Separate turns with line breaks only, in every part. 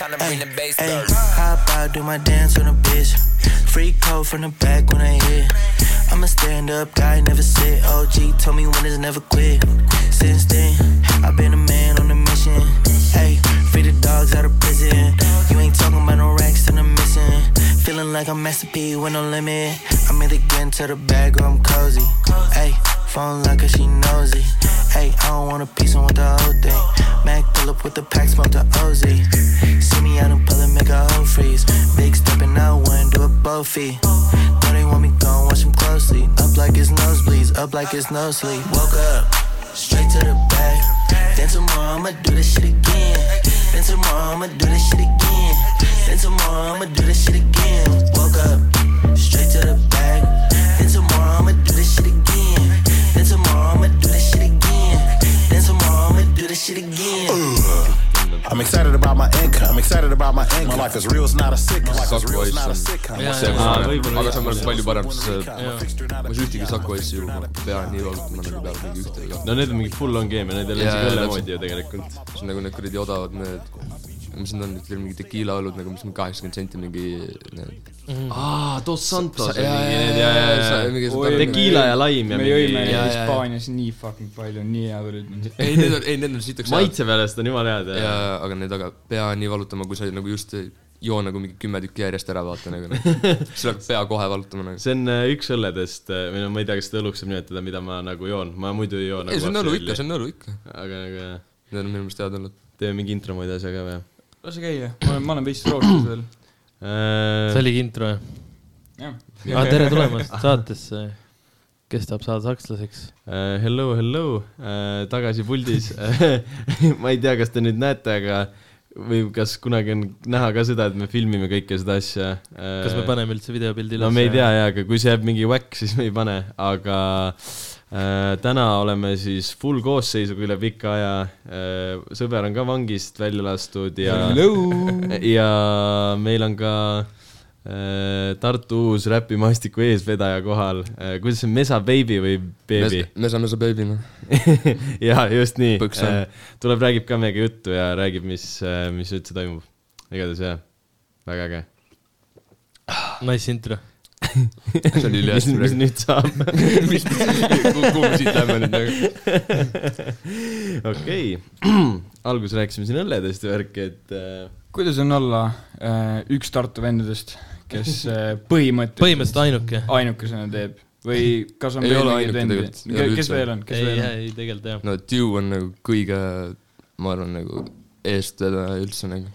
uh,
and the bass
Ayy,
starts.
hop out, do my dance on a bitch. Free code from the back when I hit. I'm a stand up guy, never sit. OG told me winners never quit. Since then, I've been a man on a mission. Ayy, free the dogs out of prison. You ain't talking about no racks and I'm missing. Feeling like I'm masterpiece with no limit. I'm either getting to the bag or I'm cozy. Ayy, phone like her, she nosy. Ayy, I don't want a piece, I want the whole thing. Mac pull up with the pack, smoke the OZ. See me out in public, make a whole freeze. Big stepping out, one, do it both feet. Know they want me gone, watch them closely. Up like it's nosebleeds, up like it's no sleep. Woke up, straight to the bag. Then tomorrow I'ma do this shit again. Then tomorrow I'ma do this shit again. Then tomorrow I'ma do this shit again. Woke up, straight to the bag. Then tomorrow I'ma do this shit again. Then tomorrow I'ma do this shit again. Then tomorrow I'ma do this shit again.
I'm excited about my income. I'm excited about my income. My life is real, it's not a sitcom. My life is real, it's not a sitcom.
Jaa,
see on
jaa,
parem.
võib-olla
aga
jah.
see on minu arust palju parem , sest see , ma ei saa
see
ühtegi Saku asju , ma pean nii valusalt , ma nagu pean mingi ühte ka .
no need on mingi full on game ja need ei ole
Jaa,
isegi
jaa,
õlle
täpselt.
moodi ju tegelikult .
see on nagu need kuradi odavad need , mis need on , need mingi tekiila õlud nagu , mis on kaheksakümmend senti mingi need .
aa , Dos Santos
Sa- jaa, jaa, jaa, jaa, jaa, mingi-
ja
Oi,
tekiila ja laim ja
me jõime
jaa,
mingi
jaa.
Hispaanias nii fucking palju , nii hea tulid .
ei , need on , ei need on sitaks head .
maitse pärast on jumala head
ja
jah .
aga need , aga pea on nii valutama , kui sa nagu just ei joo nagu mingi kümme tükki järjest ära vaata nagu , sul hakkab pea kohe valutama nagu .
see on äh, üks õlledest äh, või no ma ei tea , kas seda õluks saab nimetada , mida ma nagu joon , ma muidu ei joo nagu
ei , see on õlu ikka , see on õlu ikka .
aga nagu jah ,
Need on minu meelest head õllud .
teeme mingi intro moodi asja ka või ?
lase käia , ma olen , ma olen veits roostis veel .
see Äh,
see oligi intro jah ?
jah .
ah, . tere tulemast saatesse , kes tahab saada sakslaseks .
Eh, Hello , hello , tagasi puldis . ma ei tea , kas te nüüd näete , aga või kas kunagi on näha ka seda , et me filmime kõike seda asja . Äh,
kas me ? paneme üldse videopildi
no me ei tea jaa , aga kui see jääb mingi whack , siis me ei pane , aga äh, täna oleme siis full koosseisuga üle pika aja . sõber on ka vangist välja lastud ja , ja meil on ka äh, Tartu uus räpimaastiku eesvedaja kohal , kuidas see on , Mesa Baby või Baby ?
me saame su beebi noh .
jaa , just nii Äh,
Põks on. .
tuleb , räägib ka meiega juttu ja räägib , mis , mis üldse toimub . igatahes jaa , väga äge .
Nice intro .
see oli
mis ,
ülihästi
mis
praegu .
nüüd saab ?
kuhu me siit lähme nüüd nagu ?
okei , alguses rääkisime siin õlledest ja värki , et äh,
kuidas on olla äh, üks Tartu vendadest , kes äh, põhimõtteliselt
põhimõtteliselt ainuke .
ainukesena teeb või kas on
Ei
veel
ole ainuke
mingeid vendi?
tegelikult, ei
Ke-
ole
kes
üldse.
veel on , kes
ei ,
veel on ?
ei tegelikult jah .
no Dew on nagu kõige , ma arvan , nagu eestvedaja üldse nagu .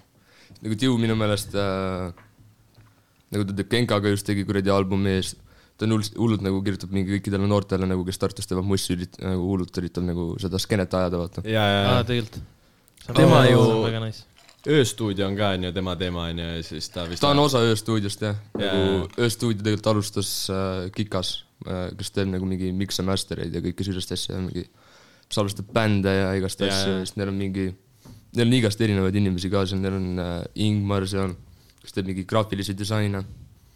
nagu Dew minu meelest äh, , nagu ta teeb Genkaga just tegi kuradi albumi ees , ta on hullult , hullult nagu kirjutab mingi kõikidele noortele nagu , kes Tartus teevad mussi , ürit- , nagu hullult üritab nagu seda skeenet ajada , vaata .
ja , ja
aa , Ah, tegelikult .
Tema ju-
väga nice .
ööstuudio on ka , on ju , tema teema , on ju , ja siis ta vist
ta on osa Ööstuudiost jah ,
Jaa.
nagu Ööstuudio tegelikult alustas äh, Kikas äh, , kes teeb nagu mingi mikse mastereid ja kõike sihukest asja , mingi salvestab bände ja igast
Jaa,
asju
jaa.
ja siis neil on mingi , neil on igast erinevaid inimesi ka seal , neil on äh, Ingmar seal , kes teeb mingi graafilisi disaine mm .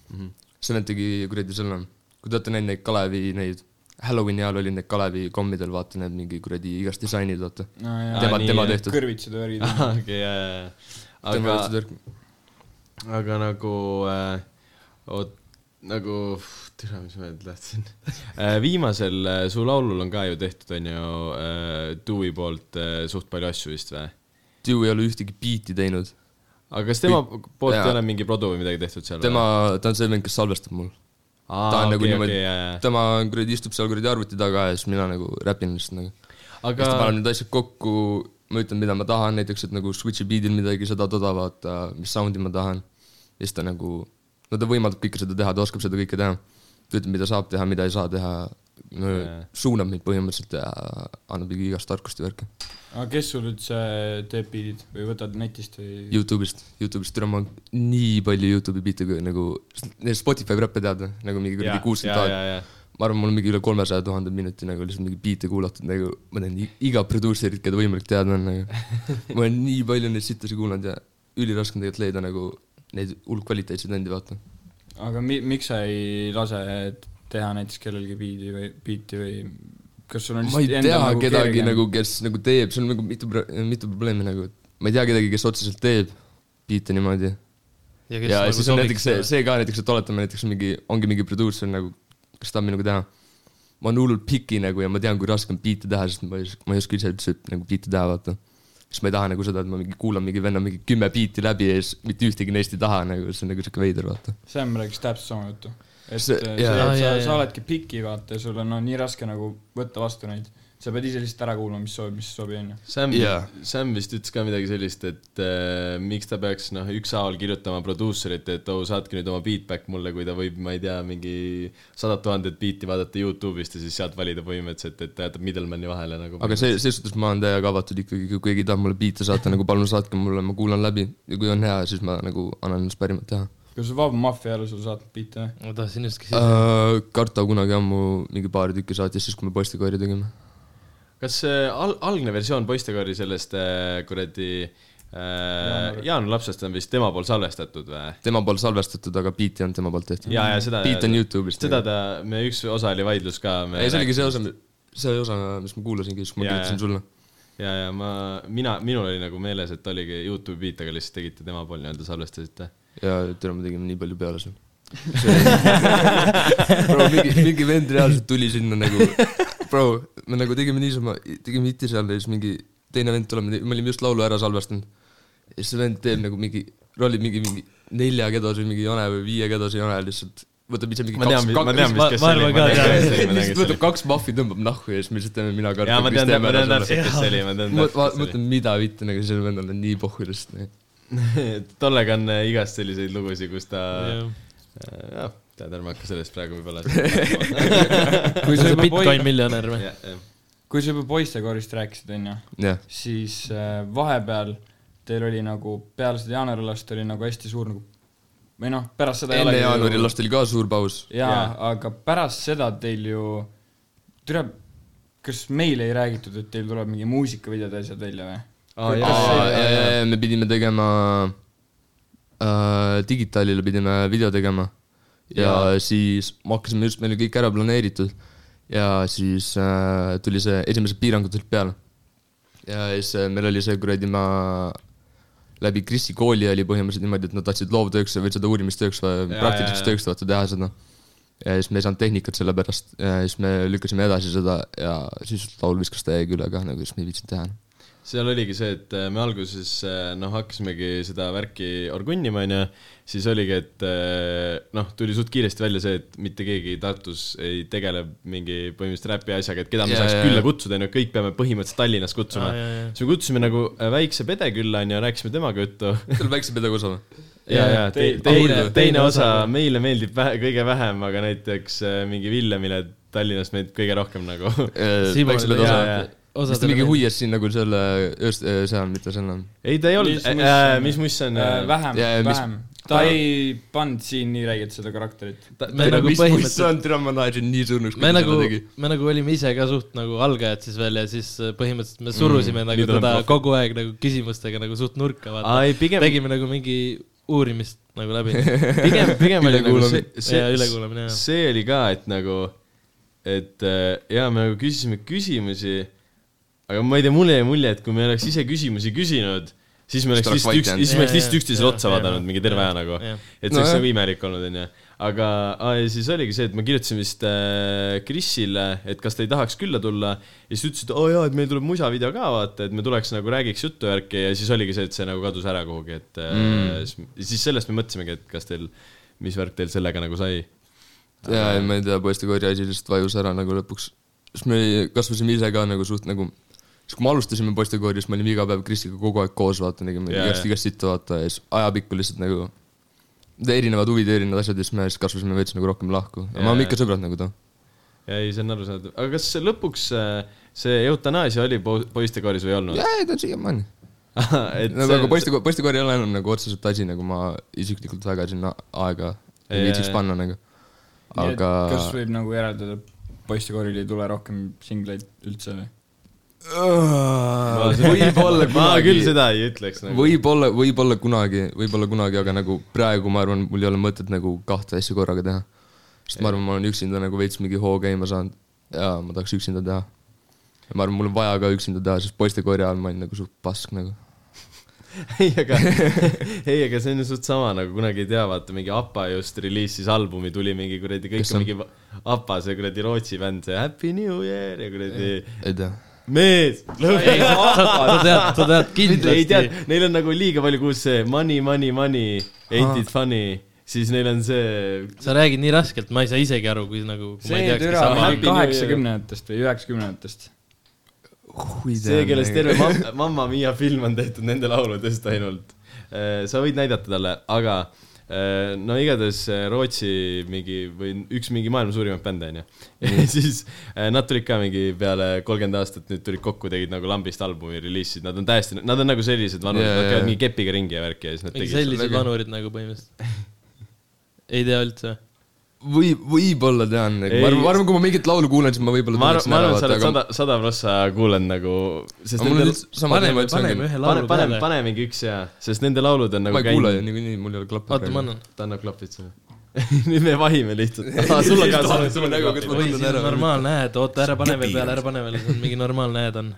Mhm.
-hmm. see vend tegi kuradi selle , kui te olete näinud neid Kalevi neid , Halloweeni ajal oli need Kalevi kommidel , vaata need mingi kuradi igast disainid , vaata .
Aa,
tema ,
nii,
tema
jah.
tehtud ,
kõrvitsad värgid .
okei , ja , ja , ja .
tema
aga ,
tehtud värk .
aga nagu äh, , oot , nagu , tere , mis ma nüüd lähtsin äh, . viimasel äh, Su laulul on ka ju tehtud , on ju äh, , Dewey poolt äh, suht palju asju vist või ?
Dew ei ole ühtegi biiti teinud
aga kas tema poolt ei
jaa.
ole mingi produ või midagi tehtud seal ?
tema , ta on see vend , kes salvestab mul .
Aa,
ta on nagu
okei,
niimoodi
okei, jaa, jaa. ,
tema on kuradi , istub seal kuradi arvuti taga ja siis mina nagu räpin lihtsalt nagu . siis
aga
ta , paneb need asjad kokku , ma ütlen , mida ma tahan , näiteks , et nagu switch'i beat'il midagi seda-toda vaata , mis sound'i ma tahan . ja siis ta nagu , no ta võimaldab kõike seda teha , ta oskab seda kõike teha . ta ütleb , mida saab teha , mida ei saa teha no,
Jaa. .
suunab mind põhimõtteliselt ja annab mingi igast tarkust ja värki .
aga kes sul üldse teeb biidid või võtad netist või ?
Youtube'ist , Youtube'ist , täna ma nii palju Youtube'i biite kui nagu , Spotify räppe tead või , nagu mingi kuradi kuuskümmend aastat . ma arvan , mul on mingi üle kolmesaja tuhande minuti nagu lihtsalt mingi biite kuulatud , nagu ma tean i- iga produusserit , keda võimalik teada on , nagu . ma olen nii palju neid sittasi kuulanud ja üliraske on tegelikult leida nagu neid hull kvaliteetseid vendi , vaata .
aga mi- , miks sa ei lase teha näiteks kellelgi biidi või , biiti või kas sul on
ma ei tea nagu kedagi . nagu , kes nagu teeb , see on nagu mitu , mitu probleemi nagu , et ma ei tea kedagi , kes otseselt teeb , biite niimoodi .
ja nagu
ja siis on näiteks see , see ka näiteks , et oletame näiteks mingi , ongi mingi producer nagu , kes tahab minuga teha . ma olen hullult piki nagu ja ma tean , kui raske on biite teha , sest ma ei os- , ma ei oska ise üldse nagu biite teha , vaata . siis ma ei taha nagu seda , et ma mingi kuulan mingi venna mingi kümme biiti läbi ja siis mitte ühtegi neist ei taha nagu , see on nagu siuke veider , vaata .
Sam rääkis täpselt sama juttu . et
See-
see, see,
jaa.
et sa
Jaa, jaa, ,
sa
jaa.
oledki piki , vaata , ja sul on no, nii raske nagu võtta vastu neid . sa pead ise lihtsalt ära kuulama , mis sobib , mis ei sobi , onju .
Sam
Jaa.
yeah. , Sam vist ütles ka midagi sellist , et äh, miks ta peaks noh , ükshaaval kirjutama produusserit , et oo oh, , saatke nüüd oma beatback mulle , kui ta võib , ma ei tea , mingi sadat tuhandet biiti vaadata Youtube'ist ja siis sealt valida põhimõtteliselt , et ta jätab middleman'i vahele nagu .
aga see , selles suhtes ma olen täiega avatud ikkagi , kui keegi tahab mulle biite saata , nagu palun saatke mulle , ma kuulan läbi ja kui on hea , siis ma nagu annan endast parimat teha .
kas sul Vaba Maffia ei ole sulle saatnud biite või ?
ma tahtsin just küsida .
Äh, Karta kunagi ammu mingi paar tükki saatis , siis kui me postikoori tegime .
kas see al- , algne versioon poistekoori sellest äh, kuradi äh, Jaan Lapsest on vist tema poolt salvestatud või ?
tema poolt salvestatud , aga beat ei olnud tema poolt tehtud .
ja , ja seda .
beat on Youtube'ist .
seda ta , me üks osa oli vaidlus ka .
ei , see oligi see osa , see osa , mis ma kuulasingi , siis kui ma
Jaa,
kirjutasin
jaa.
sulle .
ja , ja ma , mina , minul oli nagu meeles , et oligi Youtube'i beat , aga lihtsalt tegite tema pool nii-öelda salvestasite .
ja türa , me tegime nii palju peale seal . mingi , mingi vend reaalselt tuli sinna nagu , bro , me nagu tegime niisama , tegime hitti seal ja siis mingi teine vend tuleb , me olime just laulu ära salvestanud . ja siis see vend teeb nagu mingi , rollib mingi , mingi nelja kedasi mingi jane või viie kedasi jane lihtsalt , võtab ise mingi
ma tean , ma tean , mis
ma-
kes
ma
see oli ,
arvan
ma
ka,
tean , kes see oli , ma tean ,
lihtsalt
kes see
võtab kaks mahvi , tõmbab nahku ja siis me lihtsalt teeme mina
oli . jaa , ma tean , ma tean täpselt , kes see oli , ma tean
ma ma
täpselt , kes see
mõtlen , mida vitt on , aga sellel vendal on nii pohhu lihtsalt .
oli . tollega on äh, igast selliseid lugusid , kus ta ,
kui
jah , tead , ärme hakka sellest praegu võib-olla .
kui
sa
sa
oled
juba
Bitcoin
poi-
miljonär või ?
kui sa juba poistekoorist rääkisid , onju ,
jah ,
siis äh, vahepeal teil oli nagu peale seda jaanuarilast oli nagu hästi suur nagu või noh , pärast seda ei
enne
olegi ju-
jaanuari last oli ka suur paus .
jaa
Jaa.
yeah. , aga pärast seda teil ju , türa , kas meile ei räägitud , et teil tuleb mingi muusikavideod ja asjad välja või ?
Aa, Ah, jaa, jaa, jaa, jaa.
me pidime tegema äh, , Digitaalile pidime video tegema ja, ja siis me hakkasime just , meil oli kõik ära planeeritud ja siis äh, tuli see , esimesed piirangud tulid peale . ja siis äh, meil oli see kuradi , ma läbi Krisi kooli oli põhimõtteliselt niimoodi , et nad tahtsid loovtööks või seda uurimistööks või
Jaa, jaa,
praktiliseks
jaa.
töö tööks vaata teha seda . ja siis me ei saanud tehnikat selle pärast ja siis me lükkasime edasi seda ja siis laul viskas täiega üle ka nagu , siis me ei viitsinud teha .
seal oligi see , et äh, me alguses äh, noh , hakkasimegi seda värki orgunnima , onju , siis oligi , et äh, noh , tuli suht kiiresti välja see , et mitte keegi Tartus ei tegele mingi põhimõtteliselt räpi asjaga , et keda me
Jaa,
saaks
jaa,
külla
jaa.
kutsuda , onju , kõik peame põhimõtteliselt Tallinnas kutsuma
Aa, jaa, jaa. .
siis me kutsusime nagu äh, väikse pede külla , onju , rääkisime temaga juttu
Teil väikse pedaga osa või ?
ja , ja te,
tei-
teine
teine ,
teine osa
osa.
meile meeldib vähe, kõige vähem , aga näiteks äh, mingi Villemile Tallinnas meeldib kõige rohkem nagu
Siimul
väikse
oli-
peda
jaa, jaa.
osa . Äh, vist ta
Osadele
mingi
meeldib.
huvias siin nagu selle , seal , mitte seal enam .
ei , ta ei olnud Äh,
Mis muss , on? Äh,
mis muss see on ?
vähem ,
ja, ja mis-
vähem . ta ei pannud siin nii räigelt seda karakterit .
me nagu põhimõtteliselt ,
on , türa , ma naersin nii surnuks ,
me nagu , me nagu olime ise ka suht nagu algajad siis veel ja siis äh, põhimõtteliselt me surusime mm,
nüüd
nagu
olen
teda
proff.
kogu aeg nagu küsimustega nagu suht nurka , vaata .
Aa, ei, pigem-
tegime nagu mingi uurimist nagu läbi .
pigem , pigem oli nagu see ,
Ülekuulamine.
Jaa, ülekuulamine, jah.
see oli ka , et nagu , et äh, jaa , me nagu küsisime küsimusi , aga ma ei tea , mulle jäi mulje , et kui me oleks ise küsimusi küsinud , siis me oleks
oleks
lihtsalt
vait
üks ,
jäänud.
siis me oleks
Jaa,
lihtsalt
jaa,
üksteisele
jaa,
otsa
jaa,
vaadanud mingi terve
jaa,
aja nagu .
jaa.
et see oleks
Nojah.
nagu imelik olnud , onju . aga , ja siis oligi see , et ma kirjutasin vist äh, Krisile , et kas ta ei tahaks külla tulla ja siis ta ütles , et oo oh, jaa , et meil tuleb musavideo ka vaata , et me tuleks nagu räägiks juttu värki ja siis oligi see , et see nagu kadus ära kuhugi , et mm. siis sellest me mõtlesimegi , et kas teil , mis värk teil sellega nagu sai .
jaa , ei ma ei tea , poiste koeri asi lihtsalt vajus ära nagu lõpuks . siis me kasvasime ise ka nagu suht nagu , siis kui me alustasime poiste koori , siis me olime iga päev Krisiga kogu aeg koos , vaata , tegime
Jaa,
igast ,
jaa.
igast sittu , vaata , ja siis ajapikku lihtsalt nagu erinevad huvid , erinevad asjad ja siis me siis kasvasime veits nagu rohkem lahku . aga me
Jaa,
oleme
jaa.
ikka sõbrad nagu ta .
ei , see on arusaadav , aga kas see lõpuks äh, see eutanaasia oli po- poistekooris või ei olnud ?
jaa , ei ta on siiamaani .
et
nagu aga poiste , poiste koori ei ole enam nagu otseselt asi , nagu ma isiklikult väga sinna aega
Jaa,
ei viitsiks
jaa.
panna nagu . aga
kas võib nagu järeldada , poistekooril ei tule rohkem singleid üldse või ?
võib-olla
ma küll
kunagi
seda ei ütleks nagu .
võib-olla , võib-olla kunagi , võib-olla kunagi , aga nagu praegu ma arvan , mul ei ole mõtet nagu kahte asja korraga teha . sest ma arvan , ma olen üksinda nagu veits mingi hoo käima saanud ja ma tahaks üksinda teha . ma arvan , mul on vaja ka üksinda teha , sest poiste koori ajal ma olin nagu suht pask nagu .
ei , aga , ei , aga see on ju suht sama nagu kunagi ei tea , vaata mingi APA just reliisis albumi , tuli mingi kuradi kõik
Kes on?
mingi va- APA , see kuradi Rootsi bänd , see Happy New Year ja kuradi
ei tea .
mees ,
ei , sa tead , sa tead
ei tea
kindlasti .,
neil on nagu liiga palju , kus see money , money , money , ain't it funny , siis neil on see ,
sa räägid nii raskelt , ma ei saa isegi aru , kui nagu .
see türa
sama
on
Happy New Year.
kaheksakümnendatest või üheksakümnendatest .
see , kellest terve mam- Mamma Mia film on tehtud nende lauludest ainult . sa võid näidata talle , aga eh, no igatahes eh, Rootsi mingi või üks mingi maailma suurimaid bände onju . ja siis eh, nad tulid ka mingi peale kolmkümmend aastat , nüüd tulid kokku , tegid nagu lambist albumi , reliisisid , nad on täiesti , nad on nagu sellised vanurid
Jaa,
yeah, , nad
jaa,
käivad
jaa.
mingi kepiga ringi ja värki ja siis nad
mingi
tegid .
sellised
väga-
vanurid nagu põhimõtteliselt . ei tea üldse .
või , võib-olla tean , ma
Ei.
arvan , ma arvan , kui ma mingit laulu kuulan , siis ma võib-olla
ma arvan ,
tunneksin
ma
ära ,
arvan , sa
vaata ,
oled
aga
sada , sada prossa kuulanud nagu , sest
aga mul on
nende ,
üldse sama
paneme ,
teema , et see
paneme
ongi ,
ühe
pane ,
laulu
pane ,
peale .
pane mingi üks ja , sest nende laulud on nagu
ma ei kuula ju niikuinii , mul ei ole klappe .
oota , ma . annan .
ta annab klapid sulle . nüüd me vahime lihtsalt . sul on ka , sul on , sul on
nagu ,
ka
kas . ma
või
tunnen
siis
ära
on . normaalne hääd , oota , ära pane veel peale , ära pane veel , see on mingi normaalne hääd on .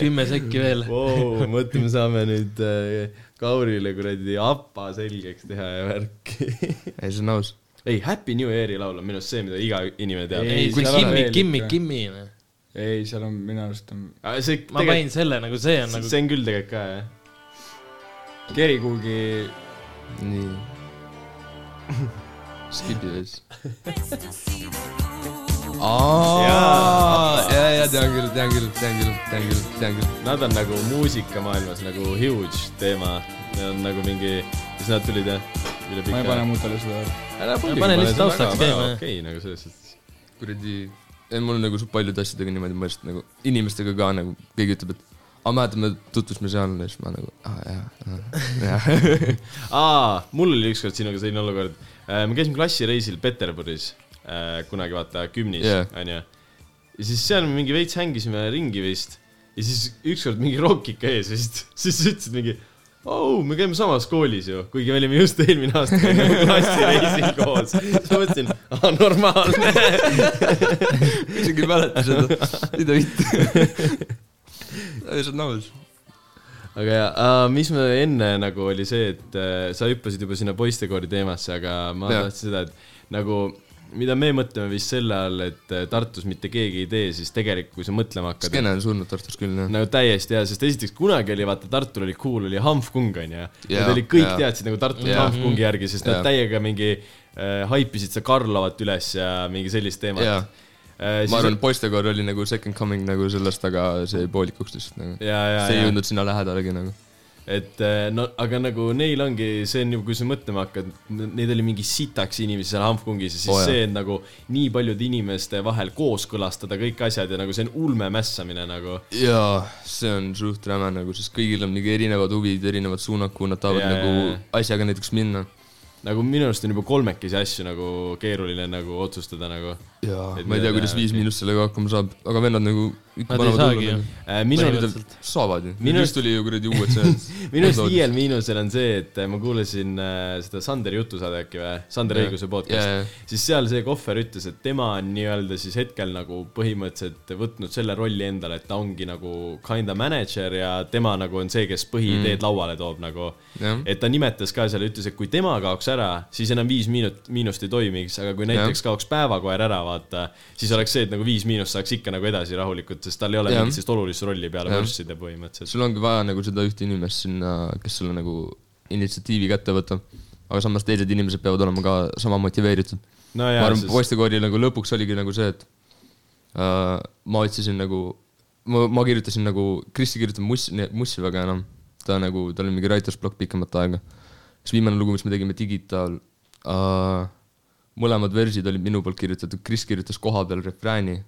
kümme sekki veel .
Vau , mõtle , me saame nüüd äh, Kaurile kuradi apa selgeks teha ja värki .
ei , see on aus .
ei , Happy New Year'i laul on minu arust see , mida iga inimene
Ei,
teab .
kui
seal on
Kimmi
veel ,
Kimmi
ikka. ,
Kimmi .
ei , seal on minu arust on
see
ma panin
tegelikult ,
selle nagu see on nagu ,
see on küll tegelikult ka jah .
kerikuugi ,
nii . Skipi veits . aa , ja , ja tean küll , tean küll , tean küll , tean küll , tean küll .
Nad on nagu muusikamaailmas nagu huge teema . Nad on nagu mingi , siis nad tulid jah , üle
ma ei pane
pika .
mutale seda .
ära
pane lihtsalt taustaks käima, jah.
okei nagu selles suhtes .
kuradi , ei mul on nagu su- paljude asjadega niimoodi , ma lihtsalt nagu inimestega ka nagu , keegi ütleb , et aa , mäletan , me tutvusime seal ja siis ma nagu , aa jaa , jaa .
aa , mul oli ükskord sinuga selline olukord . me käisime klassireisil Peterburis äh, kunagi vaata kümnis
Jah.
yeah. , onju . ja siis seal me mingi veits hängisime ringi vist ja siis ükskord mingi rookika ees vist , siis sa ütlesid mingi au , me käime samas koolis ju , kuigi me olime just eelmine aasta nagu klassireisil koos . siis ma mõtlesin , aa normaalne .
isegi ei mäleta seda , mida vitt . see on aus .
aga ja , mis me enne nagu oli see , et äh, sa hüppasid juba sinna poistekoori teemasse , aga ma
Jah.
tahtsin seda , et nagu mida me mõtleme vist selle all , et äh, Tartus mitte keegi ei tee , siis tegelikult , kui sa mõtlema hakkad ,
skeene on surnud Tartus küll , noh? jah .
nagu täiesti hea , sest esiteks kunagi oli vaata , Tartul oli cool , oli Hanfkung onju . Nad
Jaa,
olid kõik
jaa.
teadsid nagu Tartu
Jaa.
Hanfkungi järgi , sest nad
Jaa.
täiega mingi äh, haipisid seda Karlovat üles ja mingi sellist
jaa
teemat ., Äh,
ma arvan , poistekoor oli nagu second coming nagu sellest , aga see jäi poolikuks lihtsalt nagu .
ja , ja ,
see ei
ja ,
jõudnud sinna lähedalegi nagu .
et eh, no aga nagu neil ongi , see on ju , kui sa mõtlema hakkad , neid oli mingi sitaks inimesi seal Hanfkongis ja siis
Oo,
oh,
jah.
see , et nagu nii paljude inimeste vahel kooskõlastada kõik asjad ja nagu see on ulme mässamine nagu .
jaa , see on suht räme nagu , sest kõigil on mingi erinevad huvid , erinevad suunad , kuhu nad tahavad
Jaa, jaa,
nagu
jaa.
asjaga näiteks minna .
nagu minu arust on juba kolmekesi asju nagu keeruline nagu otsustada nagu .
jaa ,
Et
ma ei
mida
tea , kuidas
teha,
Viis
okei.
Miinus sellega hakkama saab , aga vennad nagu
nad
ikka
ei
panevad
saagi
hullu
ju
nagu. .
minul ,
Põhimõtteliselt.
saavad ju ,
Minu
minu arust tuli ju kuradi uued seansid .
minu arust viiel miinusel on see , et ma kuulasin äh, seda Sanderi jutusaadet äkki või , Sander
Jaa.
Õiguse
Jaa,
podcast'i
jaa. ,
siis seal see kohver ütles , et tema on nii-öelda siis hetkel nagu põhimõtteliselt võtnud selle rolli endale , et ta ongi nagu kinda manager ja tema nagu on see , kes põhiideed mm. lauale toob nagu .
Jah.
et ta nimetas ka seal , ütles , et kui tema kaoks ära , siis enam viis miinut , miinust ei toimiks , aga kui näiteks kaoks päevakoer ära , vaata , siis oleks see , et nagu viis miinust saaks ikka nagu edasi rahulikult , sest tal ei ole
Jah.
mingit sellist olulist rolli peale
Jah.
purssida põhimõtteliselt .
sul ongi vaja nagu seda ühte inimest sinna , kes sulle nagu initsiatiivi kätte võtab . aga samas teised inimesed peavad olema ka sama motiveeritud
No
ma
jaa,
arvan
sest-
sest... , poistekoori nagu lõpuks oligi nagu see , et äh, ma otsisin nagu , ma , ma kirjutasin nagu , Kristi kirjutab mussi , mussi väga enam . ta nagu , tal oli mingi writer's block pikemat aega . siis viimane lugu , mis me tegime , Digitaal äh, . mõlemad versid olid minu poolt kirjutatud , Kris kirjutas kohapeal refrääni .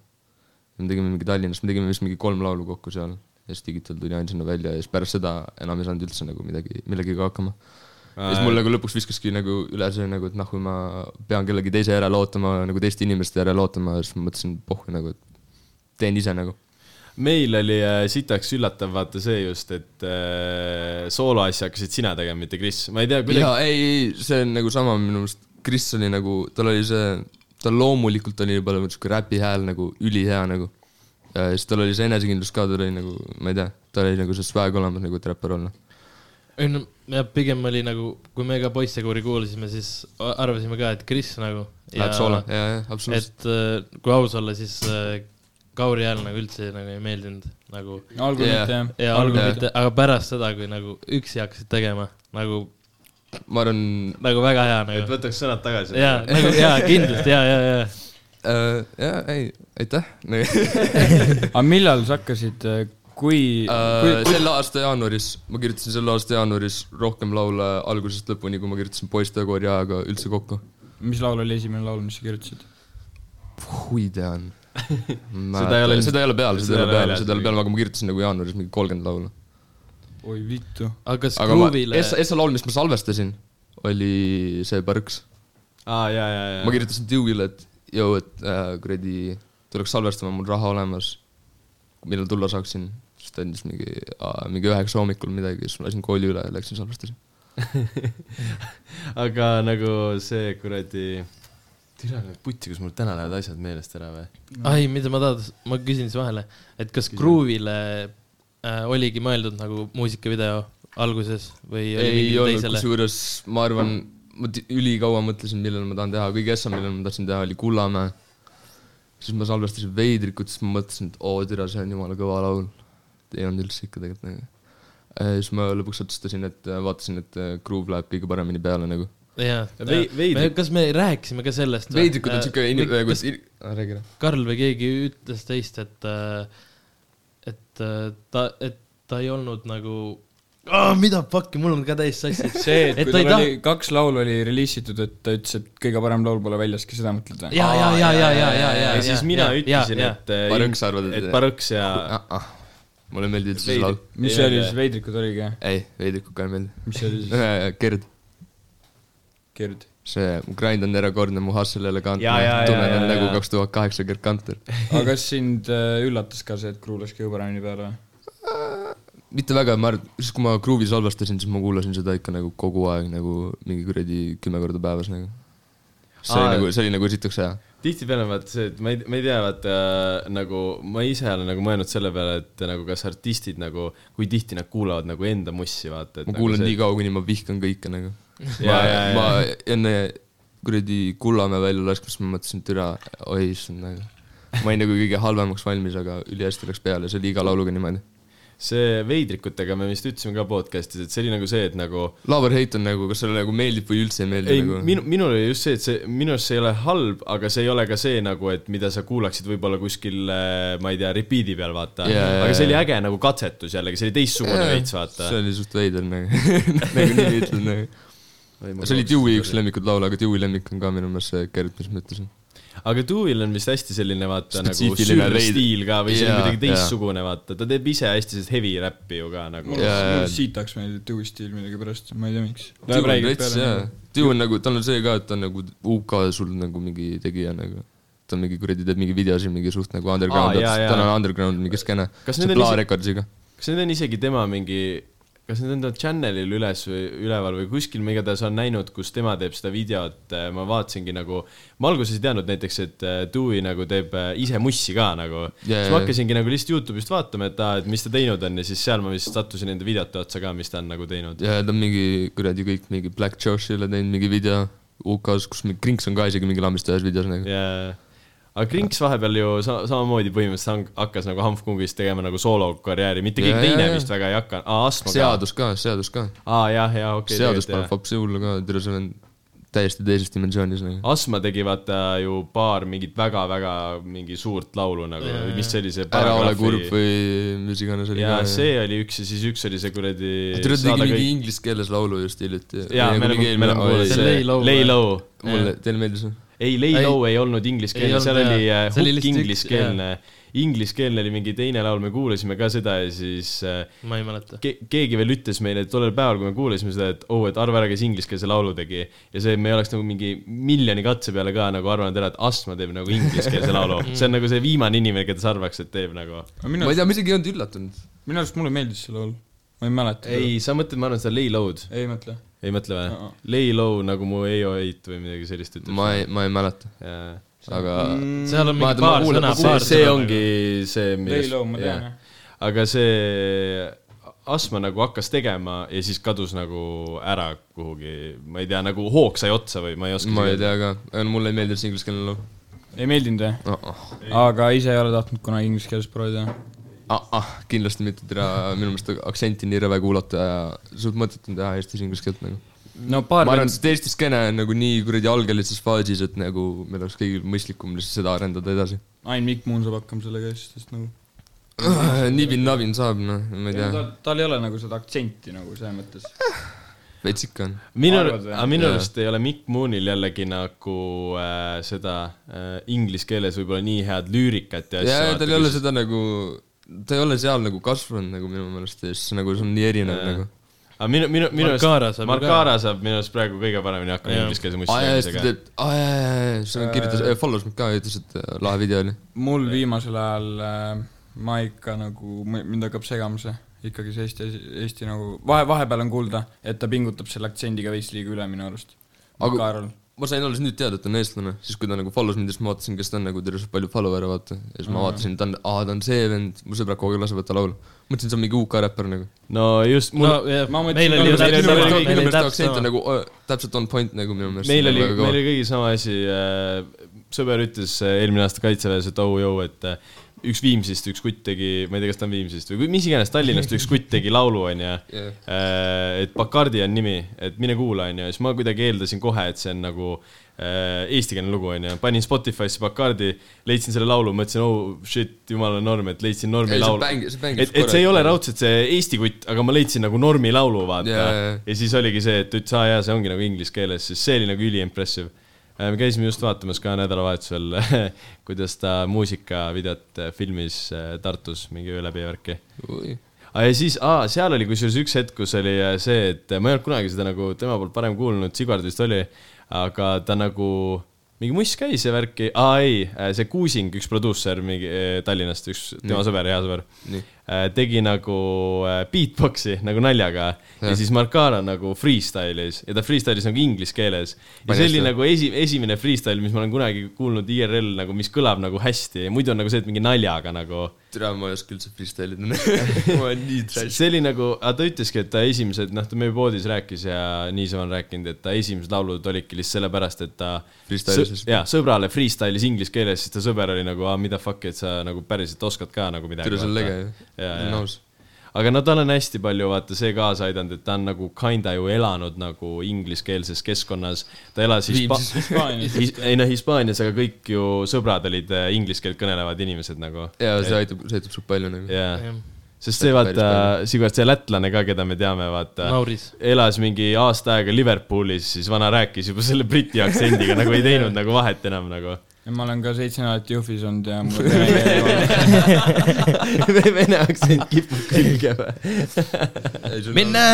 me tegime mingi Tallinnas , me tegime vist mingi kolm laulu kokku seal ja siis Digital tuli ainsana välja ja siis pärast seda enam ei saanud üldse nagu midagi , millegagi hakkama . ja siis mul nagu lõpuks viskaski nagu üle see nagu , et noh , kui ma pean kellegi teise järele ootama , nagu teiste inimeste järele ootama , siis ma mõtlesin , pohhu nagu , et teen ise nagu .
meil oli äh, sitaks üllatav vaata see just , et äh, sooloasja hakkasid sina tegema , mitte Kris , ma ei tea ,
ja
kuidagi .
ei , ei , see on nagu sama minu meelest , Kris oli nagu , tal oli see , tal loomulikult oli juba sihuke räpi hääl nagu ülihea nagu . ja siis tal oli see enesekindlus ka , tal oli nagu , ma ei tea , tal oli nagu see swag olemas nagu , et räppar olla .
ei no , ja pigem oli nagu , kui me ka poistekoori kuulasime , siis a- arvasime ka , et Kris nagu .
Läheb soola , ja , ja absoluutselt .
et äh, kui aus olla , siis äh, Kauri hääl nagu üldse nagu ei meeldinud nagu .
algul
Jaa.
mitte jah .
ja
Algul
algul
mitte.
mitte , aga pärast seda , kui nagu üksi hakkasid tegema , nagu ,
ma arvan
nagu väga hea
et
nagu .
võtaks sõnad tagasi .
ja , nagu ja kindlalt ja , ja , ja
äh, , jaa , ei , aitäh
aga millal sa hakkasid , kui , kui ,
Äh, selle aasta jaanuaris , ma kirjutasin selle aasta jaanuaris rohkem laule algusest lõpuni , kui ma kirjutasin poistekoori ajaga üldse kokku .
mis laul oli esimene laul , mis sa kirjutasid ?
kui tean .
ei ole-
seda ei ole peal , seda ei ole peal ,
väljas
seda ei ole peal , aga ma kirjutasin nagu jaanuaris mingi kolmkümmend laulu .
oi vittu .
aga kas
aga ma ,
Groovile ,
essa , essa laul , mis ma salvestasin , oli see Põrks .
aa , ja , ja , ja .
ma kirjutasin Dewey'le , et jõu , et äh, kuradi , tuleks salvestama , mul raha olemas , millal tulla saaksin siis ta andis mingi , mingi üheksa hommikul midagi , siis ma lasin kooli üle ja läksin salvestasin .
aga nagu see kuradi , türa nüüd putsi , kus mul täna lähevad asjad meelest ära või ?
ai , mida ma tahan , ma küsin siis vahele , et kas Groovile äh, oligi mõeldud nagu muusikavideo alguses või oli
ei
mingile
olnud ,
teisele ?
kusjuures ma arvan , ma ti- ülikaua mõtlesin , millal ma tahan teha , kõige esmane , millal ma tahtsin teha , oli Kullamäe . siis ma salvestasin Veidrikut , siis ma mõtlesin , et oo , türa , see on jumala kõva laul . ei olnud üldse ikka tegelikult nagu . siis ma lõpuks otsustasin , et äh, vaatasin , et äh, Groove läheb kõige paremini peale nagu .
jaa ,
Vei- veidrik-
kas me rääkisime ka sellest ?
Veidrikud on siuke inim- ,
nagu
kus , räägi ära .
Karl või keegi ütles teist , et , et äh, ta , et ta ei olnud nagu , mida fuck'i , mul on ka täiesti sassi .
see , et
Et
kui
ta ei
tal
taha-
oli , kaks laulu oli reliisitud , et ta ütles , et kõige parem laul pole väljaski , seda mõtled või ?
ja , ja , ja , ja , ja , ja , ja .
ja siis mina ütlesin , et .
Parõks arvad, et-
et Parõks ja
Ah, mulle ei meeldi üldse see
Äh. Veidrik-
laul .
mis see oli siis , Veidrikud oligi jah ?
ei , Veidrikud ka ei meeldi .
mis see oli siis ,
Gerd ,
Gerd ?
see grind on erakordne , mu hustle elegantne
Ja, ja, ja, ,
tunnen
ja,
end nagu
ja.
kaks tuhat kaheksa Gerd Kanter .
aga kas sind äh, üllatas ka see , et Kruu laski ju paremini peale või ?
mitte väga , ma arvan , siis kui ma Groove'i salvestasin , siis ma kuulasin seda ikka nagu kogu aeg nagu mingi kuradi kümme korda päevas nagu . see
Aa.
oli nagu , see oli nagu esiteks hea .
tihtipeale on vaata see , et ma ei , ma ei tea , vaata äh, nagu ma ise olen nagu mõelnud selle peale , et nagu kas artistid nagu , kui tihti nad kuulavad nagu enda mussi , vaata .
ma kuulan nii kaua , kuni ma vihkan kõike nagu . ma
Nagu Jaa, jaa, ,
ma enne kuradi Kullamäe välja laskmist ma mõtlesin , türa , oi issand nagu . ma olin nagu kõige halvemaks valmis , aga ülihästi läks peale , see oli iga lauluga niimoodi .
see veidrikutega me vist ütlesime ka podcast'is , et see oli nagu see , et nagu
Lover Hate on nagu , kas sulle nagu meeldib või üldse ei meeldi
ei ,
nagu ?
minu , minul oli just see , et see , minu arust see ei ole halb , aga see ei ole ka see nagu , et mida sa kuulaksid võib-olla kuskil , ma ei tea , repeat'i peal , vaata
Jaa, jaa,
aga see oli
jaa.
äge nagu katsetus jällegi , see oli teistsugune veits , vaata
see . oli suht veider nagu , nagu nii ütlen nagu . see oli Dewey üks lemmikud laule , aga Dewey lemmik on ka minu meelest see Gerd , mis ma ütlesin .
aga Dewey'l on vist hästi selline vaata nagu
Spetsiifiline
sürr
veid-
stiil ka või see on
Jaa,
kuidagi
jaa.
teistsugune , vaata , ta teeb ise hästi sellist heavy räppi ju ka nagu .
Jaa, jaa.
mul siitaks meeldib Dewey stiil millegipärast , ma ei tea , miks .
Dewey on nagu , tal on see ka , et ta on nagu UK sul nagu mingi tegija nagu . ta on mingi kuradi , teeb mingi videosid mingi suht nagu underground
Aa, jaa, , jaa.
tal on underground mingi skeene .
Kas
see
need on
Pla
ise-
Recordsiga .
kas need on isegi tema mingi , kas need on ta channel'il üles või üleval või kuskil ma igatahes olen näinud , kus tema teeb seda videot , ma vaatasingi nagu , ma alguses ei teadnud näiteks , et äh, Dewey nagu teeb äh, ise mussi ka nagu
Jaa,
siis
jaa.
ma hakkasingi nagu lihtsalt Youtube'ist vaatama , et aa , et mis ta teinud on ja siis seal ma vist sattusin nende videote otsa ka , mis ta on nagu teinud .
ja ta on mingi kuradi kõik mingi Black Joshile teinud mingi video UK-s , kus mingi Krinks on ka isegi mingi lambist ühes videos nagu .
jaa . aga Krinks vahepeal ju sa samamoodi põhimõtteliselt sang- hakkas nagu Hanfkongis tegema nagu soolokarjääri , mitte keegi
Jaa, jaa,
teine
jaa.
vist väga ei hakka , aa Asmo ka .
seadus ka , seadus ka .
aa jah , jah , okei .
seadus paneb vapsi hullu ka , tere , see on täiesti teises dimensioonis nagu .
Asma tegi vaata ju paar mingit väga-väga mingi suurt laulu nagu , mis see oli see
ära ole kurb . või mis iganes oli
ja
ka .
see oli üks ja siis üks oli see kuradi .
ta tegi mingi inglise keeles laulu just hiljuti .
jaa , me oleme , me oleme kuulnud
see Lay Low
Lay
või?
Low .
mulle , teile meeldis või ?
ei , Lay
Ei.
Low ei olnud
Ei
ingliskeelne ,
olnud,
seal
jaa.
oli äh,
See oli
hukk
lihtsalt üks-
ingliskeelne . Ingliskeelne oli mingi teine laul , me kuulasime ka seda ja siis äh,
ma ei mäleta .
ke- keegi veel ütles meile tollel päeval , kui me kuulasime seda , et oo oh, , et arva ära , kes ingliskeelse laulu tegi . ja see , me oleks nagu mingi miljoni katse peale ka nagu arvanud ära , et Astma teeb nagu ingliskeelse laulu .
Mm.
see on nagu see viimane inimene , keda sa arvaks , et teeb nagu .
ma ei tea , ma isegi ei olnud üllatunud .
minu arust mulle meeldis see laul , ma ei mäleta .
ei , sa mõtled , ma arvan , seda Lay Low'd ,
ei mõtle .
ei mõtle või
Aa. ?
Lay Low nagu mu EO8 või midagi sellist ütleb .
ma ei , ma ei mäleta , aga
seal on
Ma-
mingi
ma
paar
kuulan-
sõna , nagu.
see
paar ,
see
sõna .
ongi see ,
Lay Low , ma tean jah .
aga see Asma nagu hakkas tegema ja siis kadus nagu ära kuhugi , ma ei tea , nagu hoog sai otsa või ma ei oska .
ma ei . tea ka , mulle ei meeldi üldse ingliskeelne laul
ei meeldinud või ?
oh, . Oh.
aga ise ei ole tahtnud kunagi inglise keeles proovida ?
Ah, ah, kindlasti mitte teda , minu meelest aktsenti nii rõve kuulata ja suht mõttetu on teha Eestis inglise keelt nagu .
no paar
ma arvan , et Eesti skeene on nagu nii kuradi algelises faasis , et nagu meil oleks kõigil mõistlikum lihtsalt seda arendada edasi .
ainult Mikk Muun saab hakkama sellega siis , sest nagu
nibin-nabin saab , noh , ma Mm. ei
ja,
tea ,
tal , tal ei ole nagu seda aktsenti nagu selles mõttes .
veits ikka on .
minu
Arvad , või?
minu
Jaa.
arust ei ole Mikk Moonil jällegi nagu äh, seda äh, inglise keeles võib-olla nii head lüürikat ja
ja , ja tal ei ole seda nagu , ta ei ole seal nagu kasvanud nagu minu meelest ja siis nagu see on nii erinev
Jaa.
ja. nagu .
aga minu , minu , minu
Markara saab ju ka.
Markara saab minu arust praegu kõige paremini hakkama
Jaa.
inglise keelse
aa jaa , siis ta
muistmisega .
teeb , aa jaa , jaa , jaa , siis ta kirjutas , follows mind ka ja ütles , et äh, lahe video oli .
mul viimasel ajal äh, ma ikka nagu , mind hakkab segama see , ikkagi see Eesti , Eesti nagu , vahe , vahepeal on kuulda , et ta pingutab selle aktsendiga veits liiga üle minu arust .
Aga-
Kaarel ,
ma sain alles nüüd teada , et ta on eestlane , siis kui ta nagu follows mind , siis ma vaatasin , kes ta on nagu , terve see palju follower'e vaata . ja siis ma vaatasin , ta on , aa , ta on see vend , mu sõbrad kogu aeg lasevad ta laulu . mõtlesin , see on mingi UK räppar nagu .
no just , mul
no
no, ,
ma
ma mõtlesin
mõtlesin , meil
ka,
oli ju
et meil
täpselt sama- meil oli täpselt
minu meelest- minu meelest aktsent on
oli
sama .
nagu öö, täpselt on point nagu minu meelest .
meil oli , meil oli kõigil sama asi , sõber ütles äh, eelmine aasta Kaitseväes , et au-jou , et äh, üks Viimsist üks kutt tegi , ma ei tea , kas ta on Viimsist või kui- mis iganes Tallinnast üks kutt tegi laulu , onju .
Jah.
et Bacardi on nimi , et mine kuula , onju , siis ma kuidagi eeldasin kohe , et see on nagu äh, eestikeelne lugu , onju . panin Spotify'sse Bacardi , leidsin selle laulu , mõtlesin , oh shit , jumala norm , et leidsin normi
Ei, see
laulu .
bängi- see bängib
et , et see ei
korralikult.
ole raudselt see eesti kutt , aga ma leidsin nagu normi laulu , vaata
Jaa, jaa, jaa.
ja siis oligi see , et ütles , aa jaa , see ongi nagu inglise keeles , siis see oli nagu üliimpressive . me käisime just vaatamas ka nädalavahetusel , kuidas ta muusikavideot äh, filmis äh, Tartus mingi öö läbi ja värki .
oli .
ja siis , aa , seal oli kusjuures üks hetk , kus oli äh, see , et ma ei olnud kunagi seda nagu tema poolt varem kuulnud , Sigvard vist oli , aga ta nagu mingi muss käis ja värki , aa ei , see Kuusing , üks produusser mingi äh, Tallinnast , üks tema sõber , hea sõber
Nii. ,
tegi nagu äh, beatbox'i nagu naljaga ja,
Jah.
ja siis Markara nagu freestyle'is ja ta freestyle'is nagu inglise keeles . ja
Väga
see oli
hästi.
nagu esi , esimene freestyle , mis ma olen kunagi kuulnud IRL nagu , mis kõlab nagu hästi ja muidu on nagu see , et mingi naljaga nagu
türa , ma ei oska üldse freestyle ida . ma olen nii trash .
see oli nagu , aga ta ütleski , et ta esimesed , noh , ta meie poodis rääkis ja niisama on rääkinud , et ta esimesed laulud olidki lihtsalt sellepärast , et ta
Freestyle'is siis.
jaa , sõbrale freestyle'is inglise keeles , siis ta sõber oli nagu , mida fuck , et sa nagu päriselt oskad ka nagu midagi .
türa , see on lege
Jaa,
ju .
jaa.
nõus .
aga no tal on hästi palju , vaata , see kaasa aidanud , et ta on nagu kinda ju elanud nagu ingliskeelses keskkonnas . ta elas Hispa- , ei noh , Hispaanias , aga kõik ju sõbrad olid eh, inglise keelt kõnelevad inimesed nagu .
jaa , see aitab , see aitab suht palju nagu .
jaa
Jah. ,
sest see
Päris
vaata , Sigurd , see lätlane ka , keda me teame , vaata .
Nauris.
elas mingi aasta aega Liverpoolis , siis vana rääkis juba selle briti aktsendiga , nagu ei teinud nagu vahet enam nagu .
ja ma olen ka seitse nädalat Jõhvis olnud ja mul ei
Vene aktsent kipub külge või ?
minna !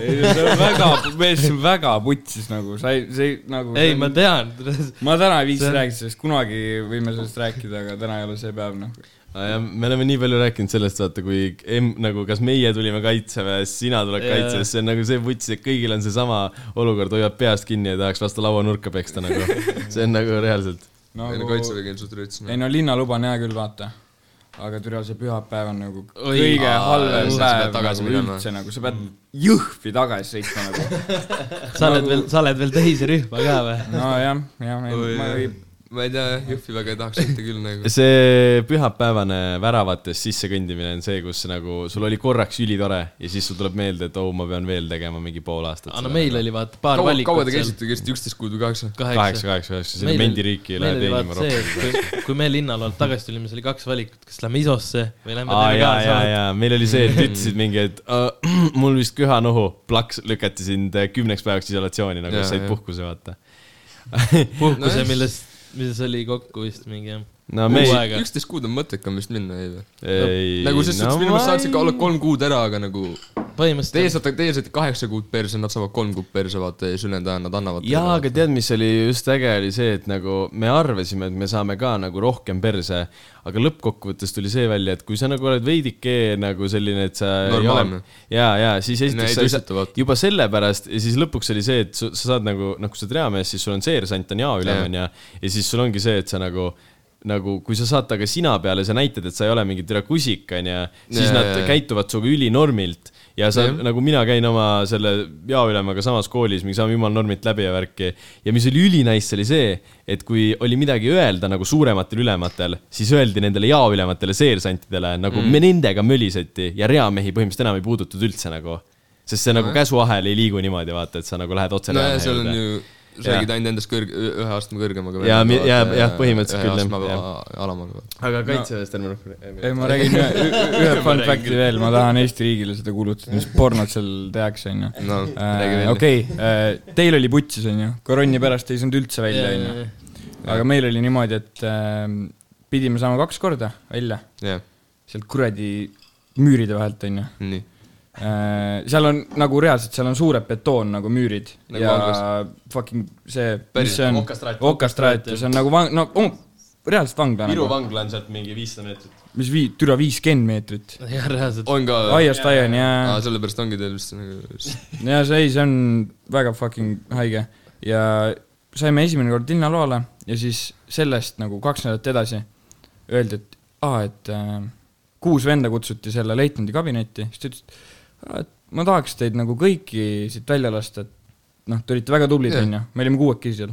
see on väga , mees , see on väga putsis nagu , sa ei , see ei- nagu
ei , ma tean .
ma täna ei viitsi
see on-
rääkida sellest , kunagi võime sellest rääkida , aga täna ei ole see päev noh .
Ah, me oleme nii palju rääkinud sellest , vaata , kui em, nagu kas meie tulime kaitseväes , sina tuled
Jaa.
kaitseväes , see on nagu see vuts , et kõigil on seesama olukord , hoiab peast kinni ja tahaks lasta lauanurka peksta nagu . see on nagu reaalselt .
meil on
nagu
kaitsevägi on suht noh. rõõts .
ei no linnaluba on hea küll , vaata . aga türa , see pühapäev on nagu
Oi,
kõige
aa,
halvem
sa pead
päev
tagasi
nagu
minema.
üldse nagu , sa pead Jõhvi tagasi sõitma nagu .
sa oled veel , sa oled veel teise rühma ka või ?
nojah , jah , ma ei ,
ma ei tea , Jõhvi väga ei tahaks sõita küll nagu .
see pühapäevane väravates sissekõndimine on see , kus nagu sul oli korraks ülitore ja siis sul tuleb meelde , et oo oh, , ma pean veel tegema mingi pool aastat .
aga no meil oli vaata paar
kaua , kaua
valikut
te
seal .
käisite , käisite üksteist kuud või kaheksa ?
kaheksa ,. kaheksa , üheksa , see oli
Meil oli-
mendiriiki ei
meil
lähe
oli
teenima
vaata see,
rohkem .
et kui, kui me linnalault tagasi tulime , siis oli kaks valikut , kas lähme ISO-sse või lähme
aa
teeme
jaa , jaa ,
kaasa .
jaa , meil oli see , et ütlesid mingi , et uh, mul vist köhanohu , plaks lükati sind äh, kümneks päevaks isolatsiooni , nagu
Jaa,
ja, said
jah.
puhkuse , vaata .
puhkuse ,
Nice.
milles , milles oli kokku vist mingi jah .
no
Kuu
meil
aega. Aega.
üksteist kuud on mõttekam vist minna , ei või ?
ei
nagu selles suhtes minu meelest
ma
saatsid ka
ei-
olla kolm kuud ära , aga nagu teie
põhimõtteliselt .
saate , teie saate kaheksa kuud perse , nad saavad kolm kuud perse , vaata , ja siis ülejäänud ajal nad annavad .
jaa , aga tead , mis oli just äge , oli see , et nagu me arvasime , et me saame ka nagu rohkem perse , aga lõppkokkuvõttes tuli see välja , et kui sa nagu oled veidike nagu selline , et sa
Normaalne. .
jaa , jaa , siis
No ei
esiteks sa ei
tõsteta,
saa
vaata. ,
juba sellepärast ja siis lõpuks oli see , et su- sa saad nagu , noh , kui sa oled reamees , siis sul on seersant on jaoülem ,
Jaa.
onju , ja siis sul ongi see , et sa nagu nagu , kui sa saad taga sina peale , sa näitad , et sa ei ole mingi türa kusik , onju , siis
Jaa,
nad
jaa, jaa.
käituvad sinuga ülinormilt ja sa
Jah.
nagu mina käin oma selle jaoülemaga samas koolis , me saame jumal normilt läbi ja värki . ja mis oli ülinaiss , oli see , et kui oli midagi öelda nagu suurematel ülematel , siis öeldi nendele jaoülematele seersantidele nagu mm. me nendega möliseti ja reamehi põhimõtteliselt enam ei puudutud üldse nagu . sest see nagu käsuahel ei liigu niimoodi , vaata , et sa nagu lähed otse
nojah ,
reamehe
seal on
juurde.
ju , sa räägid ainult endast kõrg- , ühe astme kõrgemaga .
Jaa, mi- jaa, jah, põhimõtteliselt küll, jah,
jah
jah. .
alamaga .
aga kaitseväest ärme rohkem .
ei , ma räägin ühe, ü- ühe fun fact'i veel , ma tahan Eesti riigile seda kuulutada , mis pornot seal tehakse , onju .
no räägi veel .
okei , teil oli putsis , onju , koronni pärast ei saanud üldse välja , onju . aga meil oli niimoodi , et äh, pidime saama kaks korda välja
jah ,
sealt kuradi müüride vahelt , onju .
nii .
seal on nagu reaalselt , seal on suured betoon nagu müürid
Nagu
ja
vanglas.
fucking see , mis
Päris
see on ,
okastraat.
okastraat ja see on nagu vang- , no um, reaalselt vangla
Viru
nagu ,
vangla on sealt mingi viissada meetrit .
mis vii- , türa viiskümmend meetrit .
jah , reaalselt .
on ka ,
aiast aiani ja ,
sellepärast ongi teil vist nagu ,
ja see ei , see on väga fucking haige ja saime esimene kord linnaloale ja siis sellest nagu kaks nädalat edasi öeldi , et aa , et äh, kuus venda kutsuti selle leitnandi kabinetti , siis ta ütles , et ma tahaks teid nagu kõiki siit välja lasta , et noh , te olite väga tublid ,
Jah.
onju , me olime kuuekesi seal .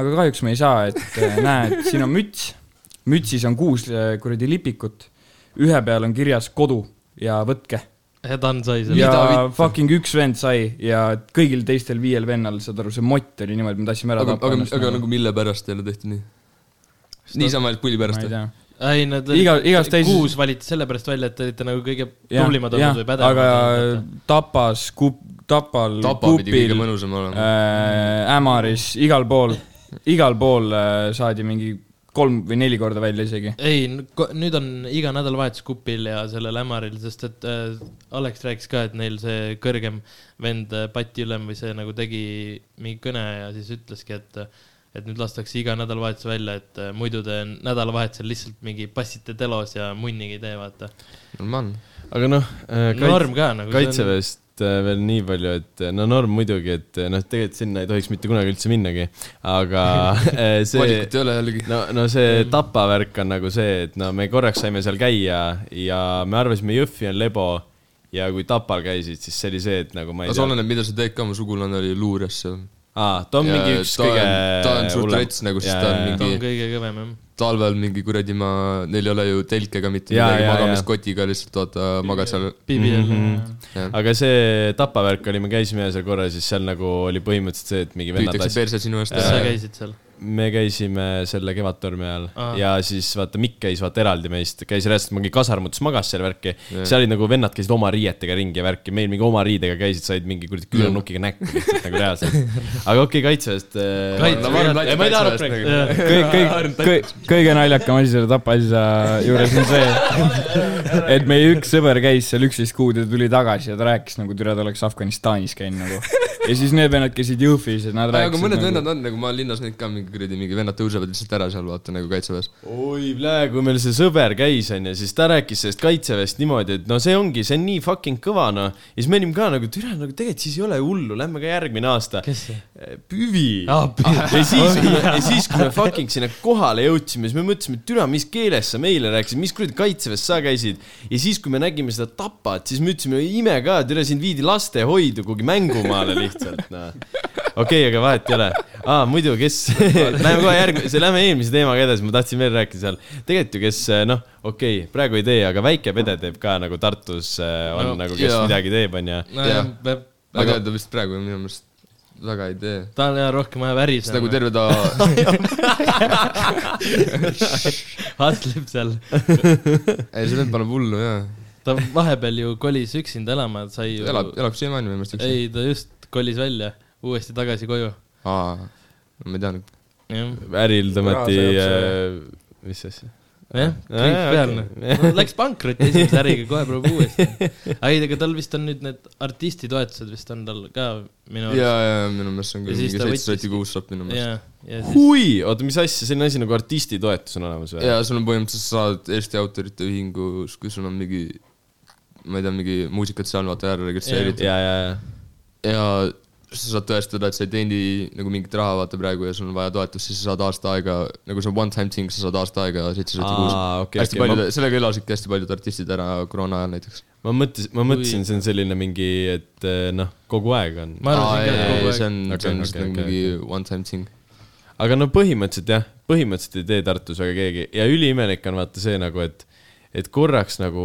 aga kahjuks me ei saa , et äh, näed , siin on müts , mütsis on kuus äh, kuradi lipikut , ühe peal on kirjas kodu ja võtke .
Ed Ann sai selle .
ja fucking üks vend sai ja kõigil teistel viiel vennal , saad aru , see mott oli niimoodi , me tahtsime ära
aga ,
tappa
aga ,
ennast
aga
nagu.
nagu mille pärast teile tehti nii ? niisama ainult pulli
ma
pärast
ei
või ?
tea
ei , nad
Iga- igast teises-
kuus valiti sellepärast välja , et te olite nagu kõige
Jah,
tublimad
jah,
olnud või pädevamad
aga . Tapas , Kup- , Tapal ,
nagu tapa pidi kõige
Kupil ,
mõnusam olema .
Ämaris , igal pool , igal pool äh, saadi mingi kolm või neli korda välja isegi .
ei , nüüd on iga nädalavahetus Kupil ja sellel Ämaril , sest et äh, Alex rääkis ka , et neil see kõrgem vend äh, Pati ülem või see nagu tegi mingi kõne ja siis ütleski , et et nüüd lastakse iga nädalavahetus välja , et äh, muidu te nädalavahetusel lihtsalt mingi passite telos ja munnigi ei tee , vaata .
normaalne .
aga noh ,
norm ka nagu .
kaitseväest äh, veel nii palju , et äh, no norm muidugi , et äh, noh , tegelikult sinna ei tohiks mitte kunagi üldse minnagi , aga äh, see
valikut ei ole jällegi .
no , no see Tapa värk on nagu see , et no me korraks saime seal käia ja me arvasime , Jõhvi on lebo ja kui Tapal käisid , siis see oli see , et nagu ma ei
aga see
tea .
oleneb , mida sa teed ka , mu sugulane oli luurjas seal .
aa , ta on mingi üks kõige .
ta on suht rets nagu , sest ta on
ta on
mingi
kõige kõvem jah .
talvel mingi kuradi ma , neil ei ole ju telke ega mitte
Jaa,
midagi ,
jaa,
magamist
jaa.
kotiga lihtsalt vaata , magad seal .
Bibi on mm .
Mhm.
-hmm
jah ,
Mhm. aga see Tapa värk oli , me käisime ühesel korral , siis seal nagu oli põhimõtteliselt see , et mingi vennad
püütakse perse sinu eest
kas sa
ära .
käisid seal ?
me käisime selle Kevadtormi ajal Aa.
Aa.
ja siis vaata Mikk käis vaata eraldi meist , käis reaalselt mingi kasarmutes magas seal värki . seal olid nagu vennad käisid oma riietega ringi ja värki , meil mingi oma riidega käisid , said mingi kuradi küünarnukiga näkku lihtsalt nagu reaalselt . aga okei okay, , kaitseväest
Kaitse- nagu.
äh, .
Ei, ma ei taha rohkem rääkida.
kõik , kõik , kõik , kõige naljakam asi selle Tapa asja juures on see , et meie üks sõber käis seal üksteist kuud ja tuli tagasi ja ta rääkis nagu türa , ta oleks Afganistanis käinud nagu . ja siis need vennad käisid Jõhvis ja nad
aga
rääkisid
mõned vennad on nagu , ma olen linnas neid ka mingi kuradi , mingi vennad tõusevad lihtsalt ära seal vaata nagu kaitseväes .
oi , Lää , kui meil see sõber käis , onju , siis ta rääkis sellest kaitseväest niimoodi , et no see ongi , see on nii fucking kõva , noh . ja siis me olime ka nagu , türa , nagu tegelikult siis ei ole hullu , lähme ka järgmine aasta .
kes see ?
Püvi
Aa, Püvi.
ja siis , ja siis , kui me fucking sinna kohale jõudsime , siis me mõtlesime , et türa , mis keeles sa meile rääkisid , mis kuradi kaitseväes sa käisid . ja siis , kui me nägime seda Tapat , siis me ütlesime , ime ka , türa , sind viidi lastehoidu kuhugi mängumaale lihtsalt , noh . okei okay, , aga vahet ei ole . aa , muidu , kes , läheme kohe järgmise , lähme eelmise teemaga edasi , ma tahtsin veel rääkida seal . tegelikult ju , kes noh , okei okay, , praegu ei tee , aga Väike Pede teeb ka nagu Tartus äh, on no,
No,
nagu , kes
jaa.
yeah. midagi teeb , onju .
Jah.
nojah , peab ,
aga ta vist praegu minu meelest väga ei tee .
tal jah rohkem ajab äri
sest nagu . terve ta ,
Hasleb seal ,
ei see vend paneb hullu jaa .
ta vahepeal ju kolis üksinda elama , sai ju .
elab , elab siiamaani minu meelest üksi .
ei , ta just kolis välja , uuesti tagasi koju .
aa , ma ei teadnud .
jah ,
äril tõmmati
Raha ,
eh, mis asja ?
jah , kõik
Aa,
pealne
okei. .
Läks pankrotti esimese äriga , kohe proovib uuesti . ei , aga tal vist on nüüd need artistitoetused vist on tal ka minu
jaa , jaa , minu meelest see on
Ja
küll
siis
mingi
ta
seitse sotti
võttiski.
kuus saab minu meelest .
ja , ja siis
hui , oota , mis asja , selline asi nagu artistitoetus on olemas või ?
jaa , sul on põhimõtteliselt , sa saad Eesti Autorite Ühingus , kui sul on mingi , ma ei tea , mingi muusikat seal vaata ära
Jaa.
registreeritud
ja , ja , ja .
ja sa saad tõestada , et sa ei teeni nagu mingit raha , vaata praegu ja sul on vaja toetust , siis sa saad aasta aega , nagu see on one time thing , sa saad aasta aega seitsesada
Aa,
kuus .
okei,
hästi
okei,
paljud
ma- ,
sellega elasidki hästi paljud artistid ära koroona ajal näiteks .
ma mõtlesin , ma mõtlesin , see on selline mingi , et eh, noh , kogu aeg on .
Ma arvan, see on ka kogu aeg.
see on ,
Okei,
see on vist
okei,
nagu
okei,
mingi one time thing .
aga no põhimõtteliselt jah , põhimõtteliselt ei tee Tartus väga keegi ja üliimelik on vaata see nagu , et , et korraks nagu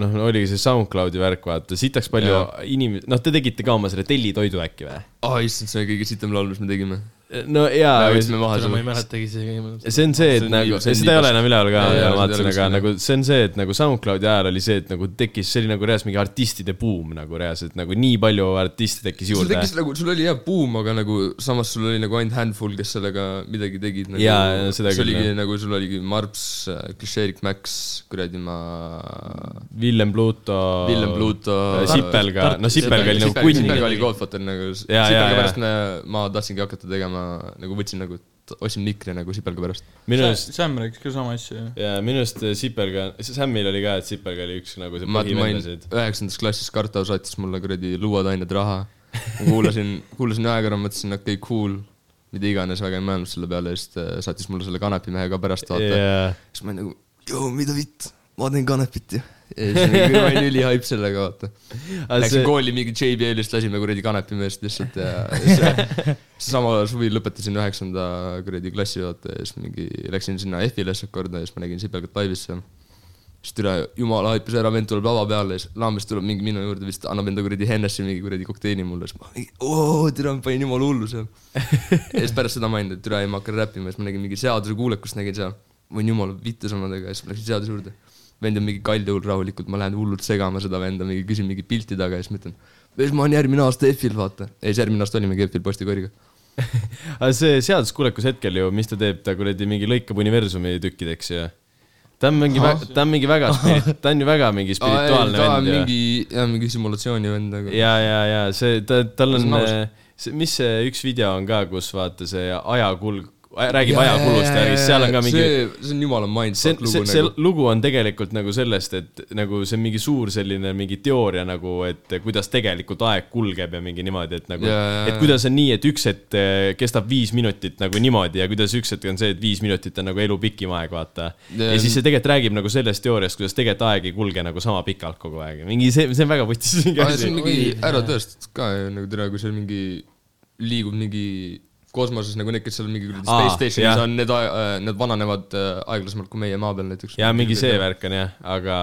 noh , oligi see SoundCloudi värk , vaata , sitaks palju
Jaa.
inimesi , noh , te tegite ka oma selle tellitoidu äkki või ?
aa , issand , see oli kõige sitem laul , mis me tegime .
no jaa
me , võtsime maha
seda ma ei
selle .
mäletagi isegi .
see on see , et
See on nii-
nagu ,
see on
seda ei
nii
ole enam üleval ka
Jaa, , jaa, seda
ma
ei
vaatasin ,
ole
aga
kuskil
nagu see on see , et nagu SoundCloudi ajal oli see , et nagu tekkis , see oli nagu reaalselt mingi artistide buum nagu reaalselt nagu nii palju artiste tekkis
sul
juurde
tekkis . nagu , sul oli jah buum , aga nagu samas sul oli nagu ainult handful , kes sellega midagi tegid nagu, .
Jaa, jaa, seda
see
küll,
oligi
jah.
nagu , sul oligi Marps , Klišeerik Max , kuradi ma .
Villem Pluto .
Villem Pluto .
Sipelga , no Sipelga äh, oli nagu kunn .
Sipelga oli Godfather nagu ,
Jaa, jaa,
Sipelga
jaa.
pärast me, ma tahtsingi hakata tegema , nagu võtsin nagu , ostsin mikri nagu Sipelga pärast .
minu arust
Sam rääkis ka sama asja ju .
ja minu arust äh, Sipelga , Sammil oli ka , et Sipelga oli üks nagu see
ma olin
põhivendasid .
üheksandas klassis , Karto saatis mulle kuradi luuatained raha . kuulasin , kuulasin ühe korra , mõtlesin , okei okay, , cool , mida iganes , väga ei mõelnud selle peale , siis ta saatis mulle selle kanepimehe ka pärast vaata yeah. .
jaa ,
siis ma olin nagu , joo , mida vitt , ma teen kanepit ju . ja siis nagu, ma olin ülihaip sellega , vaata .
aga
Läksin
see ,
kooli mingi JBL-ist , lasime kuradi kanepimehest lihtsalt ja see, sama suvi lõpetasin üheksanda kuradi klassi vaata ja siis mingi läksin sinna F-ile lihtsalt korda ja siis ma nägin Sipelgat laivis seal . siis türa , jumala haipis ära , vend tuleb lava peale ja siis laambes tuleb mingi minu juurde vist , annab enda kuradi Hennessy mingi kuradi kokteili mulle , siis ma mingi oo , türa , ma panin jumala hullu seal . ja siis pärast seda ma olin , et türa ei , ma hakkan räppima ja siis ma nägin mingi seaduse kuulekust nägin seal . ma olin jumala vittu sõnadega ja siis ma läksin seaduse juurde vend on mingi kaljul rahulikult , ma lähen hullult segama seda venda , mingi küsin mingi pilti taga ja siis ma ütlen , siis ma olen järgmine aasta EF-il , vaata . ei , siis järgmine aasta olimegi EF-il postikooriga .
aga see seaduskuulekus hetkel ju , mis ta teeb , ta kuradi mingi lõikab universumi tükkideks ja ta on mingi , ta on mingi väga , ta on ju väga mingi spirituaalne
ta on
vend ju .
mingi , jah , mingi simulatsiooni vend , aga
ja , ja , ja see , ta , tal
See
on
on aus. ,
mis see üks video on ka , kus vaata see ajakulg , räägib
Jaa, jaa,
ajakulust
jaa,
ja
jaa,
seal on ka mingi
see , see on jumala
see
mindfuck ,
see
lugu ,
see
nagu .
lugu on tegelikult nagu sellest , et nagu see on mingi suur selline mingi teooria nagu , et kuidas tegelikult aeg kulgeb ja mingi niimoodi , et nagu
Jaa, jaa, ,
et
jaa.
kuidas on nii , et üks hetk eh, kestab viis minutit nagu niimoodi ja kuidas üks hetk on see , et viis minutit on nagu elu pikim aeg , vaata .
Jaa.
ja siis see tegelikult räägib nagu sellest teooriast , kuidas tegelikult aeg ei kulge nagu sama pikalt kogu aeg . mingi see , see on väga vutis mingi
aa , see
asi
on . mingi ära tõestatud ka ju nagu tere , kui seal mingi liigub mingi kosmoses nagu need , kes seal mingi kuradi
Aa,
space station'is
jah.
on , need , need vananevad äh, aeglasemalt kui meie maa peal näiteks .
ja mingi see värk on jah , aga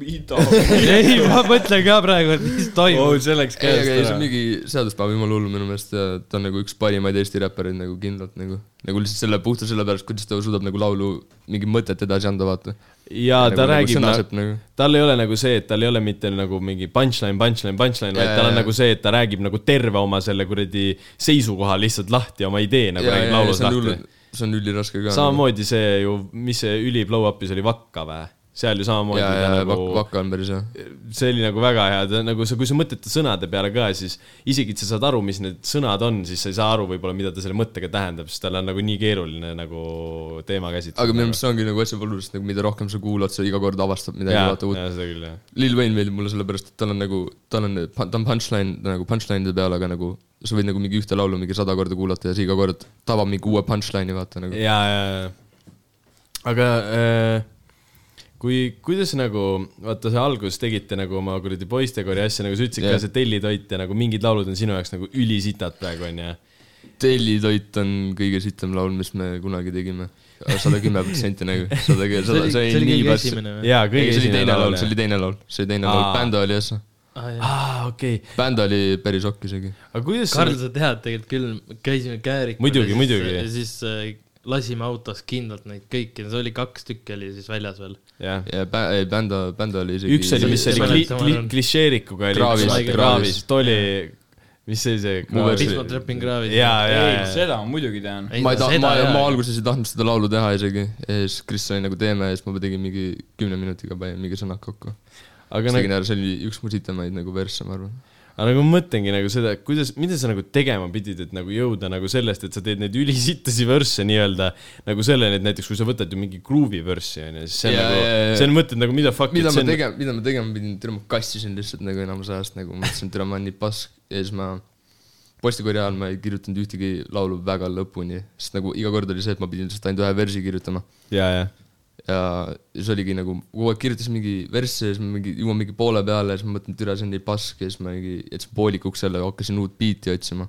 ei , ma mõtlen ka praegu , et mis toimub .
see läks
ei , aga ei , see on mingi seaduspäev , jumala hullu minu meelest ja ta on nagu üks parimaid Eesti räppareid nagu kindlalt nagu . nagu lihtsalt selle , puhtalt selle pärast , kuidas ta suudab nagu laulu mingi mõtet edasi anda , vaata .
ja ta
nagu,
räägib
nagu,
nagu
sõnaselt, nagu. .
tal ei ole nagu see , et tal ei ole mitte nagu mingi punchline , punchline , punchline , vaid
Jaa,
tal on
jaa.
nagu see , et ta räägib nagu terve oma selle kuradi seisukoha lihtsalt lahti , oma idee nagu
Jaa,
räägib
jaa,
laulus
see on
lahti
hullu- . see on üliraske ka . nagu.
samamoodi see ju , mis see üli blow up'is oli , Vakka või ? seal ju
nagu. .
samamoodi
jaa ,
ta
jaa ,
nagu
Vak- , Vakka on päris hea .
see oli nagu väga hea , ta nagu sa , kui sa mõtled ta sõnade peale ka , siis isegi , et sa saad aru , mis need sõnad on , siis sa ei saa aru võib-olla , mida ta selle mõttega tähendab , sest tal on nagu nii keeruline nagu teema käsitleda .
aga minu meelest see ongi nagu asja põllus , et nagu mida rohkem sa kuulad , sa iga kord avastad midagi ,
jaa ,
vaata uut .
jaa , seda küll , jah .
Lil Wayne meeldib mulle sellepärast , et tal on nagu , tal on , ta on punchline ta nagu punchline'ide peal , aga nagu sa võid nagu mingi ühte laulu mingi sada korda kuulata ja siis iga kord tabab mingi uue punchline'i , vaata nagu .
ja , ja , ja , aga äh, kui , kuidas nagu , vaata , sa alguses tegite nagu oma kuradi poistekoori asja , nagu sa ütlesid yeah.
Jah.
ka , see tellitoit ja nagu mingid laulud on sinu jaoks nagu ülisitad praegu , onju .
tellitoit on kõige sitem laul , mis me kunagi tegime . sada kümme protsenti nagu , sada ,
see
sada ,
oli ,
see
see
oli
oli
nii
kõige
pass .
esimene või ?
jaa ,
ei , see
kõige
oli
esimene
teine laul ,
laul .
see oli teine laul , see oli teine
Aa.
laul , bänd oli jah ,
Ah,
aa , okei okay. ,
bänd oli päris okk isegi .
aga kuidas
Karl , sa tead tegelikult küll , käisime Käärikul .
Muidugi, muidugi.
siis äh, lasime autos kindlalt neid kõiki , see oli kaks tükki oli siis väljas veel .
jah ,
ja bä- , ei bänd , bänd oli isegi .
üks oli , mis
see
oli
oli-
kli-
see oli-
kli- , klišeerikuga
Kraavis,
oli ,
Kraavis.
Kraavis , too oli , mis see oli see ?
Pittsburgh Trapping Gravis .
jaa , jaa ,
ei ,
jaa .
seda ma muidugi tean .
ma ei ta- , ma , ma . alguses ei tahtnud seda laulu teha isegi ja siis Kris oli nagu teeme ja siis ma tegin mingi kümne minutiga panin mingi sõnad kokku .
aga
siis
nagu
tegin ära , see oli üks mu sitemaid nagu versse , ma arvan .
aga nagu ma mõtlengi nagu seda , et kuidas , mida sa nagu tegema pidid , et nagu jõuda nagu sellest , et sa teed neid ülisittasi värsse nii-öelda nagu selleni , et näiteks kui sa võtad ju mingi gruuvi värssi onju , siis see on
Jaa,
nagu
jaa, , jaa.
see on mõtted nagu mida fuck .
mida ma tegema , mida ma tegema pidin , türa ma kassisin lihtsalt nagu enamus ajast nagu mõtlesin , et türa ma olen nii pask ja siis ma postikorje ajal ma ei kirjutanud ühtegi laulu väga lõpuni , sest nagu iga kord oli see , et ma pidin lihtsalt ainult ühe versi kirjutama .
ja , ja ,
ja siis oligi nagu , kogu aeg kirjutasin mingi versse ja siis ma mingi , jõuan mingi poole peale ja siis ma mõtlen , türa see on nii pask ja siis ma mingi jätsin poolikuks selle , hakkasin uut biiti otsima .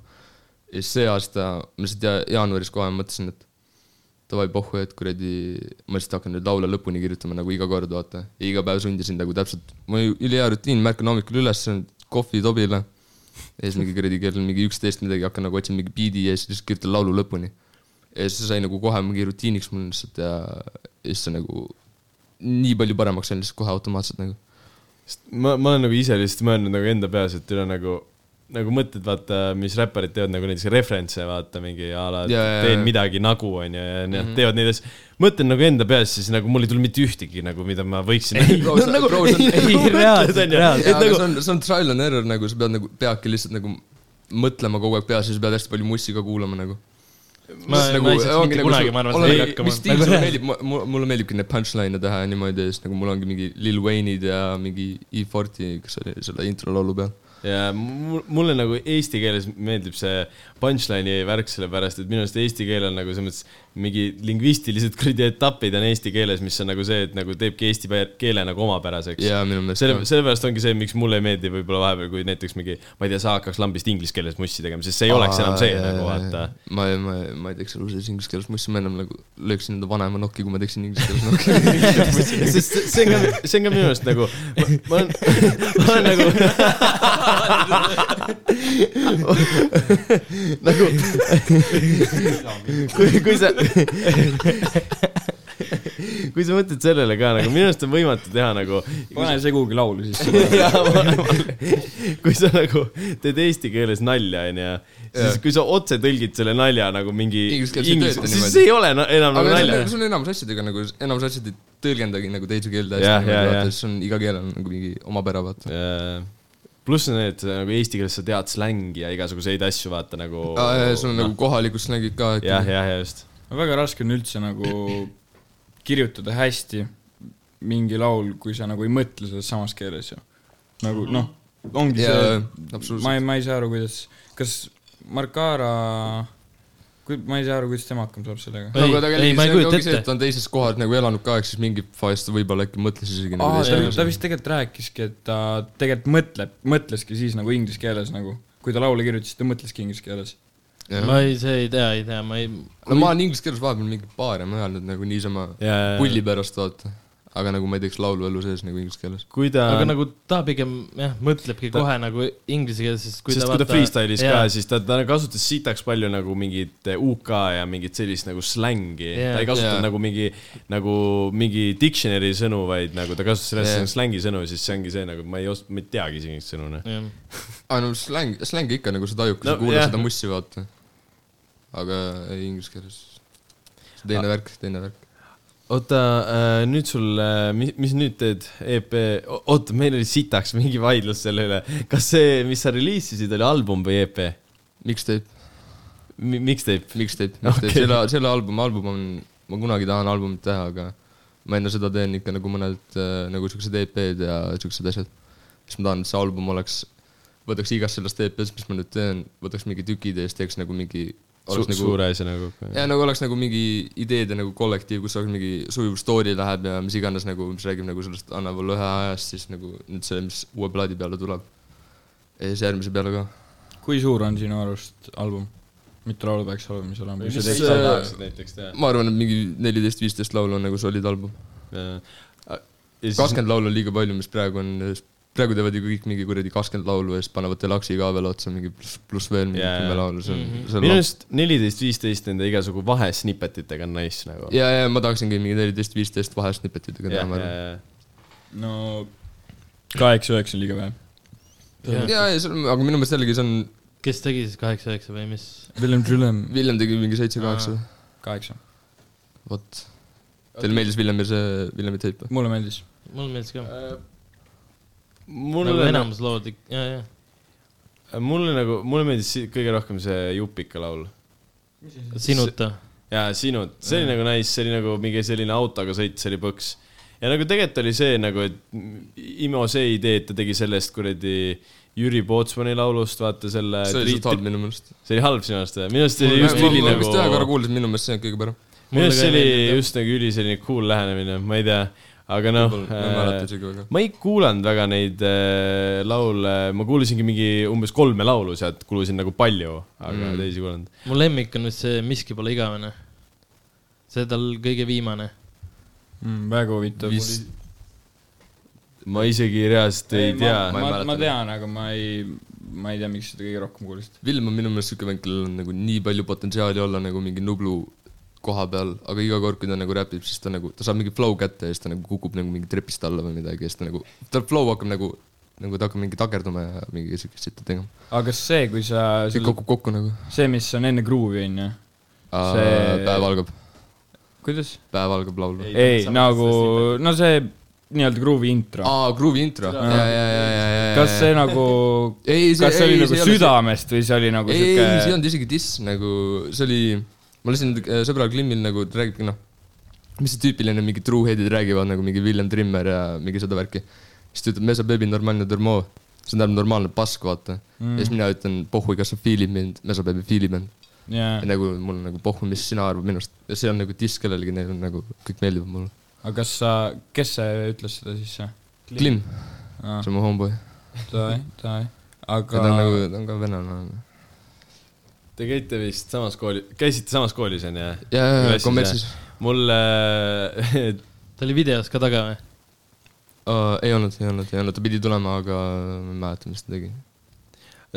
ja siis see aasta , ma lihtsalt ja- jaanuaris kohe mõtlesin , et davai pohhu , et kuradi , ma lihtsalt hakkan nüüd laule lõpuni kirjutama nagu iga kord , vaata . ja iga päev sundisin nagu täpselt , mul oli ülihea rutiin , ma ärkan hommikul üles , kohvi tobile . ja siis mingi kuradi kell on mingi üksteist midagi , hakkan nagu otsima mingi biidi ja siis lihtsalt kirjutan laulu lõpuni . ja siis see sai nagu kohe mingi rutiiniks mul lihtsalt ja , ja siis see nagu nii palju paremaks sai lihtsalt kohe automaatselt nagu .
sest ma , ma olen nagu ise lihtsalt mõelnud nagu enda peas , et üle nagu , nagu mõtted , vaata , mis räpparid teevad nagu näiteks referentse , vaata mingi a la
Jaa, jaa,
teen
jaa. Mhm.
midagi nagu onju ja nad mm -hmm. teevad neid asju . mõtlen nagu enda peas , siis nagu mul ei tule mitte ühtegi nagu , mida ma võiksin . nagu
bro, sa- bro, sa-
ei reaalselt , reaalselt .
jaa ,
et
aga
nagu
see on , see on trial and error nagu , sa pead nagu , peadki lihtsalt nagu mõtlema kogu aeg peas ja sa pead hästi palju mussi ka kuulama nagu .
ma ,
nagu
nagu
ma ei saaks mitte kunagi , ma arvan , sellega
mis stiil
hakkama .
sulle meeldib , mulle meeldibki neid punchline'e teha ja niimoodi ja siis nagu mul ongi mingi Lil Wayne'id ja mingi E-Forti , kes oli selle intro laulu peal .
ja mu- mulle nagu eesti keeles meeldib see punchline'i värk , sellepärast et minu arust eesti keel on nagu selles mõttes mingi lingvistilised kuradi etapid on eesti keeles , mis on nagu see , et nagu teebki eesti pä- keele nagu omapäraseks .
jaa , minu meelest
selle , sellepärast ongi see , miks mulle ei meeldi võib-olla vahepeal , kui näiteks mingi , ma ei tea , sa hakkaks lambist inglise keeles mussi tegema , sest see ei oleks enam see nagu vaata ..
ma , ma , ma ei teeks elu sees inglise keeles mussi , ma ennem nagu lööksin enda vanaema nokki , kui ma teeksin inglise keeles nokki .
sest see- see on ka , see on ka minu arust nagu , ma olen , ma olen nagu . nagu , kui , kui sa . kui sa mõtled sellele ka nagu , minu arust on võimatu teha nagu .
pane see kuhugi laulu sisse .
kui sa nagu teed eesti keeles nalja , onju , siis
Jah.
kui sa otse tõlgid selle nalja nagu mingi .
Inglise keeles ei tööta
siis
niimoodi.
see ei ole na- enam nagu
aga see
nalja
on- see on enamus asjadega nagu , enamus asjad ei tõlgendagi nagu teise keelde hästi
Jah, jah,
niimoodi ,
jah.
vaata , siis on iga keel on nagu mingi omapära , vaata .
Jaa. Äh, pluss on need nagu eesti keeles sa tead slängi ja igasuguseid asju , vaata nagu .
sul on nagu kohalikud slängid ka .
jah , jah , ja just .
väga raske on üldse nagu kirjutada hästi mingi laul , kui sa nagu ei mõtle selles samas keeles ju . nagu noh , ongi
Jaa,
see ,
absoluutselt.
ma ei , ma ei saa aru , kuidas , kas Markara , kui , ma ei saa aru , kuidas tema hakkama saab sellega .
nagu
Ei,
ta
ei,
kellegi ,
ma ei
see ongi-
kujuta
ongi see , et
ette.
ta on teises kohas nagu elanud ka , ehk siis mingi faas ta võib-olla äkki mõtles isegi nagu
Aa,
teise
Ah, ta,
keeles .
ta vist tegelikult rääkiski , et ta tegelikult mõtleb , mõtleski siis nagu inglise keeles nagu , kui ta laule kirjutas , ta mõtleski inglise keeles .
Jah.
ma ei , see ei tea , ei tea , ma ei ,
no ma olen inglise keeles vahepeal mingi paari mõelnud nagu niisama
Jaa.
pulli pärast , vaata . aga nagu ma ei teeks laulu elu sees nagu inglise keeles .
kui ta ,
aga nagu ta pigem jah , mõtlebki ta... kohe nagu inglise keeles , sest kui ta
sest kui ta
vaata-
freestyle'is ka
jaa. ,
siis ta , ta kasutas sitaks palju nagu mingit UK ja mingit sellist nagu slängi
Jaa.
ta ei kasutanud
Jaa.
nagu mingi , nagu mingi dictionary sõnu , vaid nagu ta kasutas sellest
Jaa.
yeah. slängi sõnu , siis see ongi see nagu ma ei os- , ma ei teagi isegi neid sõnu , noh .
jah.
aa no släng , slängi ikka nagu sa tajud , kui
No
sa kuulad
jah.
seda mussi , vaata . aga ei inglise keeles . teine värk , teine värk .
oota , nüüd sul , mis , mis nüüd teed , EP , oota , meil oli sitaks mingi vaidlus selle üle , kas see , mis sa reliisisid , oli album või EP ?
Mixtape ,
miks teeb ?
mixtape , mixtape
Okei.
okay. , selle , selle album , album on , ma kunagi tahan albumit teha , aga ma enne seda teen ikka nagu mõned äh, nagu siuksed EP-d ja siuksed asjad . siis ma tahan , et see album oleks , võtaks igast sellest EP-st , mis ma nüüd teen , võtaks mingi tükid ja siis teeks nagu mingi
Su
oleks nagu
suure asja nagu .
ja nagu oleks nagu mingi ideede nagu kollektiiv , kus oleks mingi sujuv story läheb ja mis iganes nagu , mis räägib nagu sellest Anna Valõhe ajast , siis nagu nüüd see , mis uue plaadi peale tuleb . ja siis järgmise peale ka .
kui suur on sinu arust album ? mitu laulu peaks olema , mis olema ?
mis sa
see-
teeks , sa tahaksid näiteks teha ?
ma arvan , et mingi neliteist , viisteist laulu on nagu solid album . kakskümmend laulu on liiga palju , mis praegu on , praegu teevad ju kõik mingi kuradi kakskümmend laulu ja siis panevad Deluxe'i ka veel otsa mingi pluss , pluss veel mingi
Jaa,
kümme
jaa.
laulu , see on mm , -hmm. see on
minu arust neliteist , viisteist nende igasugu vahesnipetitega on nice nagu .
ja , ja ma tahaksingi mingi neliteist , viisteist vahesnippetitega teha , ma arvan .
no kaheksa-üheksa on liiga vähe .
jah.
ja , ja see on , aga minu meelest jällegi see on ,
kes tegi siis kaheksa , üheksa või mis ?
Villem Trillem .
Villem tegi mingi seitse-kaheksa ,
kaheksa .
vot . Teile meeldis Villemi see , Villemi teip või ?
mulle meeldis .
mulle meeldis ka .
mul
nagu enamus lood , ja , ja .
nagu- mulle nagu , mulle meeldis si- kõige rohkem see Jupika laul .
sinuta .
jaa , sinud , see oli nagu nice , see oli nagu mingi selline autoga sõit , see oli põks . ja nagu tegelikult oli see nagu , et Imo see idee , et ta tegi sellest kuradi Jüri Pootsmani laulust , vaata selle .
see oli lihtsalt halb minu meelest .
see oli halb sinu arust või ? minu arust see oli
ma
just üli
ma vist ühe korra
nagu ,
kuulasin , minu meelest see on kõige parem .
minu arust see
Mulle ka ei
oli
meeldinud,
just nagu üli selline cool lähenemine , ma ei tea , aga
ma
noh .
ei mäleta isegi väga .
ma ei kuulanud väga neid äh, laule , ma kuulasingi mingi umbes kolme laulu sealt , kuulasin nagu palju , aga mm. teisi ei kuulanud .
mu lemmik on vist see Miski pole igavene . see tal kõige viimane .
mm, . väga huvitav .
Vist-
ma isegi reaalselt ei, ei tea .
ma,
ei
ma,
mäleta.
ma tean , aga ma ei , ma ei tea , miks seda kõige rohkem kuulasid .
Villem on minu meelest siuke vend , kellel on nagu nii palju potentsiaali olla nagu mingi Nublu koha peal , aga iga kord , kui ta nagu räpib , siis ta nagu , ta saab mingi flow kätte ja siis ta nagu kukub nagu mingi trepist alla või midagi ja siis ta nagu , tal flow hakkab nagu , nagu ta hakkab mingi takerduma ja mingi siukest sitta tegema .
aga kas see , kui sa ,
kõik kukub kokku nagu .
see , mis on enne gruuvi , on ju , See-
päev algab ,
kuidas ?
päev algab laul .
ei , nagu , no see nii-öelda gruuvi intro .
aa , Gruuvi intro . ja , ja , ja , ja , ja , ja .
kas see nagu ,
ei ,
kas see oli nagu ? südamest või see oli nagu
ei , ei , see ei
sihuke ,
olnud isegi diss , nagu see oli , ma lasin äh, sõbral Klimmil nagu ta räägibki noh , mis see tüüpiline mingi truehead'id räägivad nagu mingi William Trimmer ja mingi seda värki . siis ta ütleb , me saab ööbi normaalne dormo , see tähendab normaalne pask , vaata mm. . ja siis mina ütlen , pohhui , kas sa feel'id mind , me saab ööbi feel'id mind . ja .
jaa
nagu mul on nagu pohhui , mis sina arvad minust ja see on nagu diss kellelegi , neil on nagu kõik meeldivad mulle .
aga kas sa , kes see ütles seda siis ?
Klimm ,
Aa.
see on mu homeboy ,
Davai , davai .
ta on
aga
nagu , ta on Ah. ka venelane .
Te käite vist samas kooli , käisite samas koolis onju ?
ja , ja , ja kommertsis .
mul äh, ,
ta oli videos ka taga või ?
Uh, ei olnud , ei olnud , ei olnud , ta pidi tulema , aga ma ei mäleta , mis ta tegi .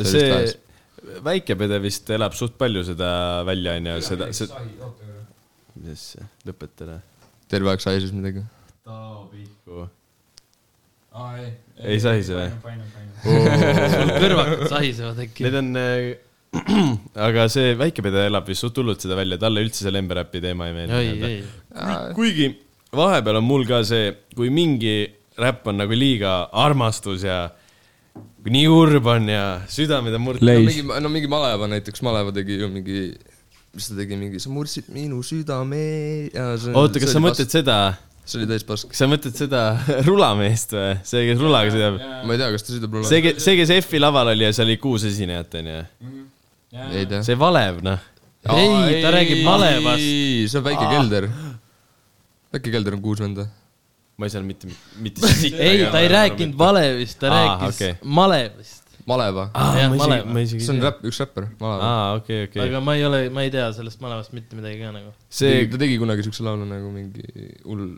See oli
see
vist
väike pede vist elab suht palju seda välja onju , seda , seda , mis see , lõpeta ära .
terve aeg sai siis midagi .
Taavo Pihku .
ei,
ei, Ei sahise või?
sul kõrvakad sahisevad äkki .
Need on äh, , aga see väike pede elab vist suht hullult seda välja , talle üldse see Lemberäpi teema ei meeldi
oi , ei .
Kui- kuigi vahepeal on mul ka see , kui mingi räpp on nagu liiga armastus ja nii kurb on ja südamed on murtud .
no
Leis.
mingi , no mingi Maleva näiteks , Maleva tegi ju mingi , mis ta tegi , mingi sa murdsid minu südame ja see .
oota , kas sa mõtled ? seda ,
see oli täis pask .
kas sa mõtled seda rulameest või ? see , kes rulaga sõidab .
ma ei tea , kas ta sõidab mulle .
see , see , kes F-i laval oli ja seal oli kuus esinejat , onju .
ei tea .
see valev , noh .
ei , ta räägib malevast .
see on Väike Kelder . Väike Kelder on kuus venda .
ma ei saanud mitte , mitte siit .
ei , ta ei rääkinud valevist , ta
Aa,
rääkis
okei.
malevist .
Maleva .
jah,
ma
malev.
isegi , ma isegi
see on . räpp , üks räppar , Maleva .
aa , okei , okei .
aga ma ei ole , ma ei tea sellest malevast mitte midagi ka nagu .
see ,
ta tegi kunagi siukse laulu nagu mingi hull ,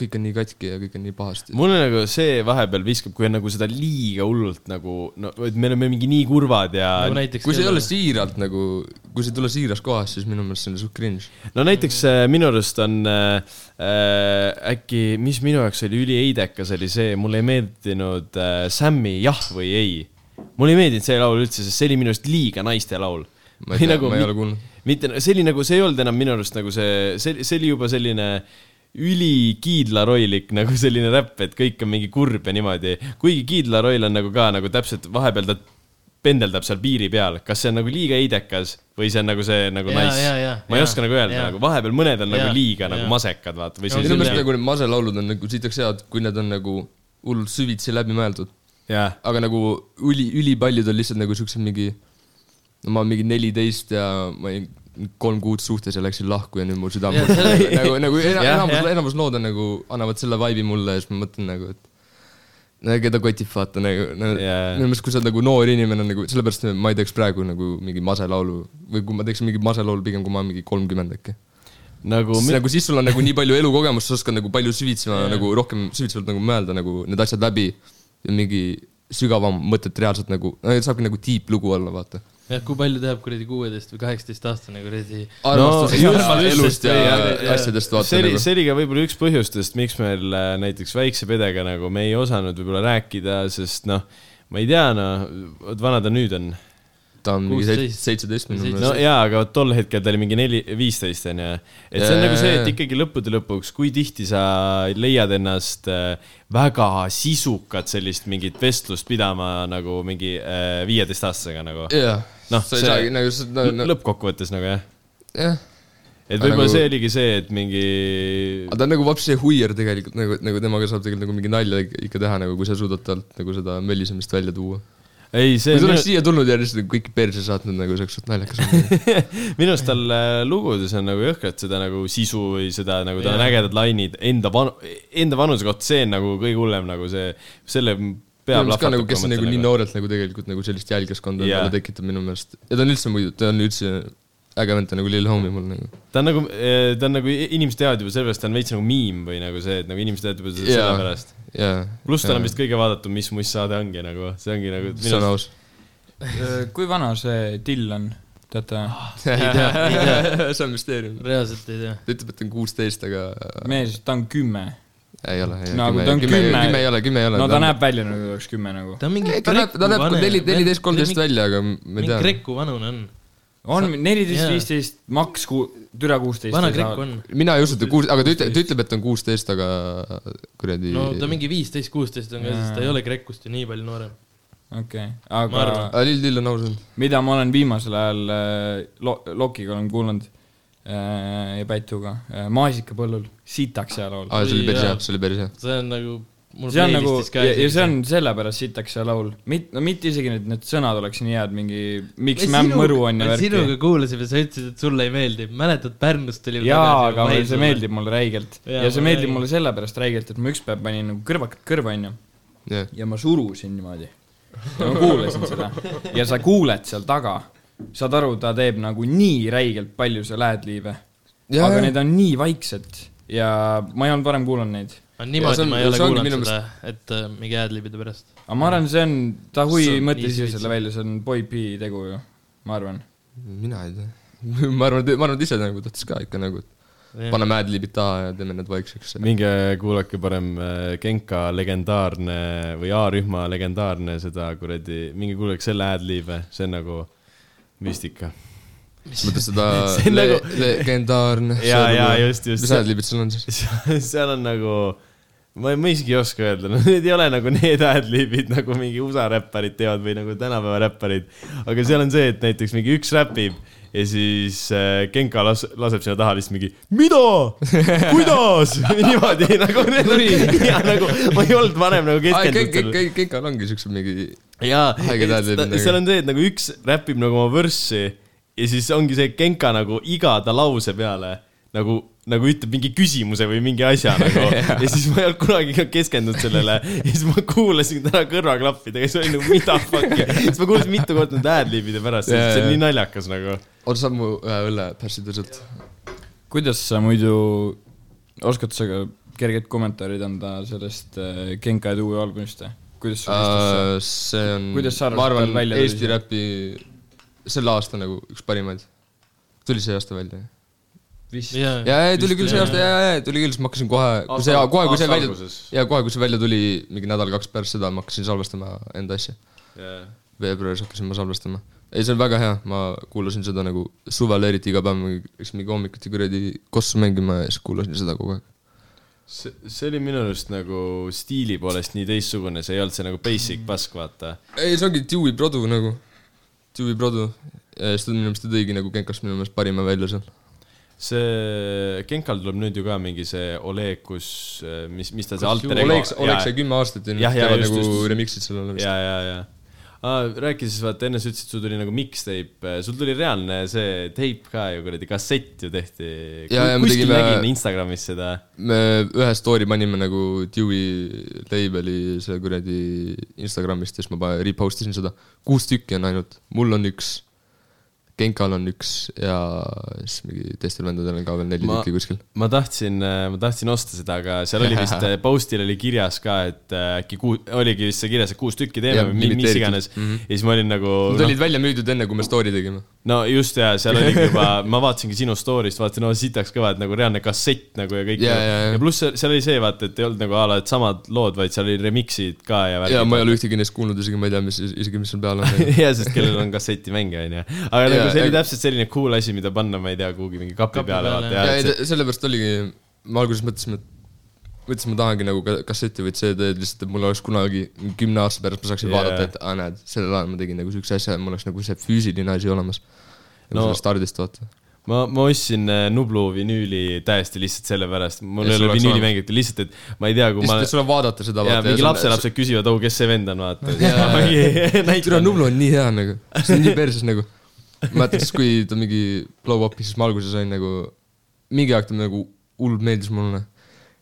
kõik on nii katki ja kõik on nii pahasti .
mulle nagu see vahepeal viskab , kui on nagu seda liiga hullult nagu , no , et me oleme mingi nii kurvad ja
nagu näiteks .
kui see ei ole siiralt nagu , kui see ei tule siiras kohas , siis minu meelest see on suht cringe .
no näiteks äh, minu arust on äh, äh, äkki , mis minu jaoks oli üliheidekas , oli see , mulle ei meeldinud äh, Sammi jah või ei . mulle ei meeldinud see laul üldse , sest see oli minu arust liiga naiste laul .
ma ei tea , nagu, ma ei ole kuulnud .
mitte , see oli nagu , see ei olnud enam minu arust nagu see , see , see oli juba selline ülikiidlaroilik nagu selline räpp , et kõik on mingi kurb ja niimoodi . kuigi kiidlaroll on nagu ka nagu täpselt vahepeal ta pendeldab seal piiri peal , kas see on nagu liiga heidekas või see on nagu see nagu
Jaa,
nice
jaa, jaa,
ma ei
jaa,
oska nagu öelda ,
jaa.
nagu vahepeal mõned
Jaa,
on nagu liiga nagu
jaa.
masekad , vaata , või
minu
sellised
meelest . nagu need maselaulud on nagu sitaks head , kui need on nagu hullult süvitsi läbimõeldud .
jah ,
aga nagu üli , ülipaljud on lihtsalt nagu siuksed mingi , no ma olen mingi neliteist ja ma olin kolm kuud suhtes ja läksin lahku ja nüüd mul südame
Jah, see-
nagu , nagu ena-
Jah,
enamus
jah. ,
enamus lood on nagu , annavad selle vibe'i mulle ja siis ma mõtlen nagu , et no keda kotib vaata nagu , no
Jaa.
minu meelest , kui sa oled nagu noor inimene nagu , sellepärast ma ei teeks praegu nagu mingi maselaulu või kui ma teeksin mingi maselaulu , pigem kui ma olen mingi kolmkümmend äkki .
nagu
siis . nagu siis sul on nagu nii palju elukogemust , sa oskad nagu palju süvitsema nagu rohkem süvitsevalt nagu mõelda nagu need asjad läbi ja mingi sügavam mõtet reaalselt nagu , no see saabki nagu deep lugu olla , vaata .
jah , kui palju teab kuradi kuueteist või kaheksateist aastane kuradi .
armastusest
just-
ja
just-
elust ja
jah, jah.
asjadest vaata
see oli ,
nagu .
see oli ka võib-olla üks põhjustest , miks meil äh, näiteks väikse pedega nagu noh, me ei osanud võib-olla rääkida , sest noh , ma ei tea , no , vot vana ta nüüd on ?
ta on mingi seit-
16.
seitseteist minu
no
meelest .
jaa , aga tol hetkel ta oli mingi neli , viisteist onju . et see on
Jaa,
nagu see ,
jaa,
et
jaa.
ikkagi lõppude lõpuks , kui tihti sa leiad ennast äh, väga sisukat sellist mingit vestlust pidama nagu mingi viieteist aastasega nagu .
jah ,
Noh,
sa ei
see-
saagi nagu seda , no
lõppkokkuvõttes nagu jah .
jah . Aga
et
nagu-
võib-olla see oligi see , et mingi
aga ta on nagu vaps see huier tegelikult nagu , nagu temaga saab tegelikult nagu mingi nalja ik- ikka teha nagu , kui sa suudad talt nagu seda möllisemist välja tuua .
ei , see
kui ta
minu,
oleks siia tulnud ja lihtsalt kõik perse saatnud nagu see oleks suht naljakas olnud .
minu arust tal äh, lugudes on nagu jõhkralt seda nagu sisu või seda nagu tal on
Jaa.
ägedad lainid enda vanu , enda vanuse kohta , see on nagu kõige hullem nagu see , selle peab
ka nagu ,
lahvatama .
kes nagu nii noorelt nagu tegelikult nagu sellist jälgeskkonda
Jaa.
yeah. tekitab minu meelest . ja ta on üldse muidu , ta on üldse äge vend , ta on nagu Lil Homie mul nagu .
ta on nagu , ta on nagu , inimesed teavad juba sellepärast , ta on veits nagu miim või nagu see , et nagu inimesed teavad juba seda
Jaa.
sellepärast .
jaa .
pluss tal on vist kõige vaadatum , mis must saade ongi nagu , see ongi nagu .
see on aus .
Äh, kui vana see till on , teate ?
ei tea , ei tea , see on müsteerium .
reaalselt ei tea .
ta ütleb , et ta on kuusteist , aga äh,
mees , ta on kümme .
ei ole .
Nagu ta on kümme.
kümme ei ole , kümme ei ole .
no ta näeb välja nagu oleks kümme nagu .
ta on mingi
ta näeb , ta näeb neli , neliteist , kolmteist välja , aga ma ei
mingi
tea .
Kreku vanune on ,
on neliteist ,
jaa.
viisteist , maks ku- , türa kuusteist .
vana Kreku . on .
mina ei usu , et ta kuus- , aga ta ütleb , ta ütleb , et ta on kuusteist , aga äh, kuradi .
no ta mingi viisteist , kuusteist on ka , siis ta ei ole Krekust ju nii palju noorem .
okei ,
Ma
aga
arvan.
aga Lill Lill Äh, on aus olnud .
mida ma olen viimasel ajal äh, lo- , Lokiga olen kuulanud äh, ja Pätuga äh, , maasikapõllul , sitaks hea laul .
aa , Ah, see oli
Oi,
päris
jaa.
hea , see oli päris hea .
see on nagu mul
see on nagu ,
playlist'is ka
ja ja see on sellepärast sitaks hea laul , mit- , no mitte isegi need , need sõnad oleks nii head , mingi miks mämm mõru on ja värki .
sinuga kuulasime , sa ütlesid , et sulle ei meeldi , mäletad Pärnust tuli
jaa , aga see meeldib mulle räigelt ja,
Jaa,
ja see
ma
meeldib
räägin.
mulle sellepärast räigelt , et ma ükspäev panin nagu kõrvakad kõrva , onju ,
jah .
ja ma surusin niimoodi . ja ma kuulasin seda ja sa kuuled seal taga , saad aru , ta teeb nagu nii räigelt palju , sa lähed liive .
Jaa,
aga
jaa.
need on nii vaiksed ja ma ei olnud varem kuulanud neid .
aga
Ja see
niimoodi
on-
ma ei ole
see ongi
kuulanud
minu
seda , et äh, mingi ad-libide pärast .
aga ma arvan , see on , ta
See
hui
on
mõtles
nii
ise selle välja , see on Boy P tegu ju , ma arvan .
mina ei tea . ma arvan , ma arvan , et ise nagu tahtis ka ikka nagu , et paneme ad-libid taha ja teeme need vaikseks .
minge kuulake parem äh, Genka legendaarne või A-rühma legendaarne seda kuradi , minge kuulake selle ad-liive , see on nagu müstika .
mõtled seda
See on
le-
nagu-
legendaarne .
Jaa, jaa, just, just.
mis ad-libid sul on siis ?
seal on nagu , ma , ma isegi ei oska öelda , no need ei ole nagu need ad-libid nagu mingi USA räpparid teevad või nagu tänapäeva räpparid . aga seal on see , et näiteks mingi üks räpib ja siis äh, Genka las- , laseb sinna taha lihtsalt mingi mida , kuidas , niimoodi nagu , ja nagu ma ei olnud varem nagu
kõik ,
keskendunud
kõik ,
sellele .
kõik , kõik ongi siukse mingi
jaa ,
Haiged ad-libid nagu.
seal on see , et nagu üks räpib nagu oma võrssi ja siis ongi see Genka nagu iga ta lause peale nagu , nagu ütleb mingi küsimuse või mingi asja nagu ja siis ma ei olnud kunagi ka keskendunud sellele ja siis ma kuulasin täna kõrvaklappidega ja siis oli nagu mida fuck'i , siis ma kuulasin mitu korda nende ad-libide pärast ,
Jaa,
see on
jaa.
nii naljakas nagu .
oota , saab mu ühe äh, õlle pärssida sealt ?
kuidas sa muidu , oskad sa ka kerged kommentaarid anda sellest äh, Genka ja Duo albumist või ? kuidas sul istus
Äh,
see ?
see on ,
Kuidas sa arvad,
ma
tal
arvan
välja , tuli see?
Eesti räpi selle aasta nagu üks parimaid . tuli see aasta välja ?
vist .
ja , ja tuli küll see aasta , ja , ja , ja tuli küll , siis ma hakkasin kohe , kui see , kohe kui see
aasta
välja
alguses. ,
ja kohe , kui see välja tuli , mingi nädal-kaks pärast seda ma hakkasin salvestama enda asja . veebruaris hakkasin ma salvestama . ei , see on väga hea , ma kuulasin seda nagu suvel eriti iga päev , ma läksin mingi hommikuti kuradi kossu mängima ja siis kuulasin seda kogu aeg .
see , see oli minu arust nagu stiili poolest nii teistsugune , see ei olnud see nagu basic pask , vaata .
ei , see ongi Dewey Produ nagu , Dewey Produ . ja siis ta minu meelest ta tõigi nagu Genkast minu meelest parima välja seal .
see , Genkal tuleb nüüd ju ka mingi see Oleg , kus , mis , mis ta see alter ego .
Oleks , oleks see kümme aastat ja nüüd
Jah, jah,
teevad
just,
nagu
just.
remix'id sellele vist .
ja , ja , ja . Ah, rääki siis , vaata enne sa ütlesid , sul tuli nagu mixtape , sul tuli reaalne see teip ka ju kuradi , kassett ju tehti .
Ja, ja, me
kuskil
tegime-
nägin Instagramis seda .
me ühe story panime nagu Dewey label'i see kuradi Instagramist ja siis ma pa- repost isin seda . kuus tükki on ainult , mul on üks , Genkal on üks ja siis mingi teistel vendadel on ka veel neli
Ma-
ma... tükki kuskil .
ma tahtsin , ma tahtsin osta seda , aga seal oli vist , postil oli kirjas ka , et äh, äkki kuu- , oligi vist see kirjas , et kuus tükki teeme
Jah,
või mi- mis
limiteeritud.
iganes mm . -hmm. ja siis ma olin nagu .
Nad olid välja müüdud enne , kui me story tegime .
no just ja seal oligi juba , ma vaatasingi sinu story'st , vaatasin , no sitaks kõva , et nagu reaalne kassett nagu ja kõik
Jaa, jaa, jaa.
ja pluss seal- seal oli see vaata , et ei olnud nagu a la , et samad lood , vaid seal oli remix'id ka ja
ja ma ei
värgid .
ole ühtegi neist kuulnud , isegi ma ei tea , mis , isegi mis seal peal on .
ja sest kellel on kassetimängija onju , aga
Jaa,
nagu see oli
aga-
täpselt selline cool asi , mida panna , ma ei tea , kuhugi mingi kapi
Kapi
peale
peale,
vaata
jah.
ja
ja
ei
et see- ,
sellepärast oligi , ma alguses mõtlesin , et mõtlesin , ma tahangi nagu ka- kasseti või CD-d lihtsalt , et mul oleks kunagi kümne aasta pärast ma saaksin
Jaa.
yeah. vaadata , et aa näed , sellel ajal ma tegin nagu siukse asja , mul oleks nagu see füüsiline asi olemas .
No-
no stardist vaata .
ma , ma ostsin äh, Nublu vinüüli täiesti lihtsalt sellepärast , mul
Et
ei
sul
ole
oleks
vinüülimängijat , lihtsalt et ma ei tea , kui ma
lihtsalt , et sul on vaadata seda .
ja mingi lapselapsed küsivad , oh , kes see vend on ,
türa
vaata .
Nublu on nii hea nagu , see on nii perses nagu . mäletan siis , kui ta mingi blow up'i , siis ma alguses sain nagu , mingi aeg ta nagu hullult meeldis mulle .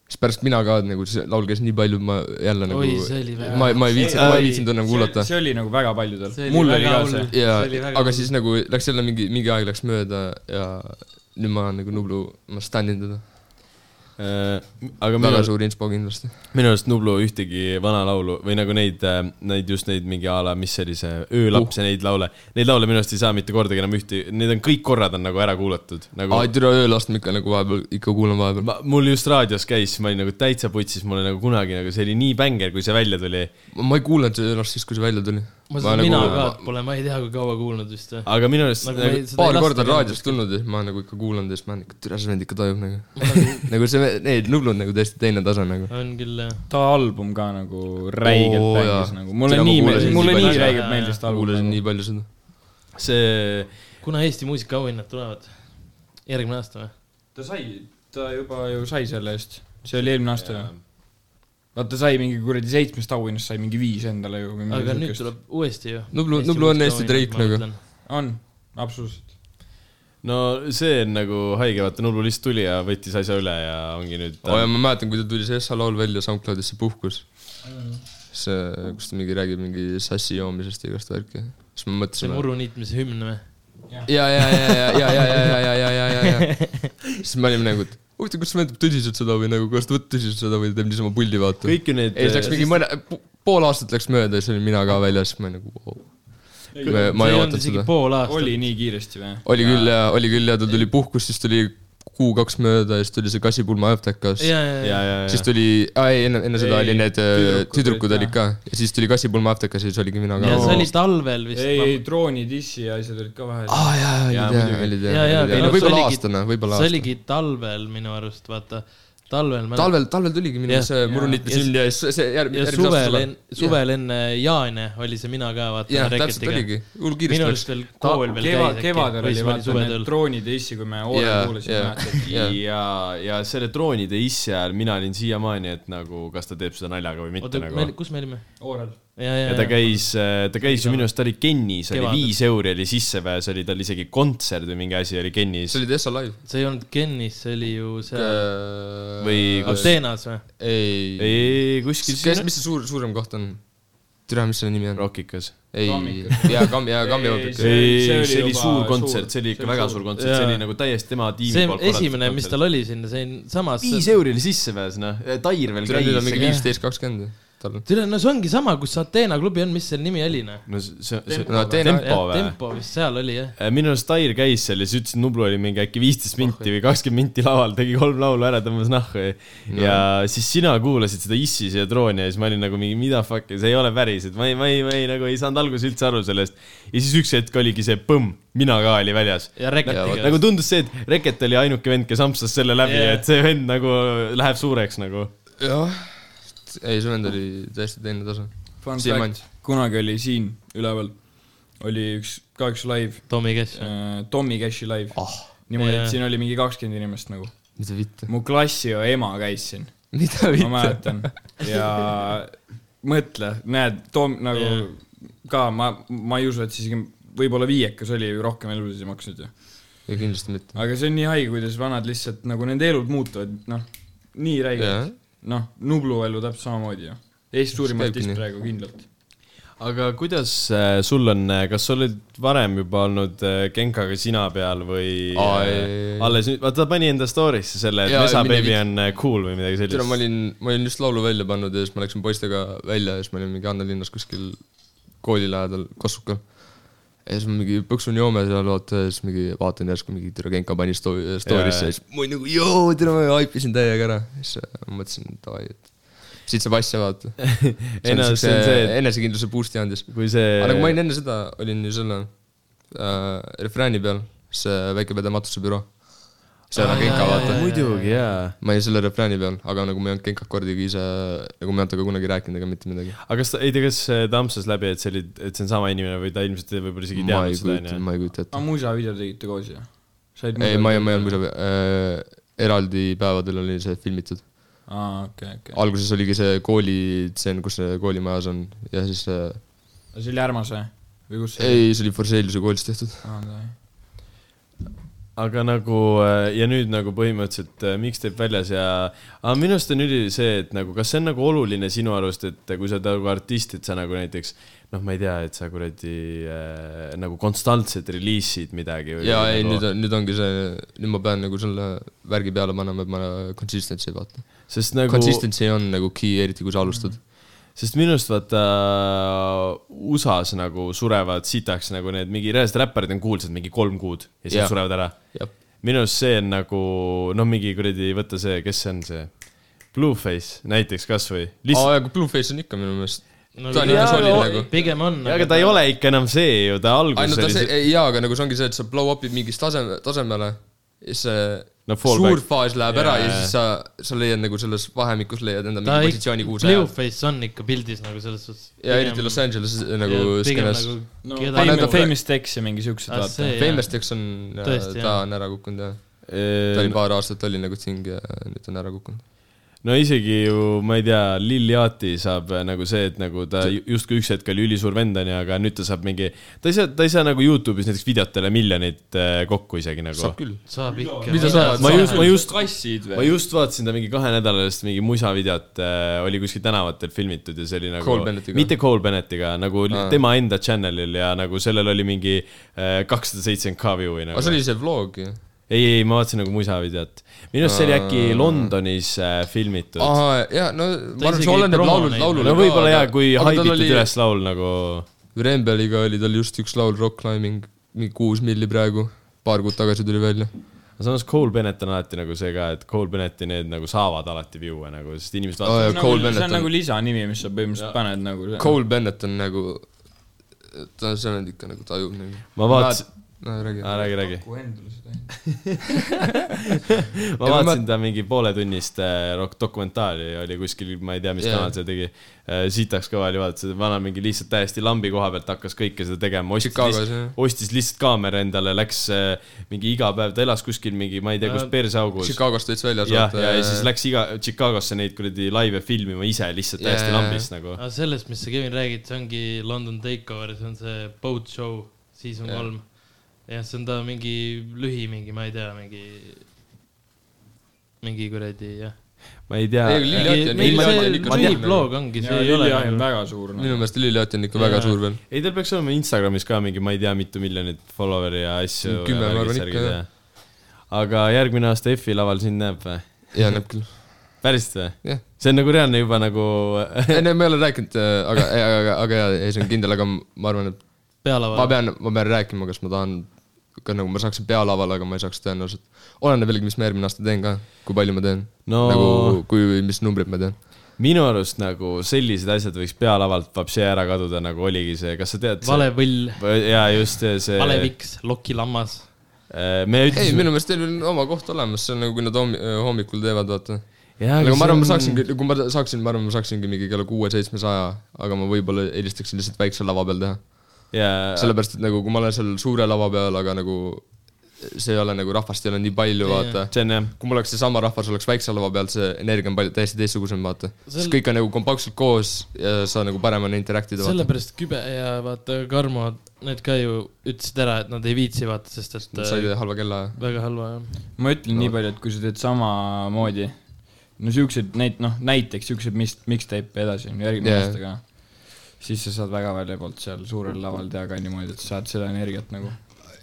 siis pärast mina ka nagu , see laul käis nii palju , ma jälle nagu
Oi, see oli väga-
ma , ma ei viitsinud , ma ei viitsinud enam kuulata .
see oli nagu väga paljudel
See oli .
mul oli
väga
ka
hull.
see .
jaa
see oli , väga
aga
hull.
siis nagu läks jälle mingi , mingi aeg läks mööda ja nüüd ma olen nagu Nublu , ma standin teda .
Äh, aga minu
väga suur inspo kindlasti .
minu arust Nublu ühtegi vana laulu või nagu neid , neid just neid mingi a la , mis see oli see , Öölaps
Uh.
ja neid laule , neid laule minu arust ei saa mitte kordagi enam ühte , need on kõik korrad on nagu ära kuulatud , nagu
aa , türa ööl astun ikka nagu vahepeal , ikka kuulan vahepeal .
ma, mul just raadios käis , ma olin nagu täitsa putsis , mulle nagu kunagi nagu see oli nii bänger , kui see välja tuli ,
ma ei kuulanud ööl astun siis , kui see välja tuli . nagu
ma seda mina ka pole , ma ei tea , kui kaua kuulnud vist või .
aga minu arust
Nagu
nagu
ma ei-
nagu,
seda ei
paar
lasta
korda on
ka
raadiost tulnud ja siis ma olen nagu ikka kuulanud ja siis ma olen ikka , türa see vend ikka tajub nagu . nagu see , need Nublu on nagu täiesti teine tase nagu .
on küll jah .
ta album ka nagu räigelt
Oo,
oh, mängis
jaa.
nagu , mulle
Seda ma
nii
kuulasin
meeldis , mulle
nii
nii
palju.
räigelt
Jaa,
meeldis ta album
kuulasin
nagu. .
nii palju seda .
see ,
kuna Eesti muusikaauhinnad tulevad ? järgmine aasta või ?
ta sai , ta juba ju sai selle eest , see oli eelmine aasta ju . vaata , ta sai mingi kuradi seitsmest auhinnast sai mingi viis endale ju või
aga
midagi
nüüd
siukest .
tuleb uuesti ju .
Nublu- Nublu on Eesti Drake nagu. .
on , absoluutselt .
no see on nagu haige , vaata Nublu lihtsalt tuli ja võttis asja üle ja ongi nüüd
oo ja ma mäletan , kui tal tuli see Essa laul välja SoundCloudis , see puhkus . see , kus ta mingi räägib mingi sassi joomisest ja igast värki . siis ma
see
mõtlesin .
muru niitmise hümn või ?
ja , ja , ja , ja , ja , ja , ja , ja , ja , ja , ja , ja , ja . siis me olime nagu , et huvitav , kas see vend teeb tõsiselt seda või nagu , kas ta võtab tõsiselt seda või teeb niisama pulli vaata .
kõik äh, ju need
ei , siis läks mingi mõne , pool aastat läks mööda ja siis olin mina ka väljas , ma nagu wow. . ma ei oodanud seda .
pool aastat .
oli nii kiiresti või ?
oli küll ja , oli küll ja ta tuli puhkus , siis tuli kuu-kaks mööda ja siis tuli see kassipulma aftekas .
ja , ja , ja .
ja , ja ,
siis
ja ,
tuli , aa ei , enne , enne seda
Ei,
oli need äh,
tüdrukud
tüdrukud
olid
olid ka ja siis tuli kassipulma aftekas ja siis oligi mina ka
ja . see oli talvel vist .
ei , ei drooni dissi ja asjad olid ka
Ah,
vahel .
aa jaa ,
Jaa,
olid jaa ,
muidugi.
olid
Jaa,
jaa ,
jaa,
olid
aga
jaa ,
noh, see
võib-olla
oligi-
aastane , võib-olla
see
aastane .
oligi talvel minu arust , vaata . talvel .
talvel , talvel tuligi minu
Jah.
meelest see murunite
Ja-
sünd ja siis see järg- ,
ja
järgmise aasta
suvel , suvel enne Jaane oli see mina ka , vaata .
jah , täpselt oligi , hull
minu
kiiresti läks .
arust veel kool veel
kevad ,
käis .
kevadel oli vaata need drooni dissi , kui me
Jaa,
hoolega
jaa.
kuulasime .
ja , ja, ja selle droonide issi ajal mina olin siiamaani , et nagu kas ta teeb seda naljaga või mitte
oota ,
nagu
me , kus me olime ?
Oorel .
ja , ja ,
ja ta käis , ta käis ju minu arust , ta oli Kennis , oli
Kevadel.
viis euri oli sissepääs , oli tal isegi kontsert või mingi asi oli Kennis
see oli Tessa live .
see ei olnud Kennis , see oli ju seal
Või kus-
Ateenas või ?
ei ,
ei , kuskil
kes ,
siin
mis see suur , suurem koht on ? türa , mis selle nimi on ?
Rockikas .
ei
Kammik. ,
jaa , Kam- , jaa , Kambi
Ei,
Vabrik .
See-
ei ,
see
see
oli
oli, see oli
juba
suur
suur.
kontsert , see oli ikka
See oli
väga
suur.
suur kontsert , see
Jaa.
oli nagu täiesti tema tiimi
see
poolt
esimene , mis tal oli siin , siinsamas .
viis euri oli sissepääs , noh , Tair veel
türa , nüüd on mingi
käis .
viisteist , kakskümmend tal on .
tule , no see ongi sama , kus Ateena klubi on , mis selle nimi oli , noh .
no see , see ,
no teine ,
Tempo või?
tempo vist seal oli , jah .
Äh, minu arust Tair käis seal ja siis ütles , et Nublu oli mingi äkki viisteist minti või kakskümmend minti laval , tegi kolm laulu ära , tõmbas nahku ja no. ja siis sina kuulasid seda Issis ja Trooni ja siis ma olin nagu mingi mida fuck'i , see ei ole päris , et ma ei , ma ei , ma ei nagu ei saanud alguses üldse aru sellest . ja siis üks hetk oligi see põmm , mina ka oli väljas .
ja Reketiga .
nagu tundus see , et Reket oli ainuke vend , kes ampsas selle läbi
Jaa.
yeah. , et see vend nagu läheb suureks nagu .
jah . ei , see vend oli täiesti teine tase .
Fun
Siiamaani.
fact , kunagi oli siin üleval , oli üks , ka üks live ,
Tommy Cash .
Tommy Cashi live oh, . niimoodi ,
Ah. Jaa.
et siin oli mingi kakskümmend inimest nagu .
mida vitte ?
mu klassiõe ema käis siin ,
mida
ma
vitte ?
mäletan . ja mõtle , näed , Tom nagu
Jaa.
ka ma , ma ei usu , et siis isegi võib-olla viiekas oli ju rohkem elusid ei maksnud ju .
ei , kindlasti mitte .
aga see on nii haige , kuidas vanad lihtsalt nagu nende elud muutuvad , noh , nii
Jaa.
räigelt . noh , Nublu elu täpselt samamoodi ju . Eesti suurim
Käibki
artist
nii.
praegu kindlalt .
aga kuidas äh, sul on , kas sa oled varem juba olnud äh, Genkaga sina peal või
Aa,
äh,
ei, ei, ei.
alles nüüd , vaata ta pani enda story'sse selle , et
Jaa,
Mesa
mine
Baby
viit-
on äh, cool või midagi
türa , ma
sellist .
olin , ma olin just laulu välja pannud ja siis ma läksin poistega välja ja siis me olime mingi Anna linnas kuskil kooli lähedal Kossukal . ja siis ma mingi põksun joome seal vaata ja siis mingi vaatan järsku mingi Türgenka pani sto- story'sse ja siis ma olin nagu joo , tere , ma haipisin täiega ära . siis äh, ma mõtlesin , et davai , et siit saab asja vaata .
Ei no see on see, et-
enesekindluse boost'i andis .
kui see
aga nagu ma olin enne seda , olin ju selle äh, refrääni peal , see väike pede matusebüroo .
Ah,
seal on Genka vaata .
muidugi jaa .
ma olin selle refrääni peal , aga nagu ma ei olnud Genkat kordagi ise , nagu ma ei olnud temaga kunagi rääkinud ega mitte midagi .
aga kas , ei tea , kas see tampsas läbi , et see oli , et see on sama inimene või ta ilmselt võib-olla isegi ei
ma
teadnud
ei
seda
kujuta ,
onju .
ma ei kujuta ette .
aga muusavideo tegite koos ju ?
ei , ma ei , ma ei olnud muidu äh, , eraldi päevadel oli see filmitud .
aa , okei , okei .
alguses oligi see koolitseen , kus see koolimajas on ja siis äh,
see oli Härmas või ? või kus see oli ?
ei , see oli Forseliuse koolis tehtud .
aa , okei .
aga nagu äh, ja nüüd nagu põhimõtteliselt äh, mixtape väljas ja aga minu arust on üli see , et nagu kas see on nagu oluline sinu arust , et kui sa oled nagu artist , et sa nagu näiteks noh , ma ei tea , et sa kuradi äh, nagu konstantselt reliisid midagi või
ja
või
ei , nüüd
nagu, ,
on , nüüd ongi see , nüüd ma pean nagu selle värgi peale panema , et ma consistency vaatan nagu... .
sest nagu , Mhm.
Consistency on nagu key , eriti kui sa alustad .
sest minu arust vaata USA-s nagu surevad sitaks nagu need mingi reaalsed räpparid on kuulsad mingi kolm kuud ja siis
Jah.
nad surevad ära
jah ,
minu arust see on nagu noh , mingi kuradi , võta see , kes see on see , Blueface näiteks kasvõi . lihtsalt ,
aga Blueface on ikka minu meelest .
No,
ta on
jaa,
ikka solid
no,
nagu .
pigem on .
aga ta ei ole ikka enam see ju , ta alguses
ainult ta
oli
see
see ,,
jaa , aga nagu see ongi see , et sa blow up'id mingis taseme , tasemele ja siis see
No
no,
fall
suur
back.
faas läheb ära ja
Jaa.
siis sa , sa leiad nagu selles vahemikus leiad enda
ta ikka
mingi positsiooni , kuus ajal .
Blueface on ikka pildis nagu selles suhtes .
ja eriti Los Angeles nagu skeenes .
no
keda-
Fame-
famous,
Fame-
famous Tex ja mingi siukseid
Ah,
vaata
see- . jaa.
Famesteks on ,
Tõesti,
ta
jaa.
on ära kukkunud jah . ta oli paar aastat oli nagu ting ja nüüd on ära kukkunud .
Ehm, no isegi ju , ma ei tea , Lil Yachty saab äh, nagu see , et nagu ta ju- justkui üks hetk oli ülisuur vend onju , aga nüüd ta saab mingi , ta ei saa , ta ei saa nagu Youtube'is näiteks videotele miljonit äh, kokku isegi nagu
saab . küll .
saab ikka .
Mida saavad?
ma just , ma just ,
kassid
ma ? just vaatasin ta mingi kahe nädala eest mingi musavideot äh, oli kuskil tänavatel filmitud ja see oli nagu .
Cole Bennettiga.
mitte Cole Bennettiga , nagu Aa. tema enda channel'il ja nagu sellel oli mingi äh, kakssada seitsekümmend K view'i nagu
aga . see oli see vlog ju .
ei , ei , ma vaatasin nagu musavideot . minu arust see oli äkki Londonis äh, filmitud .
aa , jaa , no ma
isegi
arvan ,
nagu.
see oleneb
promo
laulul ,
näinud.
laulul .
no võib-olla jaa , kui haibitud oli... üles . laul nagu .
Rembeliga oli tal just üks laul , Rock Climbing , mingi kuus milli praegu , paar kuud tagasi tuli välja
samas Cole Bennett on alati nagu see ka , et Cole Bennetti need nagu saavad alati view'e nagu , sest inimesed
Aa,
vaatavad
jah. Cole
see
Bennett
on
on-
nagu lisanimi , mis sa põhimõtteliselt paned nagu .
Cole Bennett on nagu , ta on seal ikka nagu tajub nagu .
Ma vaatasin- .
no räägi
ah, . räägi , räägi .
Cole .
ma
Ei, ma
vaatasin ta mingi pooletunnist äh, rock- dokumentaali oli kuskil , ma ei tea , mis
Jaa.
kanal see tegi . sitaks kõva oli vaadata , see vana mingi lihtsalt täiesti lambi koha pealt hakkas kõike seda tegema , ostis
Chicagos, jah.
lihtsalt , ostis lihtsalt kaamera endale , läks äh, mingi iga päev , ta elas kuskil mingi , ma ei tea , kus
Äh,
persaugus .
Chicagost võttis välja .
jah , ja , ja siis . läks iga , Chicagosse neid kuradi laive filmima ise lihtsalt
Jaa,
täiesti
jaa,
lambist nagu .
aga sellest , mis sa , Kevin , räägid , see ongi London Takeover , see on see boat show , season
Jah.
kolm . jah , see on ta mingi lühi , mingi , ma ei tea , mingi , mingi kuradi , jah .
ma ei tea
Ei, . Lil Yachty on-
mingi
Lil Yachty
see
on ikka suur nagu.
lühiblog ongi , see
ja
ei ole
Lilja on
nagu-
väga suur . noh.
minu meelest Lil Yachty on ikka väga
Jaa.
suur veel .
ei , tal peaks olema Instagramis ka mingi , ma ei tea , mitu miljonit follower'i ja asju .
Mm, Kümme, ma arvan, ikka, jah. .
aga järgmine aasta EF-i laval sind näeb või ?
jaa , näeb küll .
päriselt või ?
jah .
see on nagu reaalne juba nagu
ei , no ma ei ole rääkinud , aga , aga , aga jaa , ei see on kindel , aga ma arvan , et ma
pealaval .
pean , ma pean rääkima , kas ma tahan , ka nagu ma saaksin pealaval , aga ma ei saaks tõenäoliselt . oleneb jällegi , mis ma järgmine aasta teen ka , kui palju ma teen
No-
nagu , kui , mis numbreid ma teen .
minu arust nagu sellised asjad võiks pealavalt vapsi ära kaduda , nagu oligi see , kas sa tead ?
vale . võll ,
ja just see .
vale . viks , lokilammas .
me
ei ,
ütlesime .
minu meelest teil on oma koht olemas , see on nagu , kui nad hommi- hommikul teevad , vaata aga Nagu ma arvan , ma saaksingi , kui ma saaksin , ma arvan , ma saaksingi mingi kella kuue-seitsmesaja , aga ma võib-olla eelistaksin lihtsalt väikse lava peal teha .
jaa ,
sellepärast , et nagu kui ma olen seal suure lava peal , aga nagu see ei ole nagu rahvast ei ole nii palju , vaata .
see on jah .
kui mul oleks seesama rahvas oleks väikse lava peal , see energia on palju täiesti teistsugusem , vaata . siis
Sel-
kõik on nagu kompaktselt koos ja sa nagu paremini interact ida , vaata .
sellepärast Kübe ja vaata Karmo , need ka ju ütlesid ära , et nad ei viitsi vaata , sest et äh,
said halva kella .
väga halva jah .
ma ütlen nii palju , et kui sa teed samamoodi , no siukseid näit- , noh näiteks siukseid mis- , mixtape'e edasi on ju järgmine
Jaa.
yeah. aasta ka , siis sa saad väga välja poolt seal suurel laval teha ka niimoodi , et sa saad seda energiat nagu ,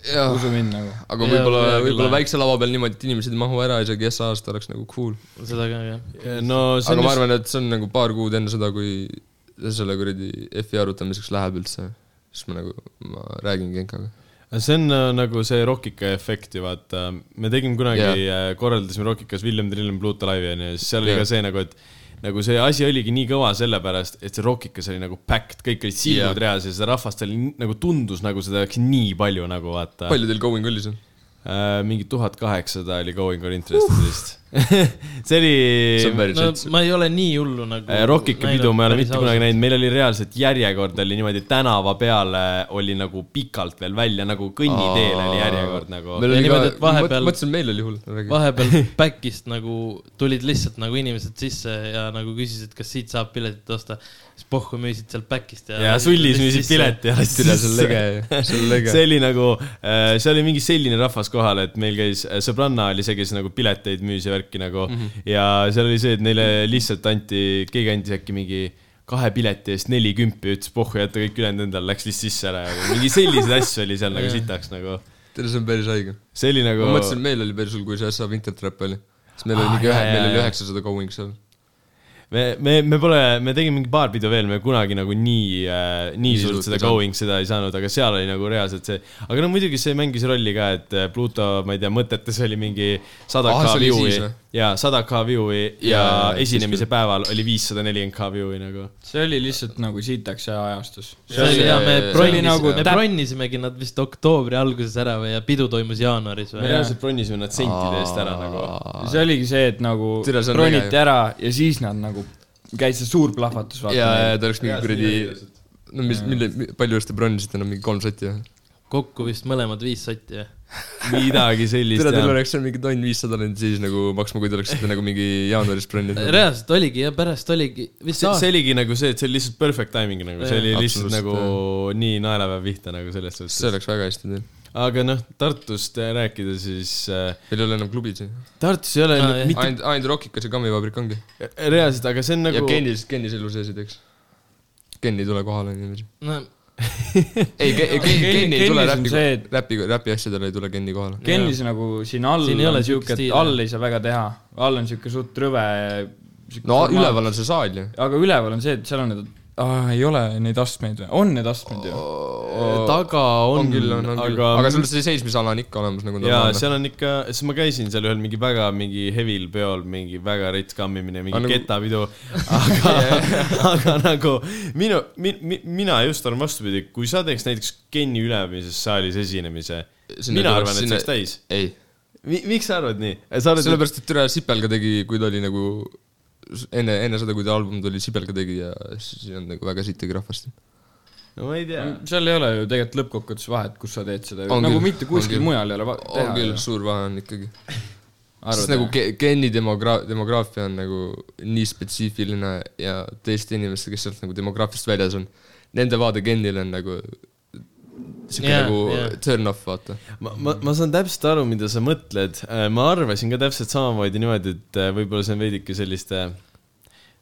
jah ,
usu mind nagu .
aga
Jaa,
võib-olla
jaa, , küll
võib-olla
jah.
väikse lava peal niimoodi , et inimesed ei mahu ära isegi S aasta oleks nagu cool .
seda ka jah .
no see
aga
on
ma
just ,
arvan , et see on nagu paar kuud enne seda , kui selle kuradi F-i arutamiseks läheb üldse . siis ma nagu , ma räägin Genkaga .
see on äh, nagu see Rockika efekt ju vaata , me tegime kunagi yeah. , korraldasime Rockikas William Trillem Pluto laivi onju , siis seal oli
Jah.
ka see nagu , et nagu see asi oligi nii kõva sellepärast , et see Rockikas oli nagu packed , kõik olid silmad
Jah.
yeah. reas ja seda rahvast oli nii- nagu tundus nagu seda oleks nii palju nagu vaata .
palju teil going oli seal ?
Äh, mingi tuhat kaheksasada oli going on interest vist . see oli
see on päris
no
üldse .
ma ei ole nii hullu nagu .
äh, Rockika pidu , ma ei ole mitte kunagi näinud , meil oli reaalselt järjekord oli niimoodi tänava peale oli nagu pikalt veel välja , nagu kõnniteel oli järjekord nagu .
meil
Ja
oli ka
niimoodi, et , vahepeal-
vahepeal... mõtlesin , meil oli hull , räägi .
vahepeal back'ist nagu tulid lihtsalt nagu inimesed sisse ja nagu küsisid , kas siit saab piletit osta . siis pohhu müüsid sealt back'ist ja .
ja sullis müüsid pileti ja lasti
Tira , Äh, see on lege
sisse .,
see on lege
see . oli nagu , see oli mingi selline rahvas kohal , et meil käis , sõbranna oli see , kes nagu pileteid müüs ja värki nagu mm
Mhm.
-hmm. ja seal oli see , et neile lihtsalt anti , keegi andis äkki mingi kahe pileti eest neli kümpi , ütles pohhu , jäta kõik ülejäänud endale , läks lihtsalt sisse ära ja mingi selliseid asju oli seal nagu sitaks nagu .
Tira , see on päris haige .
see oli nagu
ma , mõtlesin , meil oli päris hull , kui see SA Wintertrap oli . siis meil
Aa,
oli mingi
Ah, jaa,
ühe ,
jaa,
meil oli
jaa.
üheksasada going seal .
me , me , me pole , me tegime mingi paar pidu veel , me kunagi nagu nii äh, , nii
Nii
suurt
suurt
seda
ei saanud.
going seda ei saanud , aga seal oli nagu reaalselt see , aga no muidugi see mängis rolli ka , et äh, Pluto , ma ei tea , mõtetes oli mingi sada
Ah,
K
see oli
view'i
siis või?
ja sada K view'i ja, ja
Jaa, jaa,
esinemise
siis
päeval oli viissada nelikümmend K view'i nagu .
see oli lihtsalt nagu sitaks see ajastus .
see oli ja me
see
oli nagu
bronnisime , me
täp-
bronnisimegi nad vist oktoobri alguses ära või ja pidu toimus jaanuaris
me
või ?
reaalselt bronisime nad sentide eest ära nagu .
see oligi see , et nagu
Tere, see on
broniti
äge.
ära ja siis nad nagu , käis see suur plahvatus ,
ja ,
vaata .
ja ta oleks mingi kuradi , no mis , mille , palju eest te bronisite , no mingi kolm sotti või ?
kokku vist mõlemad viis sotti või ?
midagi
Tira ,
sellist
teil
jah .
oleks seal mingi tonn viissada läinud siis nagu maksma , kui te oleksite nagu mingi jaanuaris broninud .
reaalselt oligi ja pärast oligi , vist
see ,
aasta
see oligi nagu see , et see oli lihtsalt perfect timing nagu , see oli
Jaa.
lihtsalt nagu nii naelapäev pihta nagu selles
see
suhtes .
oleks väga hästi teil .
aga noh , Tartust äh, rääkida , siis äh,
Teil ei ole enam klubid siin .
Tartus ei ole
Aa,
no,
jah.
mitte
ainult , ainult Rockikas ja kammivabrik ongi .
reaalselt , aga see on
ja
nagu .
Kennis , Kennis elu sees ei teeks . Ken ei tule kohale ja niiviisi .
no, .
ei , Ken ei tule
Kennis on
räpi
see, et- ,
räpi , räpi asjadele ei tule Kenni kohale .
Kennis nagu siin all
Siin ei ole
on
siukest
siuke , et
stiili.
all ei saa väga teha , all on siuke suht rõve .
no üleval on see saal ju .
aga üleval on see , et seal on need , ei ole neid astmeid või , on need astmed ju ?
taga on,
on küll , on , on küll .
aga,
aga
aga
sul see seismisala on ikka olemas nagu
jaa ,
normaalne .
seal on ikka , siis ma käisin seal ühel mingi väga mingi hevil peol , mingi väga rits kammimine , mingi
Aga
nagu...
nagu-
ketapidu . aga , aga nagu minu mi, , mi, mina just arvan vastupidi , kui sa teeks näiteks Kenni ülemises saalis esinemise ,
Sinna
mina
tuleks-
arvan , et see
sinna-
oleks täis .
ei .
miks sa arvad nii ? sa arvad , et
sellepärast , et Türa Sipelga tegi , kui ta oli nagu enne , enne seda , kui ta album tuli , Sipelga tegi ja siis on nagu väga sittagi rahvast .
no ma ei tea .
seal ei ole ju tegelikult lõppkokkuvõttes vahet , kus sa teed seda ,
On
nagu
küll,
mitte
on
kuskil
küll.
mujal ei ole va-
on
teha
küll ,
ju.
suur vahe on ikkagi .
Arvad,
sest nagu
jah?
Ke- Kenni demogra- , demograafia on nagu nii spetsiifiline ja teiste inimeste , kes sealt nagu demograafiast väljas on , nende vaade Kennile on nagu
Jaa,
siuke yeah, nagu
jaa.
yeah. turn off , vaata .
ma , ma , ma saan täpselt aru , mida sa mõtled . ma arvasin ka täpselt samamoodi niimoodi , et äh, võib-olla see on veidike selliste .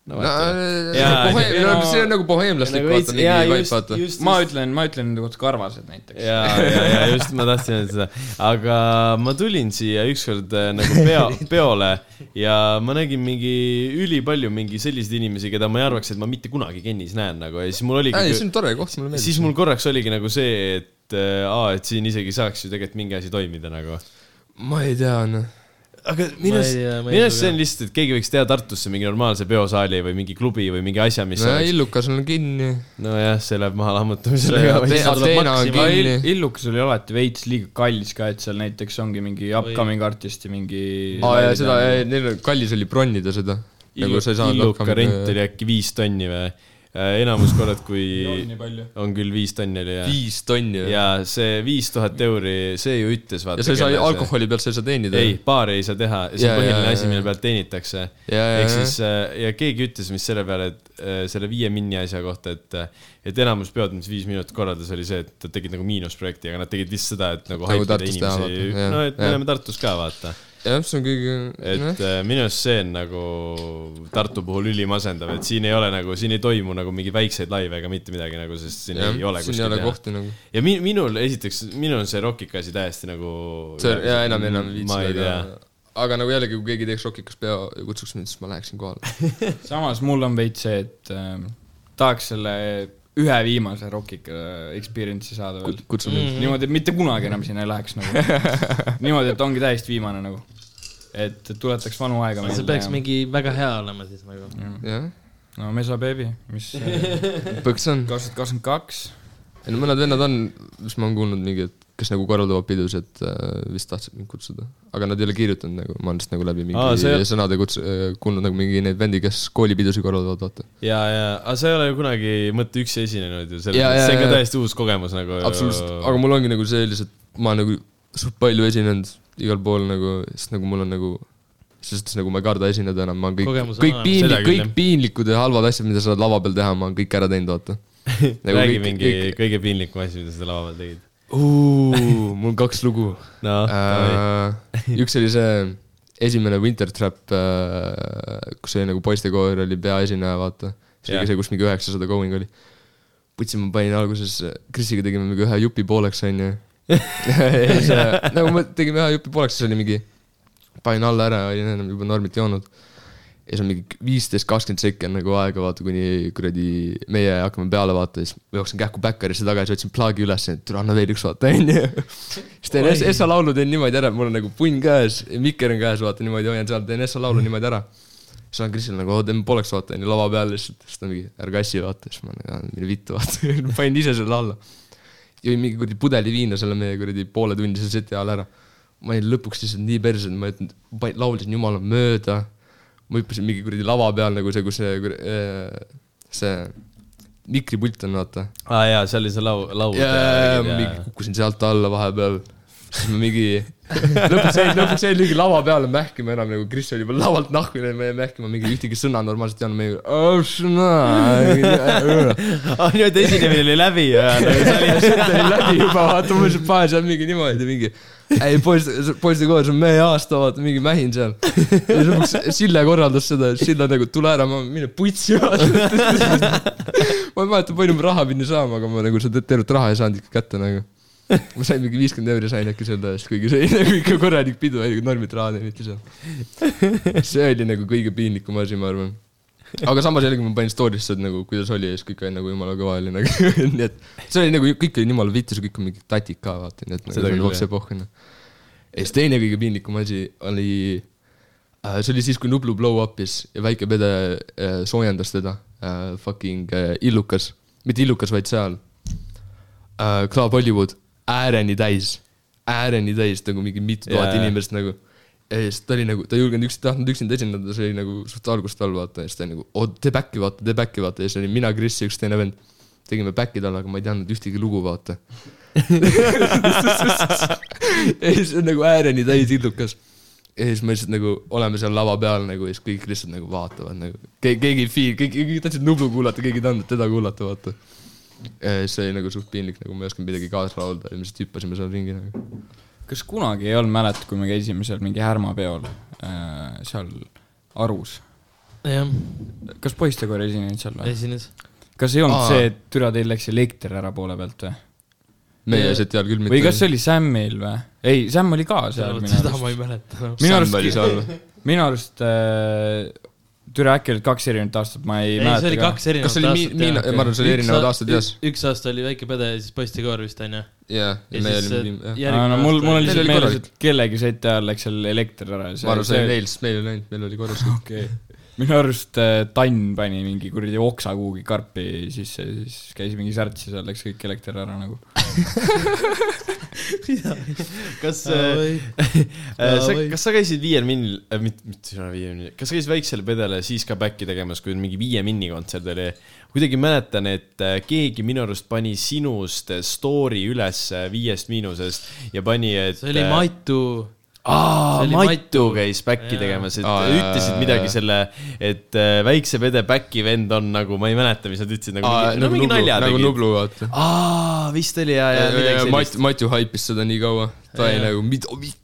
No,
vaata. Jaa,
bohe- no, see on nagu boheemlaslik ,
Nagu
vaata ,
veits-
mingi
jaa,
vibe ,
just-
vaata .
just-
ma ütlen , ma ütlen nende kohta karvased näiteks .
ja , ja , ja just ma tahtsin öelda seda , aga ma tulin siia ükskord äh, nagu peo , peole ja ma nägin mingi ülipalju mingi selliseid inimesi , keda ma ei arvaks , et ma mitte kunagi Kennis näen nagu ja siis mul oligi
ei , see , on tore koht , mulle meeldib .
siis mul korraks oligi nagu see , et äh, aa , et siin isegi saaks ju tegelikult mingi asi toimida nagu .
ma ei tea , noh .
aga minu
Ma
arust ,
ei- ma ei
minu arust see
julge.
on lihtsalt , et keegi võiks teha Tartusse mingi normaalse peosaali või mingi klubi või mingi asja , mis
nojah ,
oleks .
Illukas on kinni .
nojah , see läheb maha lammutamisele ka
Ate-
vist .
tuleb
Ateena on
Maxima.
kinni .
Illukas oli alati veits liiga kallis ka , et seal näiteks ongi mingi upcoming artisti mingi
aa jaa , seda , neil on- kallis oli bronnida seda . nagu sa ei saanud äh,
Illuka rent oli äkki viis tonni või ? enamus korrad , kui
nii palju .
on küll viis tonni oli jah .
viis tonni või ?
ja see viis tuhat euri , see ju ütles vaata .
ja sa ei saa alkoholi pealt , sa ei saa teenida .
ei , baari ei saa teha , see on
Jaa, jaa,
põhiline
jaa,
asi , mille
jaa.
pealt teenitakse .
Jaa, jaa,
ehk
jaa.
siis äh, ja keegi ütles vist selle peale , et äh, selle viie minni asja kohta , et , et enamus peod , mis viis minutit korraldas , oli see , et nad tegid nagu miinusprojekti , aga nad tegid lihtsalt seda , et nagu
Nagu
haipida
Tartus teha,
inimesi
vaata, , jaa,
no et me
jaa.
oleme Tartus ka vaata .
jah , see on kõige , noh,
et äh, minu arust see on nagu Tartu puhul ülimasendav , et siin ei ole nagu , siin ei toimu nagu mingeid väikseid laive ega mitte midagi nagu , sest siin ei ole
siin ei
kuskil
ole
teha
kohti nagu .
ja mi- , minul esiteks , minul on see rockika asi täiesti nagu .
see , jaa , enam , enam ei viitsi
ma ei tea .
väga . aga nagu jällegi , kui keegi teeks Rockikas peo ja kutsuks mind , siis ma läheksin kohale .
samas mul on veits see , et ähm, tahaks selle ühe viimase Rockik äh, experience'i saada veel .
kutsume mm.
Mhm.
niimoodi , et mitte kunagi enam sinna ei läheks nagu . niimoodi , et ongi täiesti viimane nagu . et tuletaks vanu aega
see peaks . mingi väga hea olema siis nagu .
Mm. jah ,
no Mesa Baby , mis kaks
põks on .
tuhat kakskümmend kaks .
ei no mõned vennad on , mis ma olen kuulnud mingi , et kes nagu korraldavad pidusid , äh, vist tahtsid mind kutsuda , aga nad ei ole kirjutanud nagu , ma olen lihtsalt nagu läbi mingi
Aa,
Aa,
see-
sõnade kutsu- , kuulnud nagu mingi neid vendi , kes koolipidusid korraldavad , vaata .
ja , ja , aga sa ei ole ju kunagi mõtte üksi esinenud ju , see
Ja, ja,
on ka
ja.
täiesti uus kogemus nagu .
absoluutselt , aga mul ongi nagu see lihtsalt , ma olen nagu suht palju esinenud igal pool nagu , sest nagu mul on nagu , selles suhtes nagu ma ei karda esineda enam , ma olen kõik
Kogemus , on
kõik
olemas.
Seda
piinlik ,
küll,
kõik
jah.
piinlikud ja halvad asjad , mida sa saad lava peal teha , ma olen kõik ära teinud , vaata . Nagu
räägi mingi kõige piinlikum asi , mida sa lava peal tegid .
mul on kaks lugu
noh ,
Äh, üks oli see esimene Winter Trap , kus oli nagu poistekoor oli peaesineja , vaata . see
Jah.
oli ka see , kus mingi üheksasada going oli . putsi , ma panin alguses , Krisiga tegime mingi ühe jupi pooleks , onju . ja siis , nagu me tegime ühe jupi pooleks , siis oli mingi , panin alla ära , olin ennem juba normit joonud . ja siis on mingi viisteist , kakskümmend sekki on nagu aega , vaata , kuni kuradi meie hakkame peale vaata , siis ma jooksen kähku backerisse tagasi , otsin plaagi üles , et tule anna veel üks vaata , onju . siis teen es- Essa laulu teen niimoodi ära , mul on nagu punn käes , mikker on käes , vaata niimoodi hoian seal , teen Essa laulu niimoodi ära . siis olen Krisil nagu , oo teeme pooleks vaata , onju , lava peal lihtsalt , siis ta mingi , ärge assi vaata , siis ma olen , mine vittu vaata , panin ise selle alla . jõin mingi kuradi pudeli viina selle meie kuradi pooletunnise seti ajal ära . ma olin lõpuks lihtsalt nii perses , et ma ei ütelnud , laulsin jumala mööda . ma hüppasin mingi kuradi lava peal nagu see , kus see , see mikripult on , vaata
aa Ah, jaa , see oli see lau- , äh, laul .
jaa , ma mingi kukkusin sealt alla vahepeal . siis ma mingi , lõpuks jäin , lõpuks jäin mingi lava peale mähkima enam nagu , Kris oli juba lavalt nahku läinud , ma jäin mähkima mingi ühtegi sõna normaalselt ei olnud , "Oh, ma mingi .
aa , nii et esinemine oli läbi ja
see oli , see oli läbi juba , vaata ma lihtsalt panen seal mingi niimoodi mingi . ei poiss , poiste koos on meie aasta , vaata mingi mähin seal . ja lõpuks Sille korraldas seda , Sille nagu tule ära , ma mine putsi vaata . ma ei mäleta , palju ma raha pidin saama , aga ma nagu seda tervet raha ei saanud ikka kätte nagu . ma sain mingi viiskümmend euri sain äkki selle eest , kuigi see oli nagu ikka korralik pidu , oli normid raha teeniti seal . see oli nagu kõige piinlikum asi , ma arvan aga samas jällegi ma panin story'sse et nagu kuidas oli ja siis kõik oli nagu jumala kõva oli nagu , nii et see oli nagu kõik oli jumala vitus ja kõik on mingi tatik ka vaata , nii et nagu,
Seda
see
küll,
oli hoopis epohhine . ja siis teine kõige piinlikum asi oli , Äh, see oli siis , kui Nublu blow up'is ja väike pede äh, soojendas teda äh, , fucking äh, Illukas , mitte Illukas , vaid seal äh, , Club Hollywood , ääreni täis , ääreni täis nagu mingi mitu tuhat
Jaa.
yeah. inimest nagu ja siis ta oli nagu , ta ei julgenud üksi , tahtnud üksinda esineda , see oli nagu suht algusest all vaata ja siis ta oli nagu , oo tee back'i vaata , tee back'i vaata ja siis oli mina , Kris ja üks teine vend . tegime back'i talle , aga ma ei teadnud ühtegi lugu vaata . ja siis on nagu ääreni täis illukas . ja siis me lihtsalt nagu oleme seal lava peal nagu ja siis kõik lihtsalt nagu vaatavad nagu , keegi ei feel , kõik , kõik tahtsid Nublu kuulata , keegi ei tahtnud teda kuulata , vaata . ja siis see oli nagu suht piinlik , nagu ma ei osanud midagi kaasa laulda ja me lihtsalt hüppasime seal ringi nagu .
kas kunagi ei olnud , mäletad , kui me käisime seal mingi härmapeol äh, seal Arus ?
jah ,
kas poistekoori esinenud seal või ?
esines .
kas ei olnud
Aa.
Aa. see , et türa , teil läks elekter ära poole pealt või ?
meie seti ajal küll mitte .
või kas see oli Sammil või ? ei , Sam oli ka seal minu
seda ma
arust .
ei mäleta noh. enam .
minu arust-
oli seal või ?
minu arust äh, türa äkki olid kaks erinevat aastat , ma ei,
ei ,
ei mäleta
see oli
ka .
kaks erinevat
kas see oli
aastat
mi- , Miina , ma arvan , see oli erinevad aastad jah .
üks aasta oli Väike Pede ja siis Poistekoor vist onju .
jah ,
ja
me
siis
olime , jah .
järgmine
no mul , mul on
Meil
lihtsalt
oli
meeles ,
korralik.
et kellegi seti ajal läks seal elekter ära ja see
ma arvan , see oli neil , sest meil ei läinud , meil oli korras kõik .
okei okay. . minu arust äh, Tann pani mingi kuradi oksa kuhugi karpi sisse , siis käis mingi särts ja seal läks kõik elekter ära nagu .
kas
Davai.
Äh, sa
Davai. ,
kas sa käisid viiel minnil , mitte , mitte sina viie minnil , kas sa käisid väiksele pedele siis ka back'i tegemas , kui mingi viie minni kontsert oli ? kuidagi mäletan , et äh, keegi minu arust pani sinust äh, story üles äh, Viiest Miinusest ja pani , et .
see oli . Maitu ,
aa
see , oli
Maitu
Maitu.
käis back'i
Jaa.
tegemas , et
Aa,
äh,
jaa,
ütlesid
jaa,
midagi
jaa.
selle , et äh, väikse pede back'i vend on nagu , ma ei mäleta , mis nad ütlesid , nagu mingi , no
nagu
mingi
Nublu ,
nalja
nagu Äh,
tegid .
Nublu , vaata .
aa , vist oli ja , ja midagi sellist .
Mat- , Matju haipis seda nii kaua , ta oli nagu mida vittu .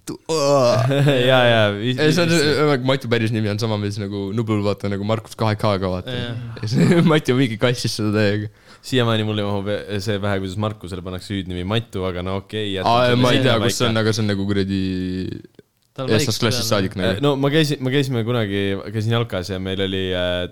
ja ,
ei , see on
ja .
äh, , Matju päris nimi on sama mees nagu Nublul , vaata nagu Markus kahe K-ga ,
Jaa.
vaata . Matju mingi kassis seda täiega .
siiamaani mulle mahub see pähe , kuidas Markusele pannakse hüüdnimi Matu , aga no okei okay, .
nagu- aa , ma ei tea , kus see on , aga see on nagu kuradi
tal
eestlasest klassist saadik nagu .
Äh, no ma käisin , me käisime kunagi , käisin jalkas ja meil oli ,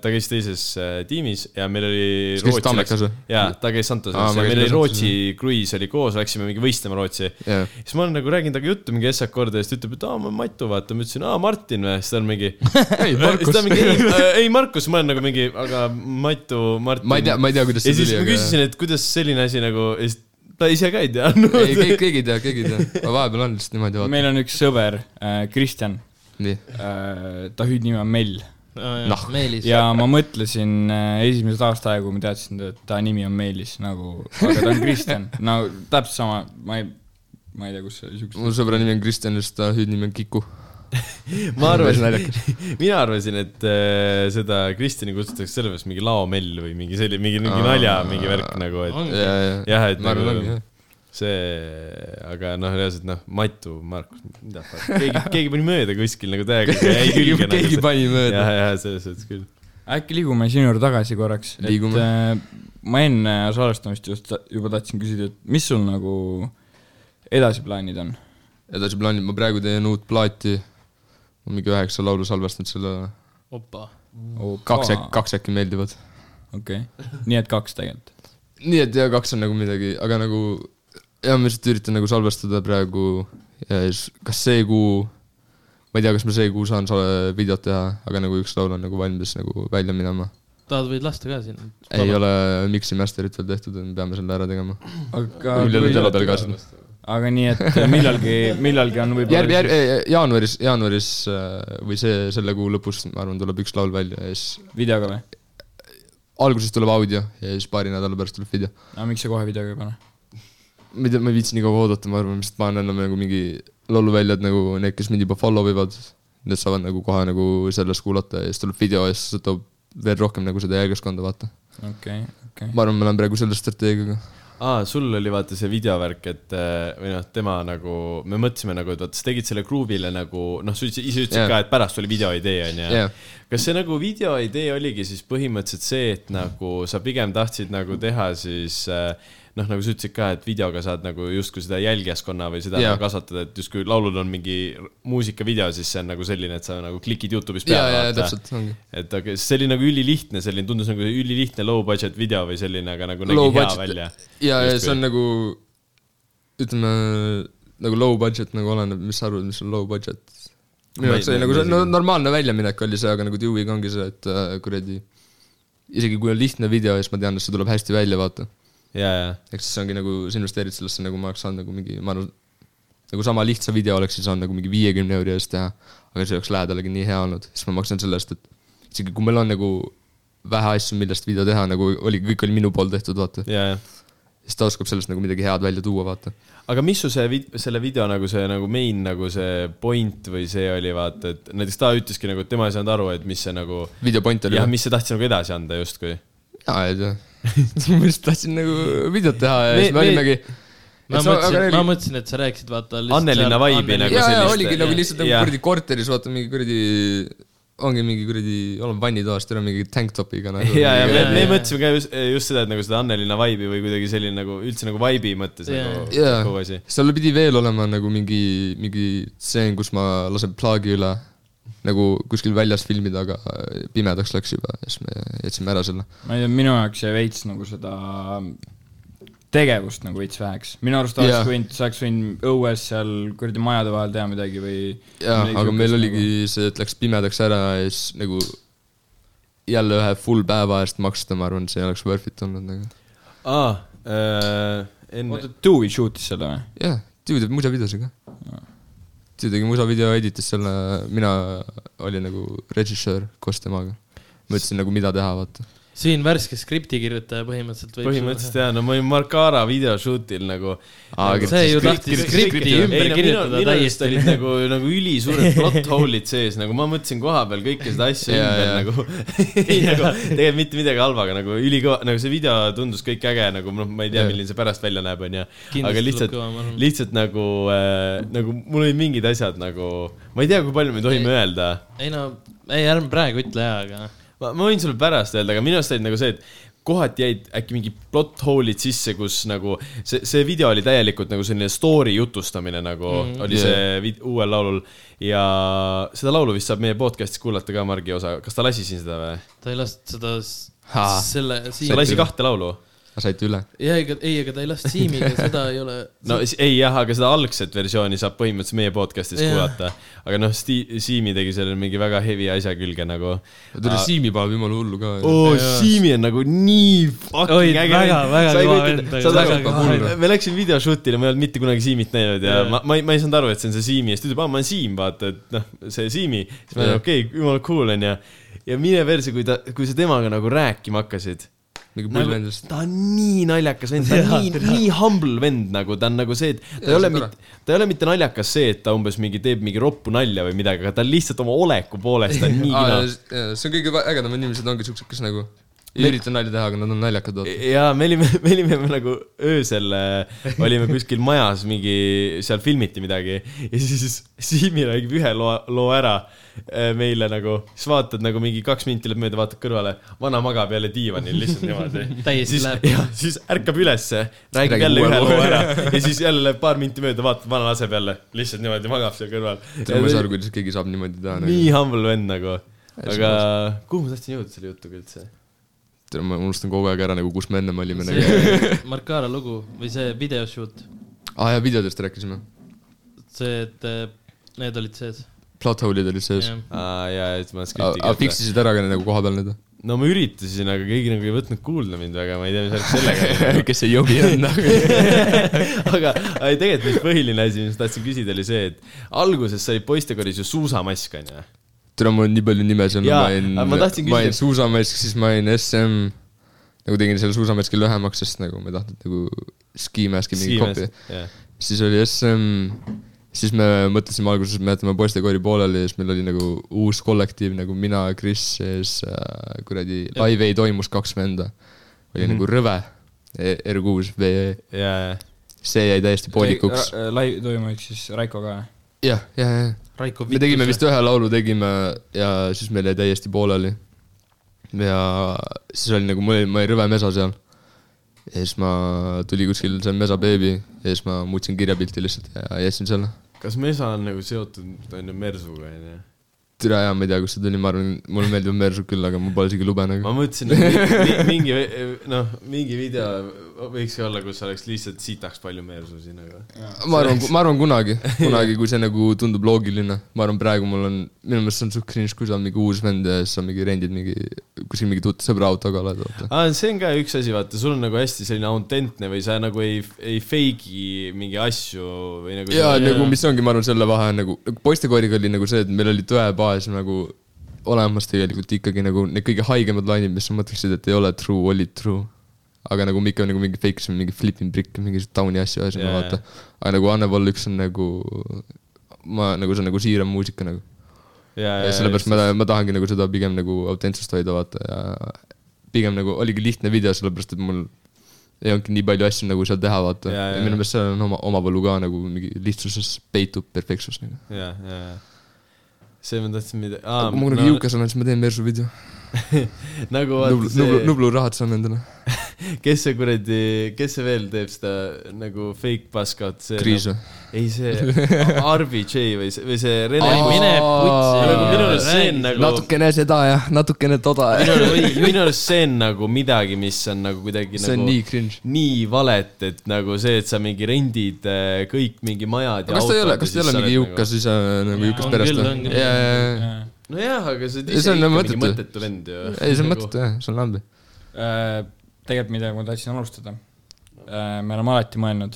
ta käis teises äh, tiimis ja meil oli .
Kas käis Tammekas või?
jaa , ta käis Santosis
Aa,
ja
ma käisin
meil oli
Santosis,
Rootsi kruiis oli koos , läksime mingi võistlema Rootsi .
Jah.
siis ma olen nagu räägin temaga juttu mingi SAK korda ja siis ta ütleb , et aa , ma olen Matu , vaata . ma ütlesin , aa , Martin või ? siis ta on mingi .
ei ,
siis ta on mingi ,
Markus .
ei , ei Markus , ma olen nagu mingi , aga Matu , Martin .
ma ei tea , ma ei tea , kuidas
ja
see
siis
tuli ,
ma
aga .
küsisin , et kuidas selline asi nagu , ja siis ta ise ka ei
ei ,
teadnud .
keegi , keegi ei tea , keegi ei tea . aga vahepeal on lihtsalt niimoodi vaata .
meil on üks sõber , Kristjan ,
nii .
ta hüüdnimi on Mell
noh
Noh. ,
Meelis .
ja ma mõtlesin äh, esimesed aasta aega , kui ma teadsin , et ta nimi on Meelis nagu , aga ta on Kristjan , no täpselt sama , ma ei , ma ei tea , kus see siukest
mu sõbra nimi on Kristjan , siis ta hüüdnimi on Kiku .
ma
Päris
arvasin ,
naljakas.
mina arvasin , et äh, seda Kristjani kutsutakse sellepärast mingi laomell või mingi selline , mingi , mingi
Aa.
nalja , mingi värk nagu , et
ongi ,
ja , ja .
jah , et
ma arvan , ongi
nagu
jah .
see , aga noh , reaalselt noh , Matu , Markus , mida , keegi , keegi pani mööda kuskil nagu täiega , jäi
keegi
külge .
keegi pani mööda .
jah , jah , selles suhtes küll .
äkki liigume sinu juurde tagasi korraks , et
Liigume.
äh, ma enne salvestamist just ta- juba tahtsin küsida , et mis sul nagu edasiplaanid on ?
edasi plaanid , ma praegu teen uut plaati . ma mingi üheksa laulu salvestanud selle ,
opa .
kaks äkki , kaks äkki meeldivad .
okei , nii et kaks tegelikult .
nii et jaa , kaks on nagu midagi , aga nagu jah , ma lihtsalt üritan nagu salvestada praegu ja siis kas see kuu , ma ei tea , kas ma see kuu saan sa- videot teha , aga nagu üks laul on nagu valmis nagu välja minema .
tahad , võid lasta ka siin ?
ei . ole miksi masterit veel tehtud , me peame selle ära tegema .
aga ,
mul ei ole telo peal ka seda .
aga nii , et äh, millalgi , millalgi on
järg ,
võib-olla
järg , jaanuaris , jaanuaris äh, või see , selle kuu lõpus , ma arvan , tuleb üks laul välja ja siis
videoga või ?
alguses tuleb audio ja siis paari nädala pärast tuleb video .
aga miks sa kohe videoga ei pane ?
ma ei tea , ma ei viitsi nii kaua oodata , ma arvan , lihtsalt panen enam nagu mingi laulu välja , et nagu need , kes mind juba follow ivad , need saavad nagu kohe nagu sellest kuulata ja siis tuleb video ja siis see toob veel rohkem nagu seda jälgeskonda , vaata .
okei , okei .
ma arvan , ma olen praegu selle strateegiaga .
aa , sul oli vaata see videovärk , et äh, või noh , tema nagu , me mõtlesime nagu , et vaata , sa tegid selle Groove'ile nagu noh , sa ütlesid , ise ütlesid
Jah.
yeah. ka , et pärast oli videoidee , onju
Jah. .
kas see nagu videoidee oligi siis põhimõtteliselt see , et nagu sa pigem tahtsid nagu teha siis äh, noh , nagu sa ütlesid ka , et videoga saad nagu justkui seda jälgijaskonna või seda
Jah.
yeah. kasvatada , et justkui laulul on mingi muusikavideo , siis see on nagu selline , et sa nagu klikid Youtube'is
ja ,
peale
ja , täpselt , ongi .
et aga see oli nagu ülilihtne , selline tundus nagu ülilihtne low budget video või selline , aga nagu nägi
Low
hea
budget.
välja .
ja , ja
Justkui.
see on nagu , ütleme nagu low budget nagu oleneb , mis sa arvad , mis on low budget . minu
Ma ei-
jaoks oli
ma-
nagu
ma
see no,
isegi-
normaalne väljaminek oli see , aga nagu Dewey'ga ongi see , et äh, kuradi isegi kui on lihtne video , siis ma tean , et see tuleb hästi välja , vaata .
ja , ja
ehk siis see ongi nagu , sa investeerid sellesse , nagu ma oleks saanud nagu mingi , ma arvan , nagu sama lihtsa video oleks siis saanud nagu mingi viiekümne euro eest teha , aga see oleks lähedalegi nii hea olnud , siis ma maksan selle eest , et isegi kui meil on nagu vähe asju , millest video teha , nagu oli , kõik oli minu poolt tehtud , vaata .
ja , ja .
siis ta oskab sellest nagu midagi head välja tuua , vaata .
aga mis su see , selle video nagu see nagu main nagu see point või see oli , vaata , et näiteks ta ütleski nagu , et tema ei saanud aru , et mis see nagu ,
video point oli
jah ,. mis sa tahtsid nagu edasi anda justkui .
mina ei tea . ma lihtsalt tahtsin nagu videot teha ja
Me-
siis me
me-
olimegi .
ma
Et sa- aga
mõtlesin ,
neil-
ma mõtlesin , et sa rääkisid , vaata .
Annelinna vibe'i nagu
ja , ja
sellist-
oligi nagu lihtsalt nagu
jah.
kuradi korteris , vaata mingi kuradi , ongi mingi kuradi , olen vannitoas , tere mingi tank topiga nagu .
ja , ja me,
Jaa,
me
jaa.
mõtlesime ka just, just seda , et nagu seda Annelinna vibe'i või kuidagi selline nagu üldse nagu vibe'i mõttes
Jaa.
nagu
jaa
kogu asi .,
seal pidi veel olema nagu mingi , mingi stseen , kus ma lasen plaagi üle nagu kuskil väljas filmida , aga äh, pimedaks läks juba ja siis me jätsime ära selle .
ma ei tea , minu jaoks jäi veits nagu seda tegevust nagu veits väheks . minu arust
Jaa.
oleks võinud , sa oleks võinud õues seal kuradi majade vahel teha midagi või
jah ,
midagi nagu.
aga meil
nagu-
siukest
oligi see , et läks pimedaks ära ja siis nagu jälle ühe full päeva eest maksta , ma arvan , see oleks worth it olnud nagu .
aa , enne
oota , Dewey shootis selle või ?
jah , tüüü teeb musavideosid ka . tüüü tegi musavideo , editas selle , mina olin nagu režissöör koos temaga . ma ütlesin nagu , mida teha , vaata .
siin värske skriptikirjutaja põhimõtteliselt võib .
põhimõtteliselt jaa , no ma olin Markara videoshootil nagu .
Aa, aga
see ju tahtis skripti ümber kirjutada täiesti .
olid nagu , nagu ülisuured plot hole'id sees , nagu ma mõtlesin koha peal kõiki seda asja
Jaa,
ümber
jaa.
nagu ei nagu tegelikult mitte midagi halba , aga nagu ülikõva , nagu see video tundus kõik äge , nagu noh , ma ei tea ,
Jaa.
milline see pärast välja näeb , onju .
Kindlasti
aga
tuleb
lihtsalt
kõva, ma , arvan.
lihtsalt nagu äh, , nagu mul olid mingid asjad nagu , ma ei tea , kui palju me tohime öelda
ei no , ei ärme praegu ütle jaa , aga noh .
ma , ma võin sulle pärast öelda , aga minu arust olid nagu see , et kohati jäid äkki mingi plot hole'id sisse , kus nagu see , see video oli täielikult nagu selline story jutustamine nagu mm -hmm. oli see vid- uuel laulul ja seda laulu vist saab meie podcast'is kuulata ka , Margi osa , kas ta lasi siin seda või ?
ta ei lasknud seda s-
Haa.
selle
ta lasi
siimiga .
kahte laulu ?
saite üle ?
ja ega , ei , ega ta ei lasknud siimiga , seda ei ole .
no s- ei jah , aga seda algset versiooni saab põhimõtteliselt meie podcast'is
Jah.
kuulata . aga noh , Sti- , Siimi tegi sellele mingi väga heavy asja külge nagu .
tuli Siimi paneb jumala hullu ka .
oo ,
Jaa.
Siimi on nagu nii
Oi,
fucking äge
väga, väga
Sa ei
kõva
kujuta-
vend oli,
saad
väga
aru,
kõva vend.
me- me läksime videoshootile , ma ei olnud mitte kunagi Siimit näinud ja
Jaa.
ma , ma ei , ma ei saanud aru , et see on see Siimi ja siis ta ütleb , aa , ma olen Siim , vaata , et noh , see Siimi . siis ma
Jaa.
olen okei okay, , jumala cool on ju . ja mine perse , kui ta , kui sa temaga nagu rääkima hakkasid
mingi
nagu,
pull endast .
ta on nii naljakas vend , ta on nii , nii humble vend nagu , ta on nagu see , et ta ei ole
see on tore.
mitte , ta ei ole mitte naljakas see , et ta umbes mingi teeb mingi roppu nalja või midagi , aga ta on lihtsalt oma oleku poolest on nii kena .
see on kõige vä- ägedam inimesed ongi siuksed , kes nagu ei ürita nalja teha , aga nad on naljakad .
ja me olime , me olime nagu öösel , olime kuskil majas mingi , seal filmiti midagi ja siis Siimi räägib ühe loo , loo ära eh, meile nagu , siis vaatad nagu mingi kaks minti läheb mööda , vaatad kõrvale , vana magab jälle diivanil lihtsalt niimoodi .
Täiesti
siis,
läheb.
jah , siis ärkab ülesse , räägib
Räägib
jälle
uue
ühe
loo
loo ära ja siis jälle läheb paar minti mööda , vaatab vana laseb jälle , lihtsalt niimoodi magab seal kõrval .
ma ei saa aru , kuidas keegi saab niimoodi teha .
nii humble vend nagu , aga kuhu ma tahtsin jõuda selle jutuga üldse ?
tere , ma unustan kogu aeg ära nagu , kus me ennem olime .
Nagu-
see Markara lugu või see videoshoot ,
aa jaa , videotest rääkisime .
see , et eh, need olid sees .
Plothole'id olid sees .
jah ,
aa jaa , et ma
aga
skripti
fix isid ära ka nagu koha peal need .
no ma üritasin , aga keegi nagu ei võtnud kuulda mind väga , ma ei tea , mis värk sellega oli .
kes ei jobi enda .
aga , aga ei, tegelikult mis põhiline asi , mis ma tahtsin küsida , oli see , et alguses sai poistekoris ju suusamask , onju .
tere , mul on nii palju nimesid , ma
Jaa,
olin
aga , ma
ma
tahtsin küsida-
olin suusamesk , siis ma olin SM , nagu tegin selle suusameskil lühemaks , sest nagu ma ei tahtnud nagu ski-maski mingi kopi . siis oli SM , siis me mõtlesime alguses , me jätame poistekoori pooleli ja siis meil oli nagu uus kollektiiv nagu mina , Kris ja siis äh, kuradi live ei toimus kaks venda . oli mm -hmm. nagu rõve E- R6 VE ,
ja , ja ,
see jäi täiesti poolikuks .
laiv toimunud siis Raiko ka .
jah , jah , jah
Raiko
me tegime vist ühe laulu tegime ja siis meil jäi täiesti pooleli . ja siis oli nagu , mul oli , ma olin rõve mesa seal . ja siis ma , tuli kuskil see mesa beebi ja siis ma muutsin kirjapilti lihtsalt ja jätsin selle .
kas mesa on nagu seotud , onju , mersuga , onju .
türa jaa , ma ei tea , kust see tuli , ma arvan , mulle meeldib Mersu küll , aga ma pole isegi lugenud .
ma mõtlesin , et mi- mingi , noh , mingi video võiks olla , kus oleks lihtsalt sitaks palju mersusi nagu .
ma arvan , ma arvan kunagi , kunagi , kui see nagu tundub loogiline . ma arvan , praegu mul on , minu meelest see on suht cringe , kui sa oled mingi uus vend ja siis sa mingi rendid mingi , kuskil mingi tuttav sõbra autoga oled , vaata .
aa , see on ka üks asi , vaata , sul on nagu hästi selline autentne või sa nagu ei , ei fake'i mingeid asju või nagu .
jaa , nagu mis ongi , ma arvan , selle vahe on nagu , poistekooriga oli nagu see , et meil oli tõebaas nagu olemas tegelikult ikkagi nagu need kõige haigemad lainid , mis sa mõtleksid , et ei ole true , olid true . aga nagu me ikka nagu mingi fake isime mingi flipping brick'e , mingisuguseid tauni asju ajasime
Jaa,
yeah. , vaata . aga nagu Annepall üks on nagu , ma nagu see on nagu siiram muusika nagu . ja
Äh,
sellepärast ma , ma tahangi nagu seda pigem nagu autentsust hoida , vaata ja pigem nagu oligi lihtne video , sellepärast et mul ei olnudki nii palju asju nagu seal teha , vaata .
Jaa,
ja,
jaa,
ja minu
jaa.
meelest seal on oma , oma võlu ka nagu mingi lihtsuses peitub perfektsus nagu .
ja , ja , ja . see ma tahtsin mida- , aa
aga , kui ma kunagi no. jõukas olen , siis ma teen Mersu video .
nagu
Nublu
vaata ,
Nublu ,
see ,
Nublu rahad saan endale .
kes see kuradi , kes see veel teeb seda nagu fake paskat , see
Kriis või ?
nagu, ei see RBJ või see , või see Rene
Aa,
Kuss ,
mine
Aa,
nagu
putsi
minu arust see on . nagu
natukene seda ja natukene toda ja .
minu arust- minu arust see on nagu midagi , mis on nagu kuidagi
see on
nagu
nii cringe .
nii valet , et nagu see , et sa mingi rendid äh, kõik mingi majad ja
kas ta ei ole ,
autod ja
kas ta ei
siis
ole
sa
mingi
oled
jõukas ise nagu jõukas
on
perest
küll,
või
on ? küll.
jaa , jaa , jaa .
nagu... . nojah , aga see
Ei,
on
see
ise
on
ikka
nagu
mingi
mõttetu.
mõttetu vend ju . Nagu-
ei , see on mõttetu jah , see on lambi .
Äh, tegelikult midagi ma tahtsin alustada . me oleme alati mõelnud ,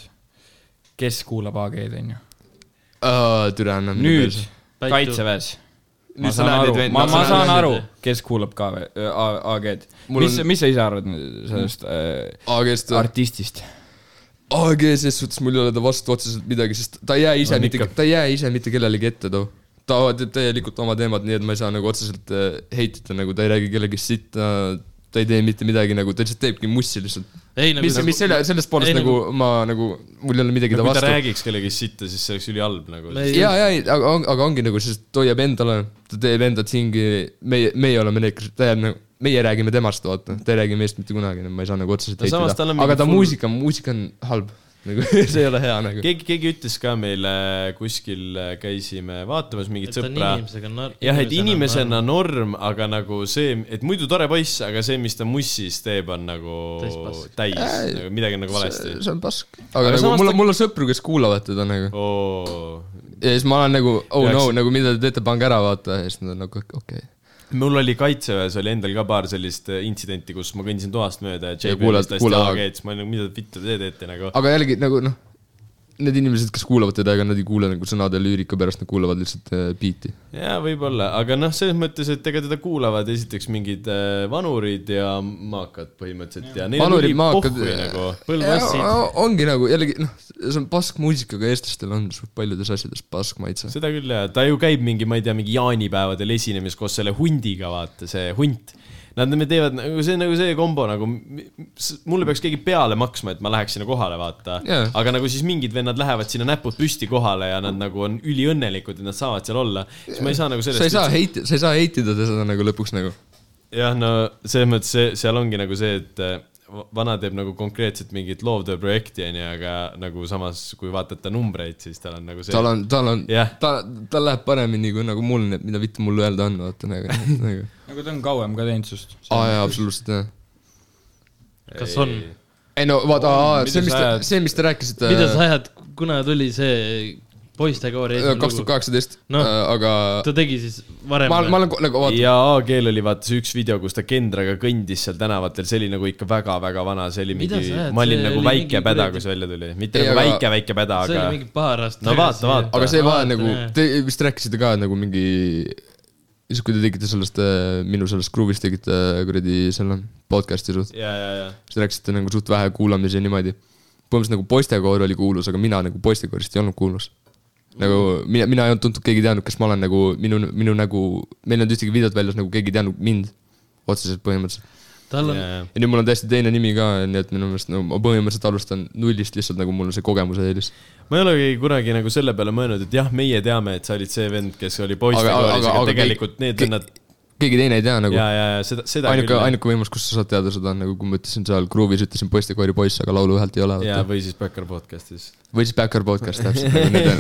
kes kuulab AG-d , onju .
Mm. türa annab .
nüüd kaitseväes . ma saan aru , ma , ma saan aru , kes kuulab ka äh, AG-d .
Mul
mis
on- ,
mis sa ise arvad nüüd sellest äh,
AG-st või ?
artistist ?
AG ses suhtes mul ei ole ta vastu otseselt midagi , sest ta ei jää ise
On
mitte
ikka. ,
ta ei jää ise mitte kellelegi ette too . ta teeb täielikult oma teemad , nii et ma ei saa nagu otseselt äh, heitida , nagu ta ei räägi kellegi sitta , ta ei tee mitte midagi nagu , ta lihtsalt teebki mussi lihtsalt .
ei nagu
mis , mis selle , sellest poolest
ei,
nagu ma nagu , mul ei ole midagi ta
kui ta
vastu .
räägiks kellegi sitta , siis see oleks ülihalb nagu .
Me ei-
ja , ja , aga , aga ongi nagu , sest ta hoiab endale , ta teeb enda tsingi , meie , meie oleme need , kes , ta jääb nagu , meie räägime temast , vaata , ta ei räägi meist mitte kunagi , ma ei saa nagu otseselt
No samas tal
heitada
on , mingi
aga ta
full-
muusika , muusika on halb . nagu see ei ole hea nagu .
keegi , keegi ütles ka meile äh, kuskil , käisime vaatamas mingit sõpra .
sõpra .
jah , et inimesena norm , aga nagu see , et muidu tore poiss , aga see , mis ta mussis teeb , on nagu
Täispask.
täis ,
Äh,
nagu midagi on nagu valesti .
see on pask . aga nagu
samas
mul
ta-
on , mul on sõpru , kes kuulavad teda nagu . ja siis ma olen nagu , oh
Peaks-
no , nagu mida te teete , pange ära , vaata . ja siis nad on nagu okei okay. .
mul oli kaitseväes oli endal ka paar sellist äh, intsidenti , kus ma kõndisin toast mööda ja
Ja
JB
kuulad-
vist hästi
kuulad-
AG-d , siis ma olin nagu , mida vittu te teete nagu .
aga jällegi nagu noh , need inimesed , kes kuulavad teda , ega nad ei kuule nagu sõnade lüürika pärast , nad kuulavad lihtsalt äh, biiti .
jaa , võib-olla , aga noh , selles mõttes , et ega teda kuulavad esiteks mingid äh, vanurid ja maakad põhimõtteliselt ja neil
Vanurid,
on
maakad-
ülipohvi nagu .
põlvassid .
ongi nagu jällegi noh , see on pask muusika , aga eestlastel on suht paljudes asjades pask maitse .
seda küll jaa , ta ju käib mingi , ma ei tea , mingi jaanipäevadel esinemis koos selle hundiga , vaata see hunt . Nad me teevad nagu see , nagu see kombo nagu , mulle peaks keegi peale maksma , et ma läheks sinna kohale , vaata
Jaa.
aga nagu siis mingid vennad lähevad sinna näpud püsti kohale ja nad nagu on üliõnnelikud , et nad saavad seal olla . siis ma ei saa nagu
sa ei
sellest .
saa heiti- , sa ei saa heitida seda nagu lõpuks nagu .
jah , no selles mõttes see , seal ongi nagu see , et eh, va- vana teeb nagu konkreetselt mingit loovtööprojekti , onju , aga nagu samas , kui vaadata numbreid , siis tal on nagu see .
tal on , tal on
Jah. ,
ta , tal läheb paremini kui nagu mul , mida vittu mul öelda on , vaata nagu, nagu. .
nagu ta on kauem ka teinud sinust .
aa jaa , absoluutselt jah .
kas on ?
ei no vaata , see , mis
mida sa
te
ajad- ,
see , mis te rääkisite
mida sa ajad , kuna tuli see
Äh,
poistekoori
äh,
esimene
kaks tuhat
lugu ?
kaheksateist ,
Noh.
aga
ta tegi siis varem
ma , ma olen ko- nagu vaata ,
ja AG-l oli vaata see üks video , kus ta kendraga kõndis seal tänavatel , see oli nagu ikka väga-väga vana , see oli
Mida
mingi
sa ajad? ,
ma olin
See
nagu
oli
väike
mingi
päda ,
kuradi-
kui see välja tuli , mitte
Ei,
nagu
aga-
väike-väike päda ,
see
aga
oli mingi paar aastat
No vaata, vaata.
aga see vahe
Vaatan,
nagu
jah. ,
te vist rääkisite ka nagu mingi , siis kui te tegite sellest , minu sellest gruuvis tegite äh, kuradi selle podcast'i suht ,
ja , ja , ja
siis rääkisite nagu suht vähe kuulamisi ja niimoodi . põhimõtteliselt nagu poistekoor oli kuulus , aga mina nagu poistekoorist ei olnud kuulus . nagu mina , mina ei olnud tuntud , keegi ei teadnud , kes ma olen nagu minu , minu nägu , meil ei olnud ühtegi videot väljas , nagu keegi ei teadnud mind otseselt põhimõtteliselt .
tal on
ja , ja
ja nüüd mul on täiesti teine nimi ka , nii et minu meelest no ma põhimõtteliselt alustan nullist lihtsalt nagu mul on see kogemuse eelis .
ma ei olegi kunagi nagu selle peale mõelnud , et jah , meie teame , et sa olid see vend , kes
Aga-
oli
aga-
poistekoolis ,
aga-
aga
aga
tegelikult
kõik-
need
kõik-
vennad
keegi teine ei tea nagu .
ja , ja , ja seda , seda
ainuke ,
küll .
ainuke võimalus , kus sa saad teada seda on nagu , kui ma ütlesin seal Gruuvis , ütlesin poistekoori poiss , aga laulu ühelt ei ole .
ja , või siis Backyard podcast'is .
või siis Backyard podcast täpselt , need on ,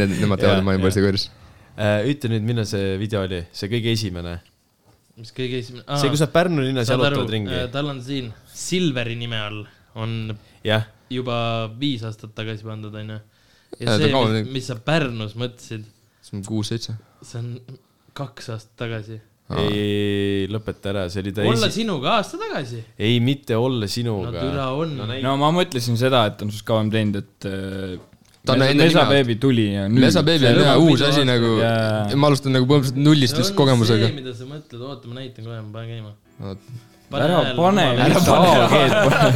need , nemad teavad , et
Jaa,
ma olin
jaa.
poistekooris .
Äh, ütle nüüd , millal see video oli , see kõige esimene ,
mis kõige esimene
see , kus nad Pärnu linnas jalutavad ringi ,
äh, tal on siin Silveri nime all on
jah ,
juba viis aastat tagasi pandud , onju .
Jaa,
ja
ta
see ,
kaua
mis,
tegi.
mis sa Pärnus mõtlesid ,
see on kuus-seitse .
see on kaks aastat tagasi .
ei , lõpeta ära , see oli ta
olla
esi- ,
sinuga aasta tagasi .
ei , mitte olla
no
sinuga
türa on no, .
no ma mõtlesin seda , et ta on sinust kauem teinud , et äh,
Ta on
Mesa-
enne nime
Mesa
alt-
Beebi tuli ja nüüd .
Mesa Baby
see
on hea
lõpeb
uus
video
asi
aastaga.
nagu ,
Jaa.
ma alustan nagu põhimõtteliselt nullist
see
lihtsalt
on see
kogemusega ,.
mida sa mõtled , oota , ma näitan kohe , ma panen käima .
ära pane , ära pane .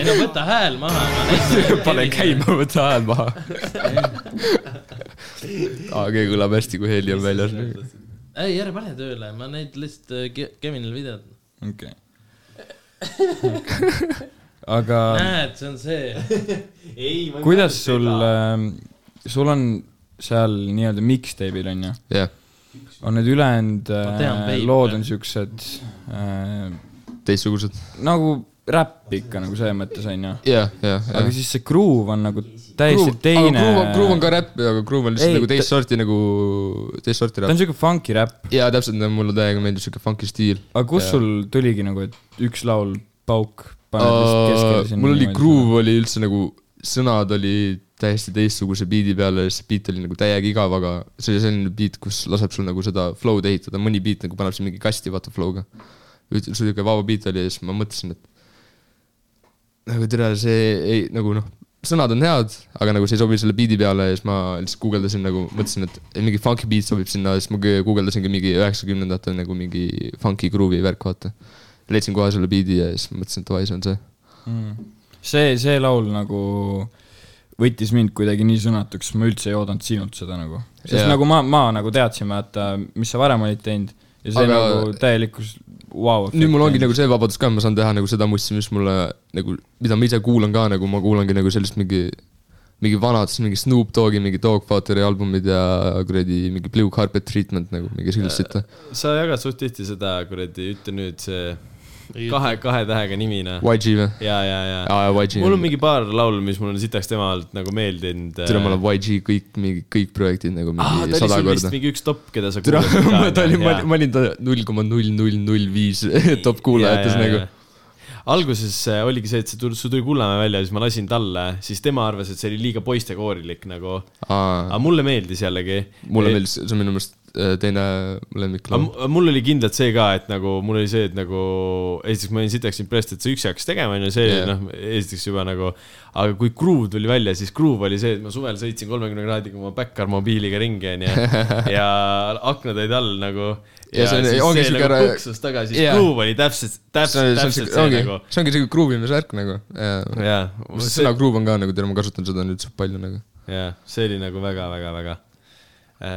ei no võta hääl maha , ma näitan .
pane . käima , võta hääl maha . AG kõlab hästi , kui heli on väljas .
ei , ära pane tööle , ma näitan lihtsalt äh, Ke- Kevinile videot .
okei . aga
Äh.
näed , see on see .
kuidas sul ,
äh,
sul on seal nii-öelda mixtape'il on ju ,
jah ,
on need ülejäänud
Ma tean,
äh,
Babe,
lood
jah.
on siuksed äh,
teistsugused .
nagu räpp ikka nagu selles mõttes on ju ,
jah , jah , jah
aga . siis see groove on nagu täiesti
Groove-
teine
aga . Groove on , Groove on ka räpp , aga Groove on lihtsalt
Ei,
nagu
ta-
teist sorti nagu , teist sorti
ta on
räpp .
siuke funky räpp ,
jaa , täpselt , mulle täiega meeldib siuke funky stiil .
aga kus
Jaa.
sul tuligi nagu , et üks laul , pauk , paned lihtsalt keskele
Äh,
sinna .
mul oli , Groove oli üldse nagu , sõnad oli täiesti teistsuguse biidi peal ja siis beat oli nagu täiega igav , aga see oli selline beat , kus laseb sul nagu seda flow'd ehitada , mõni beat nagu paneb sind mingi kasti vaata flow'ga . siuke vaba beat oli ja siis ma mõtlesin , et nagu tere , see ei nagu noh , sõnad on head , aga nagu see ei sobi selle beat'i peale ja siis ma lihtsalt guugeldasin nagu , mõtlesin , et ei, mingi funky beat sobib sinna ja siis ma gõ- guugeldasingi mingi üheksakümnendate nagu mingi funky groove'i värk , vaata . leidsin kohe selle beat'i ja siis mõtlesin , et davai , see on see .
see , see laul nagu võttis mind kuidagi nii sõnatuks , ma üldse ei oodanud sinult seda nagu . sest
Jaa.
nagu ma , ma nagu teadsin , vaata , mis sa varem olid teinud ja see
Aga-
nagu täielikus vau .
nüüd mul ongi nagu see vabadus ka , ma saan teha nagu seda mussi , mis mulle nagu , mida ma ise kuulan ka nagu , ma kuulangi nagu sellist mingi , mingi vanad , siis mingi Snoop Dogi mingi Dogfateri albumid ja kuradi mingi Blue Carpet Treatment nagu mingi sellist sitta .
sa jagad suht tihti seda kuradi , ütle nüüd see kahe , kahe tähega noh. nimina .
YG või ?
ja , ja , ja .
aa , YG .
Äh, mul on mingi paar laulu , mis mul on sitaks tema alt nagu meeldinud .
tere , mul on YG kõik , mingi kõik projektid nagu
ah, .
mingi
ta oli
sada
sul vist
korda .
mingi üks top , keda sa noh,
tere , ma , ta oli , ma
jaa.
ma olin ta null koma null null null viis top
Jaa,
kuulajates
jaa,
nagu
jaa. . alguses äh, oligi see , et see tuli , see tuli Kullamäe välja , siis ma lasin talle , siis tema arvas , et see oli liiga poistekoorilik nagu .
aa ,
aga mulle meeldis jällegi .
Ah. mulle meeldis , see on minu meelest äh, teine lemmiklaul .
aga mul oli kindlalt see ka , et nagu mul oli see , et nagu esiteks ma olin sitaks impressed , et see üksi hakkas tegema , onju , see yeah.
Jaa.
noh , esiteks juba nagu . aga kui Gruuv tuli välja , siis Gruuv oli see , et ma suvel sõitsin kolmekümne kraadiga oma Backyard mobiiliga ringi , onju . ja aknad olid all nagu .
Ja see on- ongi siuke
nagu
ära-
põksus tagasi , siis
Jaa.
Gruuv oli täpselt , täpselt , täpselt see
ongi
nagu ,.
see ongi siuke gruuvimise värk nagu .
jaa , see
sõna gruuv on ka nagu , tere , ma kasutan seda nüüd suht palju nagu .
jah , see oli nagu väga-väga-väga .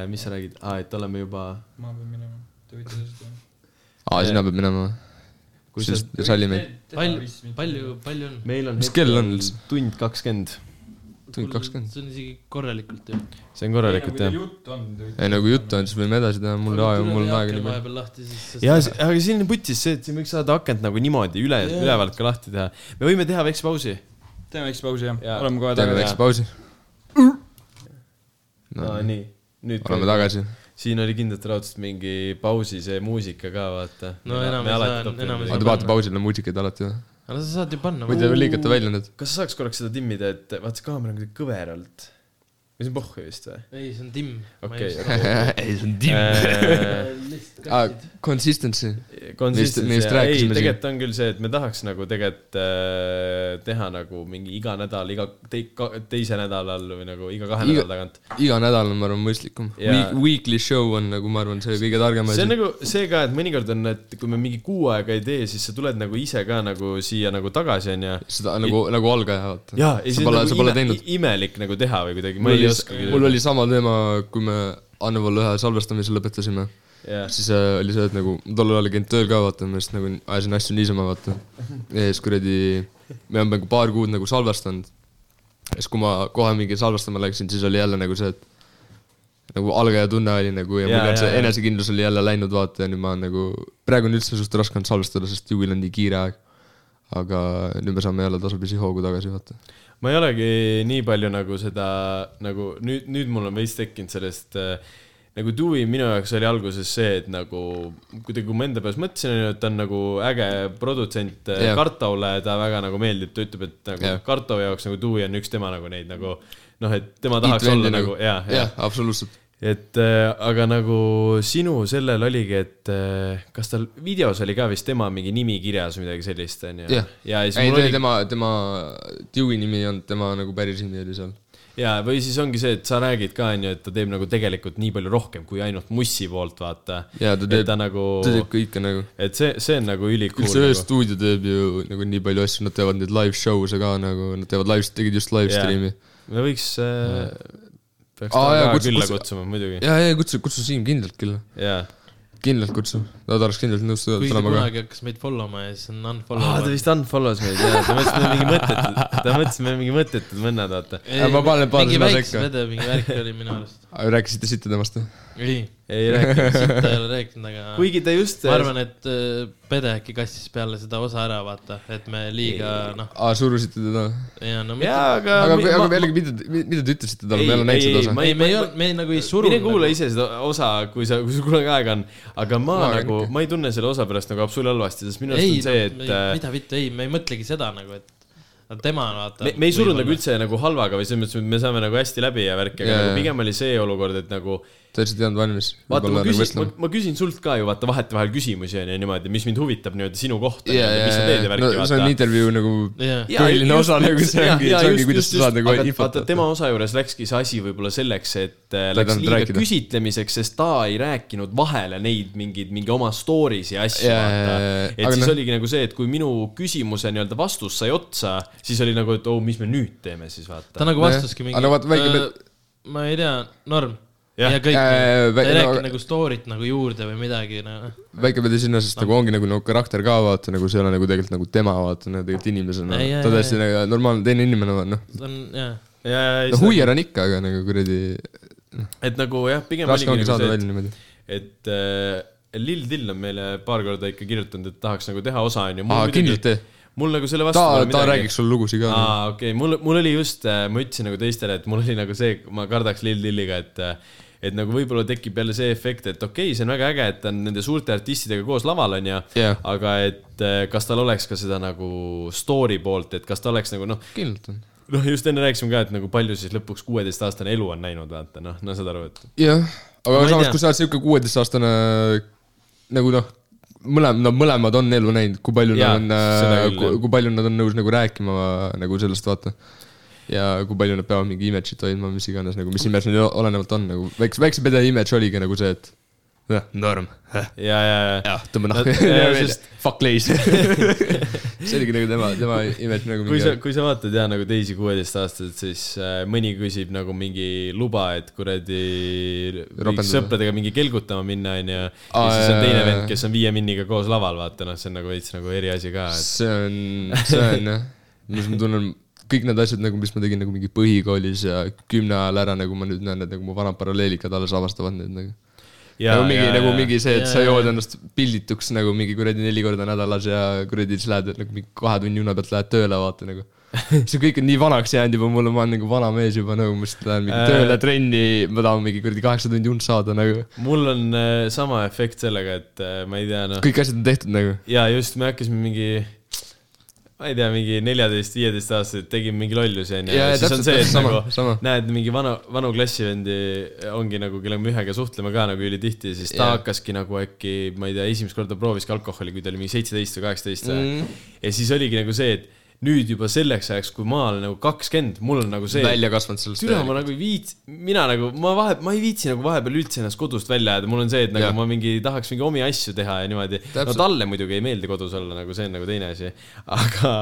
mis sa räägid ah, , et oleme juba ,
ma pean minema , te võite sellest
aa , sinna peab minema .
Kui
siis sallimeid .
palju , palju , palju on ?
meil on
Mis kell on üldse? ?
tund kakskümmend .
tund kakskümmend .
see on isegi korralikult ju .
see on korralikult jah .
juttu on , te võite .
ei , nagu juttu on , siis võime edasi teha , mul aega , mul on aega nii palju .
vahepeal lahti siis .
ja , aga siin on putis see , et siin võiks saada akent nagu niimoodi üle yeah. , ülevalt ka lahti teha . me võime teha väikse pausi .
teeme väikse pausi jah
Jaa.
ja. , oleme kohe
teeme
tagasi .
väikse pausi .
no
no
nii , nüüd
oleme . tagasi .
siin oli kindlalt raudselt mingi pausi see muusika ka , vaata .
No enam ei saa, enam ei saa.
vaata , vaata pausile muusikaid alati .
aga sa saad ju panna .
muidu lõigata välja need .
kas sa saaks korraks seda timmida , et vaata see kaamera on kuidagi kõveralt . või see on pohhu vist või ?
ei , see on timm .
Okei, Ah,
ei , see on
Äh,
aa , consistency .
Consistence
Neist- neist
ja- ei ,
rääkisime siin.
tegelikult on küll see , et me tahaks nagu tegelikult äh, teha nagu mingi iga nädal , iga tei- , teise nädalal või nagu iga kahe
Iga-
nädala tagant .
iga nädal on , ma arvan , mõistlikum .
Jaa.
Weekly show on nagu , ma arvan , see kõige targem
see
asi .
on nagu see ka , et mõnikord on , et kui me mingi kuu aega ei tee , siis sa tuled nagu ise ka nagu siia nagu tagasi , onju .
seda nagu , nagu algaja , vaata .
jaa , ja
sa
siis on
pole , sa
nagu
pole
ime,
teinud .
imelik nagu teha või kuidagi , ma
mul
ei
oli ,
oskagi .
mul oli sama teema , kui me Anneval ühe salvestamise lõpetasime . siis äh, oli see , et nagu ma tol ajal ei käinud tööl ka vaata , ma lihtsalt nagu ajasin asju niisama vaata . ja siis kuradi , me oleme nagu paar kuud nagu salvestanud . ja siis , kui ma kohe mingi salvestama läksin , siis oli jälle nagu see , et nagu algaja tunne oli nagu ja,
Jaa,
ja mul on see
jaa, jaa.
enesekindlus oli jälle läinud vaata ja nüüd ma olen nagu , praegu on üldse suht raske olnud salvestada , sest juhil on nii kiire aeg . aga nüüd me saame jälle tasapisi hoogu tagasi vaata .
ma ei olegi nii palju nagu seda nagu nüüd , nüüd mul on veits tekkinud sellest äh, nagu Dewey minu jaoks oli alguses see , et nagu kuidagi , kui ma enda peas mõtlesin , et ta on nagu äge produtsent yeah.
Jah.
Kartole , ta väga nagu meeldib , ta ütleb , et nagu yeah.
Jah.
Karto jaoks nagu Dewey on üks tema nagu neid nagu noh , et tema tahaks olla nagu ja , ja
jah , absoluutselt .
et äh, aga nagu sinu sellel oligi , et äh, kas tal videos oli ka vist tema mingi nimi kirjas või midagi sellist onju
jah
ja siis
ei ,
mul oli
tema , tema Dewey nimi ei olnud , tema nagu päris nimi oli seal .
ja , või siis ongi see , et sa räägid ka , onju , et ta teeb nagu tegelikult nii palju rohkem kui ainult mussi poolt , vaata .
Jaa, ta teeb-
et ta nagu ,
ta teeb kõike nagu .
et see , see on nagu ülikool
üldse
nagu.
öö . stuudio teeb ju nagu nii palju asju , nad teevad neid live show se ka nagu , nad teevad live , tegid just live
Jaa.
stream'i .
me võiks äh, , peaks
Aa,
ta
jaa,
ka
kutsu-
külla
kutsu-
kutsuma muidugi .
ja , ja kutsu , kutsu Siim kindlalt küll ,
jaa .
kindlalt kutsu , ta tahaks kindlalt nõus
kuigi ta
tulema ka .
kunagi hakkas meid follow ma ja siis on unfollow .
aa , Ah, ta vist unfollows meid , jaa , ta mõtles , et me mingi mõttetud , ta mõtles , et me mingi mõttetud mõnnad , vaata .
Aga ma panen paar
mingi
sõna
väikse
sekka.
vede , mingi värk oli minu arust .
rääkisite siit temast või ?
ei ,
ei räägi .
siit ta ei ole rääkinud , aga
kuigi ta just
ma arvan , et äh, Pede äkki kastis peale seda osa ära , vaata , et me liiga noh ,
aa , surusite teda ?
ja no
jaa , aga .
aga , aga jällegi , mida , mida te ütlesite talle ,
Ei,
me ei ole näinud seda osa
ei, ei, ma .
ei , me ei olnud , me ei, nagu ei surunud .
mine kuula ise seda osa , kui sa , kui sul kunagi aega on , aga ma, ma
Ma arvan
nagu ,
ikka.
ma ei tunne selle osa pärast nagu absoluutselt halvasti , sest minu arust
ei
on , see , et äh,
mida vittu , ei , me ei mõtlegi seda nagu , et tema vaata .
me , me ei surunud nagu . üldse nagu halvaga või selles mõttes , et me saame nagu hästi läbi ja värki , aga
Jaa,
nagu
jaa.
pigem oli see olukord , et nagu
Te lihtsalt ei olnud valmis . nagu
vaata , ma küsin , ma, ma küsin sult ka ju vaata vahetevahel küsimusi on ju niimoodi , mis mind huvitab nii-öelda sinu kohta
ja ,
nii-öelda,
ja ,
mis sa teed
ja ,
ja
no
värki no,
see
vaata
on . intervjuu nagu
jah ,
Jaa,
põhiline
just-
osa nagu see
jaa,
ongi ,
jaa,
see ongi ,
just-
kuidas
just-
sa saad nagu
aga
infot
vaata , tema osa juures läkski see asi võib-olla selleks , et äh,
ei
läks
tahtnud
liiga
rääkida.
küsitlemiseks , sest ta ei rääkinud vahele neid mingeid , mingi oma story's ja asju ,
Jaa,
vaata
jaa, jaa. .
et
Aga
siis
noh-
oligi nagu see , et kui minu küsimuse nii-öelda vastus sai otsa , siis oli nagu , et oo , mis me nüüd teeme siis ,
ta
vaata .
nagu vastaski
Nojah.
mingi .
Aga vaata, väike Pet-
ma ei tea , Norm , ja, ja kõik
Äh,
äh, ,
vä-
sa ei rääkinud
no-
nagu story't nagu juurde või midagi , noh .
väike pidi sinna , sest nagu ongi nagu no karakter ka vaata , nagu see ei ole nagu tegelikult nagu tema vaata , no tegelikult inimesena
Ei, . jaa,
ta
jaa,
täiesti nagu normaalne teine inimene , noh .
see on , jah .
no huier on ikka , aga nagu kuradi
et nagu jah , pigem
raske ongi
oligi nagu
saada
see ,
välja niimoodi .
et , et äh, Lill Till on meile paar korda ikka kirjutanud , et tahaks nagu teha osa , onju .
aa , kindlalt jah .
mul nagu selle vastu
ta
pole ,
ta
midagi.
räägiks sulle lugusid ka . noh,
aa , okei okay. , mul , mul oli just , ma ütlesin nagu teistele , et mul oli nagu see , ma kardaks Lill Lilliga , et et nagu võib-olla tekib jälle see efekt , et okei okay, , see on väga äge , et ta on nende suurte artistidega koos laval , onju
Jah.
aga et eh, kas tal oleks ka seda nagu story poolt , et kas ta oleks nagu noh ,
kindlalt on .
noh , just enne rääkisime ka , et nagu palju siis lõpuks kuueteistaastane elu on näinud , vaata noh , no saad aru , et
jah ,
Ma
aga
ei
samas
tea. ,
kui sa oled siuke kuueteistaastane nagu noh , mõlemad , nad mõlemad on elu näinud , kui palju
Jaa,
nad on
seda , küll,
kui,
jah.
kui palju nad on nõus nagu rääkima nagu sellest , vaata . ja kui palju nad peavad mingi image'it hoidma , mis iganes nagu , mis image neil olenevalt on nagu , väikse , väikse pede image oligi nagu see , et noh , norm ,
ja , ja , ja ,
jah , tõmba
No,
nahku
jaa, sest- ,
fuck lazy . see oligi nagu tema , tema image nagu
kui sa
mingi ,,
kui sa vaatad ja nagu teisi kuueteistaastaseid , siis äh, mõni küsib nagu mingi luba , et kuradi võiks
Ropendada.
sõpradega mingi kelgutama minna , onju . ja
Aa,
siis on teine
jaa,
vend
jaa. ,
kes on viie minniga koos laval , vaata noh , see on nagu veits nagu eri asi ka , et
see on , see on jah , mis ma tunnen , kõik need asjad nagu , mis ma tegin nagu mingi põhikoolis ja kümne ajal ära , nagu ma nüüd näen , et nagu mu vanad paralleelikad alles avastavad need nagu .
Jaa,
nagu mingi
jaa, ,
nagu
jaa.
mingi see , et
Jaa,
sa
jaa,
jood
jaa.
ennast pildituks nagu mingi kuradi neli korda nädalas ja kuradi siis lähed nagu mingi kahe tunni una pealt lähed tööle , vaata nagu . see kõik on nii vanaks jäänud juba mulle , ma olen nagu vana mees juba nagu , ma lihtsalt lähen mingi
Äh.
tööle , trenni , ma tahan mingi kuradi kaheksa tundi und saada nagu .
mul on äh, sama efekt sellega , et äh, ma ei tea , noh ,
kõik asjad on tehtud nagu .
ja just me hakkasime mingi ma ei tea , mingi neljateist , viieteist aastaselt tegime mingi lollusi , onju .
Jaa,
ja
jaa,
siis on
täpselt,
see , et
täpselt sama,
nagu
sama.
näed mingi vana , vanu klassivendi ongi nagu , kellega me ühega suhtleme ka nagu ülitihti , siis ta
Jaa.
hakkaski nagu äkki , ma ei tea , esimest korda prooviski alkoholi , kui ta oli mingi seitseteist või kaheksateist
Mm.
või . ja siis oligi nagu see , et nüüd juba selleks ajaks , kui ma olen nagu kakskümmend , mul on nagu see .
välja kasvanud sellest . äh,
türa , ma nagu ei viitsi , mina nagu , ma vahe , ma ei viitsi nagu vahepeal üldse ennast kodust välja ajada , mul on see , et nagu ja.
Jah.
ma mingi tahaks mingi omi asju teha ja niimoodi . no
Täpselt.
talle muidugi ei meeldi kodus olla , nagu see on nagu teine asi , aga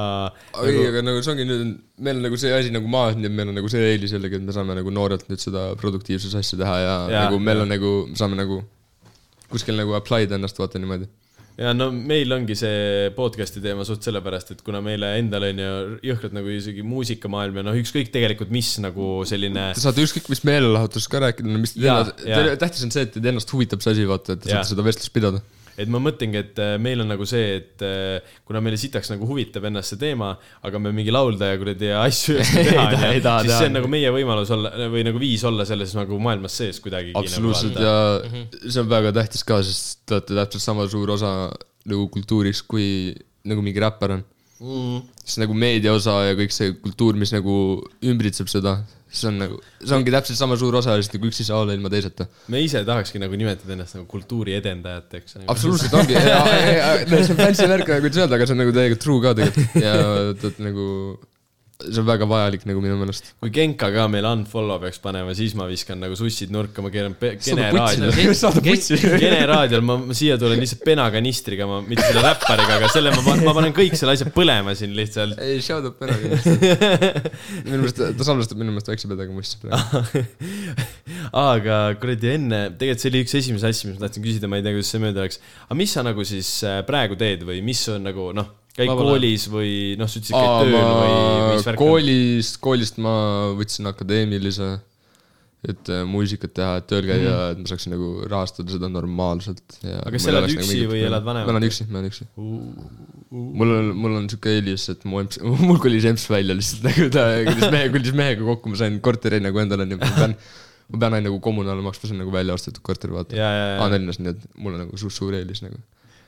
ei , aga nagu see ongi nüüd , meil on nagu see asi nagu maas , nii et meil on nagu see eelis jällegi , et me saame nagu noorelt nüüd seda produktiivsuse asja teha ja,
Jaa,
ja nagu meil ja.
jaa.
on nagu , saame nagu kuskil nagu apply da ennast , vaata niimoodi .
ja no meil ongi see podcast'i teema suht sellepärast , et kuna meile endale on ju jõhkralt nagu isegi muusikamaailm ja noh , ükskõik tegelikult mis nagu selline
Te saate ükskõik mis meelelahutusest ka rääkida , no mis teid
Jaa,
ennast
jaa. ,
tähtis on see , et teid ennast huvitab see asi , vaata , et te
Jaa.
saate seda vestlust pidada .
et ma mõtlengi , et äh, meil on nagu see , et äh, kuna meile sitaks nagu huvitab ennast see teema , aga me mingi laulda ja kuradi ja asju ei oska
Ei
teha ,
taha- ei
siis
taha
see
teha.
on nagu meie võimalus olla või nagu viis olla selles nagu maailmas sees nagu kuidagi .
absoluutselt ja see on väga tähtis ka , sest te olete täpselt sama suur osa nagu kultuurist , kui nagu mingi räppar on siis nagu meedia osa ja kõik see kultuur , mis nagu ümbritseb seda , see on nagu , see ongi täpselt sama suur osa , lihtsalt nagu üks ei saa olla ilma teiseta .
me ise tahakski nagu nimetada ennast nagu kultuuri edendajateks . nagu.
absoluutselt ongi , see on fancy värk nagu üldse öelda , aga see on nagu täiega true ka tegelikult ja tead nagu , see on väga vajalik nagu minu meelest .
kui Genka ka meil unfollow peaks panema , siis ma viskan nagu sussid nurka , ma keeran pe- kene
putsi
raadio .
saada putsi .
Kene raadiol ma ma siia tulen lihtsalt penakanistriga , ma mitte selle räppariga , aga selle ma, pa- ma panen kõik selle asja põlema siin lihtsalt .
ei , shout out ära kindlasti . minu meelest , ta salvestab minu meelest väikse pedaga musti praegu .
Aa, aga kuradi enne , tegelikult see oli üks esimesi asju , mis ma tahtsin küsida , ma ei tea , kuidas see mööda läks . aga mis sa nagu siis äh, praegu teed või mis on nagu noh , käid
Vabal ajal.
Vabal koolis või noh , sa ütlesid ,
Aa,
käid tööl või mis
ma
värk on ?
koolist , koolist ma võtsin akadeemilise , et äh, muusikat teha , et tööl käia mm. , et ma saaksin nagu rahastada seda normaalselt .
Mhm. Aga kas sa elad üksi või elad
nagu
vanemaga?
ma elan üksi , ma elan üksi . mul on , mul on siuke eelis , et mu emps , mul kolis emps välja lihtsalt nagu ta kolis mehe , kolis mehega kokku , ma sain korteri nagu endale , nii et ma pean , ma pean ainult nagu kommunaale maksma , see on nagu välja ostetud korter , vaata .
Jaa, jaa, jaa.
aa , Tallinnas , nii et mul on nagu suur , suur eelis nagu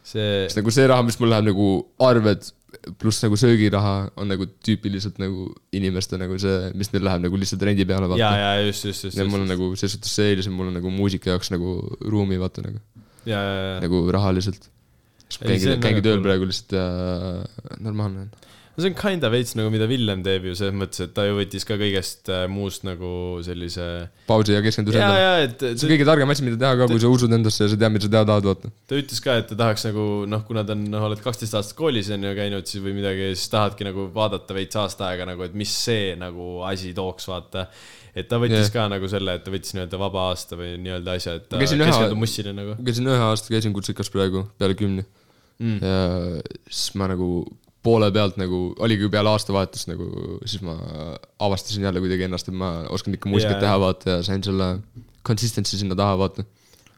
see ,
sest nagu see raha , mis mul läheb nagu arved pluss nagu söögiraha on nagu tüüpiliselt nagu inimeste nagu see , mis neil läheb nagu lihtsalt rendi peale
ja ,
vaata .
ja just , just , just ,
ja mul on nagu selles suhtes see eelis , et mul on nagu muusika jaoks nagu ruumi vaata nagu ,
ja , ja , ja .
nagu rahaliselt .
Ei, see
käingi
on , väga
käingi tööl
cool.
praegu lihtsalt ja normaalne on .
no see on kinda veits nagu , mida Villem teeb ju selles mõttes , et ta ju võttis ka kõigest äh, muust nagu sellise .
pausi ja keskendu
ja ,
sellele .
ja , et et
see on kõige targem asi , mida teha ka , kui sa usud endasse ja sa tead , mida sa teha tahad , vaata .
ta ütles ka , et ta tahaks nagu noh , kuna ta on , noh , oled kaksteist aastat koolis on ju käinud siis või midagi , siis tahadki nagu vaadata veits aasta aega nagu , et mis see nagu asi tooks , vaata . et ta võttis
Jah.
yeah. ka nagu selle , et ta võttis nii-öelda vaba aasta või nii-öelda asja , et ta
Ma käisin ühe-
keskendub mussile nagu .
ma käisin ühe aasta , käisin kutsikas praegu peale kümne mm. . ja siis ma nagu poole pealt nagu , oligi ju peale aastavahetust nagu , siis ma avastasin jälle kuidagi ennast , et ma oskan ikka muusikat
Jaa.
yeah. teha , vaata , ja sain selle consistency sinna taha , vaata .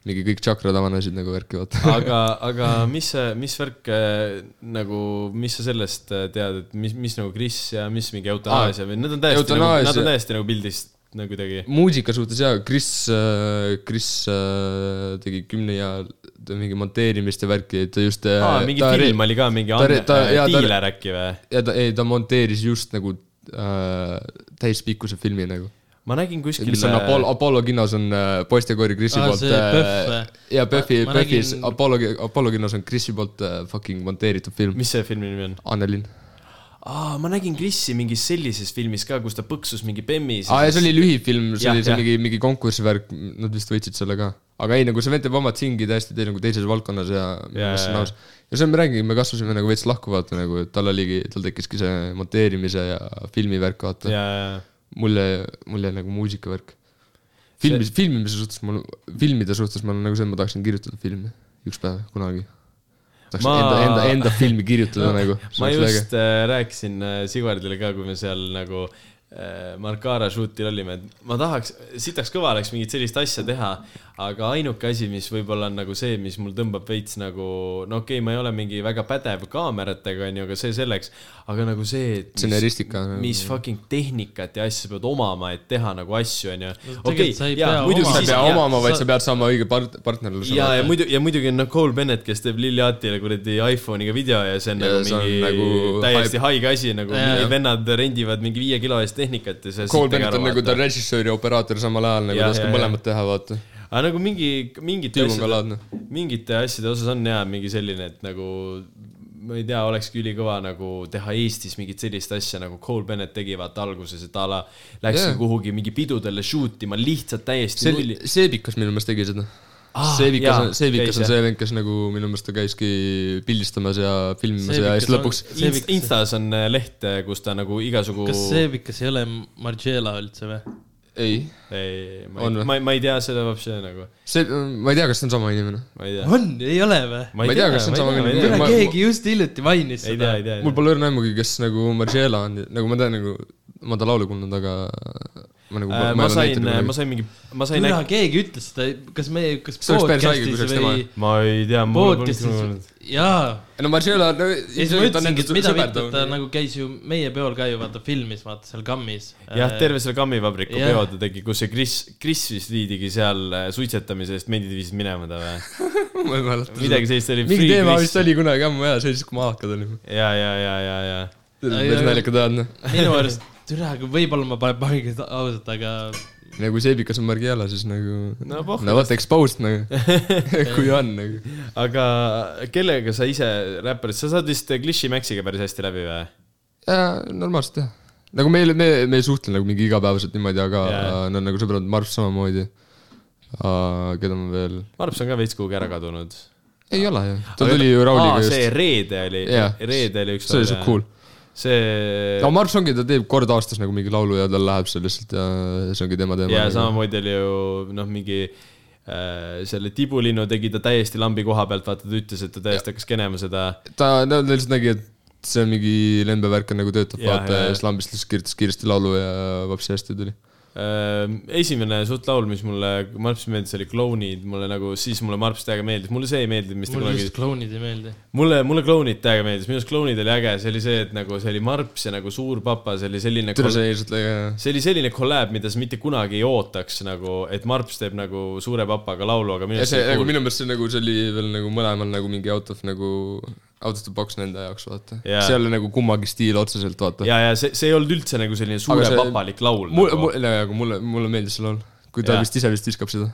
mingi kõik tšakrad avanesid nagu värki , vaata .
aga , aga mis see , mis värk äh, nagu , mis sa sellest äh, tead , et mis , mis nagu Kris ja mis mingi eutanaasia või need on täiesti nagu ,
Eutanaasia.
nad on täiesti nagu pildist nagu kuidagi .
muusika suhtes jaa , Kris , Kris äh, tegi kümne ja ta mingi monteerimist ja värki , et Äh, ta just
aa , mingi film oli ka , mingi Anne-
ta-
äh,
jaa, ta-
Tiiler äkki või ?
ja ta , ei , ta monteeris just nagu äh, täispikkuse filmi nagu .
ma nägin kuskil . äh,
mis on Apollo , Apollo kinos on äh, poistekoori Krisi
Aa,
Ah,
poolt
see Pöhv või?
äh, . ja Pöhvi ,
Ma- ma
Pöhvis
nägin-
Apollo , Apollo kinos on Krisi poolt äh, fucking monteeritud film .
mis see filmi nimi on ?
Annelinn .
aa , ma nägin Krissi mingis sellises filmis ka , kus ta põksus mingi bemmi .
aa , Ah, ja see oli lühifilm , see
Jah,
oli see
jah.
mingi , mingi konkursi värk , nad vist võitsid selle ka . aga ei , nagu see vend teeb oma tsingi täiesti tei- nagu teises valdkonnas ja
Jaa,
mis
jaa,
on aus . ja see me räägime , me kasvasime nagu veits lahku , vaata nagu , et tal oligi , tal tekkiski see monteerimise ja filmi värk , vaata .
ja , ja ,
mulle , mulle nagu muusikavärk . filmis , filmimise suhtes mul , filmide suhtes ma olen nagu see , et ma tahaksin kirjutada filmi üks päev kunagi . tahaks ma...
Ma-
enda , enda , enda filmi kirjutada nagu .
ma just äh, rääkisin äh, Sigvardile ka , kui me seal nagu äh, Markara shoot'il olime , et ma tahaks , sitaks kõva oleks mingit sellist asja teha , aga ainuke asi , mis võib-olla on nagu see , mis mul tõmbab veits nagu , no okei okay, , ma ei ole mingi väga pädev kaameratega , onju , aga see selleks , aga nagu see , et mis,
stsenaristika .
mis fucking tehnikat ja asju sa pead omama , et teha nagu asju , onju .
tegelikult sa ei pea
muidugi sa ei pea
Jaa,
omama , vaid
sa-
sa pead saama õige part- , partnerluse .
ja , ja muidu , ja muidugi on noh , Cole Bennett , kes teeb Lili Atile kuradi iPhone'iga video ja see on
Ja
nagu
see on
mingi
nagu
nagu täiesti
hype.
haige asi , nagu
Jaa.
yeah. vennad rendivad mingi viie kilo eest tehnikat ja see
Cole Bennett on nagu ta . režissöör ja operaator samal ajal , nagu
Jah,
ta oskab
jah, jah.
mõlemat teha , vaata .
aga nagu mingi , mingite
tüüp on ka laadne .
mingite asjade osas on jaa mingi selline , et nagu ma ei tea , olekski ülikõva nagu teha Eestis mingit sellist asja nagu Cole Bennett tegi vaata alguses , et a la läks
Jaa.
yeah. kuhugi mingi pidudele shoot ima lihtsalt täiesti
see
nulli ,.
Seebikas minu meelest tegi seda
Ah,
ah, . Seebikas on
jaa, ,
Seebikas
käis,
on
jah.
see vend , kes nagu minu meelest ta käiski pildistamas ja filmimas ja
Seebikas
siis
on-
lõpuks
Seebikas-
Instas on äh, leht , kus ta nagu igasugu
kas seebikas ei ole Margiela üldse või ?
ei ,
ei , ma
On
ei ,
või?
ma, ma ei tea seda vapše nagu ,
see , ma ei tea , kas see on sama inimene .
ma ei tea .
on , ei ole või ?
ma ei tea, kas see on sama
ei
nimi.
tea ,
kuna
ma-
keegi just hiljuti mainis
ei tea ,
seda
ei . tea .
mul pole õrna aimugi , kes nagu Margiela on , nagu ma tean nagu , ma ta laulu kuulnud , aga ma nagu
Äh, ma sain , ma sain mingi , ma sain
kuna
äkki ,
keegi ütles seda , kas me , kas
See oleks päris haige, kui see
podcast'is
oleks
või
tema.
ma ei tea , mul pole
podcast'is
kunagi olnud. ,
jaa .
no Margiela no,
ja siis ma ütlesingi , et mida vittu , ta nagu käis ju meie peol ka ju vaata filmis , vaata seal Äh, GAM-is .
Äh,
jah , terve selle kammivabriku
jah.
peo ta tegi , kus see Kris , Kris vist viidigi seal äh, suitsetamise eest , mendid viisid minema ta või ?
ma ei mäleta .
midagi sellist oli .
mingi teema vist . oli kunagi ammu jaa , see oli siis , kui ma alakad olin .
ja , ja , ja , ja , ja .
Ai,
päris
aga-
naljakad ajad , noh .
minu arust , türa , võib-olla ma panen pangi ausalt , aga
nagu Seebikas on Margiela , siis nagu
No pohh.
no vaata exposed nagu , kui on nagu .
aga kellega sa ise räpparid , sa saad vist Kliši Maxiga päris hästi läbi või ?
jaa , normaalselt jah . nagu meil , me , me ei suhtle nagu mingi igapäevaselt niimoodi , aga
Jaa.
yeah. no nagu sõbrad , Marv samamoodi . keda ma veel ,
Marps on ka veits kuhugi ära kadunud .
ei ole ju , ta tuli ju Rauliga
just . see
just .
reede oli
Jah. ,
reede oli üks
see oli siuke cool .
see
aga Marv ongi , ta teeb kord aastas nagu mingi laulu ja tal läheb see lihtsalt ja see ongi tema teema .
ja . samamoodi oli ju noh , mingi äh, selle tibulinnu tegi ta täiesti lambi koha pealt , vaata ta ütles , et ta täiesti hakkas kenema seda .
ta , no ta lihtsalt nägi , et see on mingi lembevärk on nagu töötab ,
Jaa,
vaata
jaa,
ja
jaa.
siis lambist lihtsalt kirjutas kiiresti laulu ja vapsi hästi tuli .
Äh, esimene suht laul , mis mulle Marpsi meeldis , oli Klounid , mulle nagu , siis mulle Marps täiega meeldis , mulle see ei meeldinud , mis ta
mulle
kunagi
just klounid ei meeldi .
mulle , mulle Klounid täiega meeldis , minu arust Klounid oli äge , see oli see , et nagu see oli Marps ja nagu Suur Papa , see oli selline
tule see ilmselt , jaa .
see oli selline kolläb , mida sa mitte kunagi ei ootaks nagu , et Marps teeb nagu Suure Papaga laulu , aga minu
ja
arust
see
see
nagu
oli cool .
minu meelest see nagu , see oli veel nagu mõlemal nagu mingi out of nagu , out of the box nende jaoks , vaata
Jaa.
yeah. . see ei ole nagu kummagi stiil otseselt , vaata .
ja , ja see , see ei olnud üldse nagu selline Suure
see-
Papalik laul . nagu.
mulle , mulle , aga mulle , mulle meeldis see laul . kui ta
Jaa.
yeah. vist ise vist viskab seda .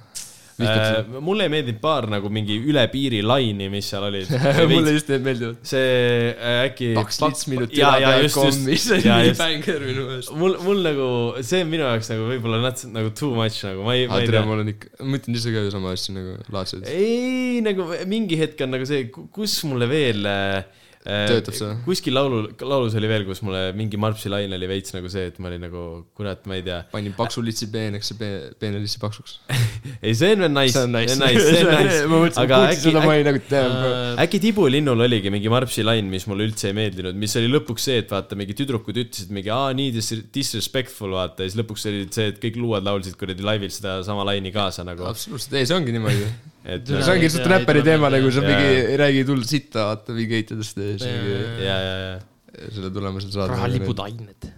äh, . mulle ei meeldinud paar nagu mingi üle piiri laini , mis seal olid .
mulle just need meeldivad .
see äh, äkki .
kaks lits minutit
ja , ja just , just .
see
ja
on nii
just ,
bängar minu meelest .
mul , mul nagu , see on minu jaoks nagu võib-olla natuke nagu too much nagu , ma ei , ma
aga
ei
tere
tea ,.
ma olen ikka , ma mõtlen ise ka ju sama asja nagu laadselt .
ei , nagu mingi hetk on nagu see , kus mulle veel äh,
Töötab see?
kuskil laulu , laulus oli veel , kus mulle mingi Marpsi laine oli veits nagu see , et ma olin nagu , kurat , ma ei tea .
panin paksu litsi peeneks ja peen- peene litsi paksuks .
ei , see on veel nice .
see on nice .
nice , see on nice .
ma mõtlesin , et
aga
kuulsin
äkki
seda ,, ma ei nagu tea .
Äh,
äkki tibulinnul oligi mingi Marpsi lain , mis mulle üldse ei meeldinud , mis oli lõpuks see , et vaata , mingi tüdrukud ütlesid mingi aa , nii dis- disrespectful , vaata , ja siis lõpuks oli see , et kõik luuad laulsid kuradi laivil sedasama laini kaasa nagu ,
absoluutselt , ei see ongi niimoodi .
et
Jaa,
see ongi
ei tea,
lihtsalt
ei
räppari
tule
teema
meelde,
nagu sa
jaa.
mingi , ei räägi hullult sitta , vaata mingi eitadest ja siis
Jaa, jaa,
mingi
ja , ja , ja
selle tulemusel saad .
rahalipud . ained .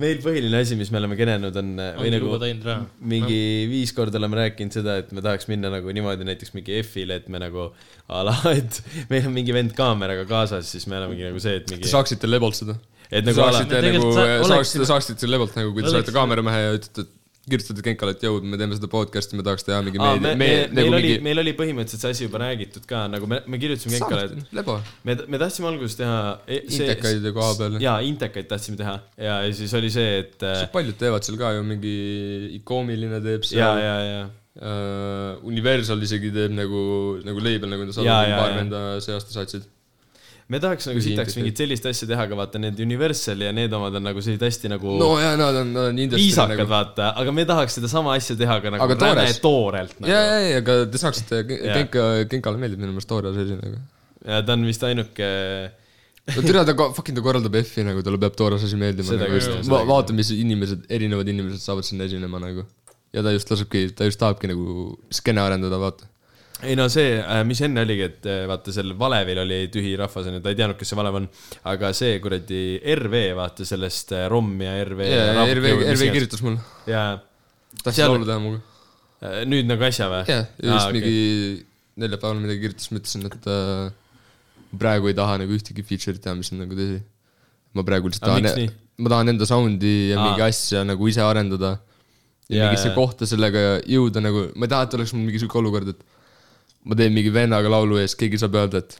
meil põhiline asi , mis me oleme kenenud , on või
ongi
nagu
lubad ainult raha .
mingi viis korda oleme rääkinud seda , et me tahaks minna nagu niimoodi näiteks mingi F-ile , et me nagu a la , et meil on mingi vend kaameraga kaasas , siis me olemegi nagu see , et mingi ,
saaksite lebolt seda .
et nagu a la
saaksite
Me
nagu
tegelikult , sa-
saaksite ,
oleksime-
saaksite selle lebolt nagu , kui te saate
Oleksime-
kaameramehe ja ütlete , kirjutate Kenkale , et jõu , me teeme seda podcast'i , me tahaks teha mingi
Aa,
meedia ,
me, me,
me- ,
meil
nagu
oli
mingi
mingi... ,. meil oli põhimõtteliselt see asi juba räägitud ka , nagu me , me kirjutasime Kenkale , et
lebo .
me , me tahtsime alguses teha e- see-
Intekaid ja koha peal.
jaa , intekaid tahtsime teha ja , ja siis oli see , et äh,
paljud teevad seal ka ju , mingi ikoomiline teeb
ja ,
seal .
ja , ja ,
Uh, Universal isegi teeb nagu , nagu label , nagu nad saavad
Jaa,
mingi
jaa,
paar
jaa.
venda see aasta saatsid .
me tahaks nagu
Ühi-
sitaks mingit sellist asja teha , aga vaata need Universal ja need omad on nagu sellised hästi nagu
no ja nad on , nad on industry
viisakad
nagu.
nagu... vaata , aga me tahaks sedasama asja teha ka nagu
Aga
räme
toores.
toorelt
ja ,
nagu. .
ja , ja , aga te saaksite ,
Jaa.
Genka , Genkale meeldib minu meelest Tore asi nagu .
ja ta on vist ainuke ,
no türa , ta ko- fucking ta korraldab F-i nagu , talle peab Tore asi meeldima
Seda
nagu,
küll,
just-
seda
va .
küll.
vaata , mis inimesed , erinevad inimesed saavad sinna esinema nagu . ja ta just lasebki , ta just tahabki nagu skeene arendada , vaata .
ei no see , mis enne oligi , et äh, vaata seal Valevil oli tühi rahvas onju , ta ei teadnud , kes see Valev on , aga see kuradi RV vaata sellest äh, ROM ja RV .
ja , ja RV , RV . kirjutas mulle .
ja
tahtsin
Seal-
laulu teha muga .
äh, nüüd nagu äsja või ?
jah , ja just mingi neljapäeval midagi kirjutas , ma ütlesin , et äh, praegu ei taha nagu ühtegi feature'it teha , mis on nagu tõsi . ma praegu lihtsalt
Aga miks
tahan e-
nii? ,
ma tahan enda sound'i ja
Aa.
Aa. mingi asja nagu ise arendada . ja
Jaa,
mingisse
jaa.
kohta sellega jõuda nagu , ma ei taha , et oleks mul mingi sihuke olukord , et ma teen mingi vennaga laulu ja siis keegi saab öelda , et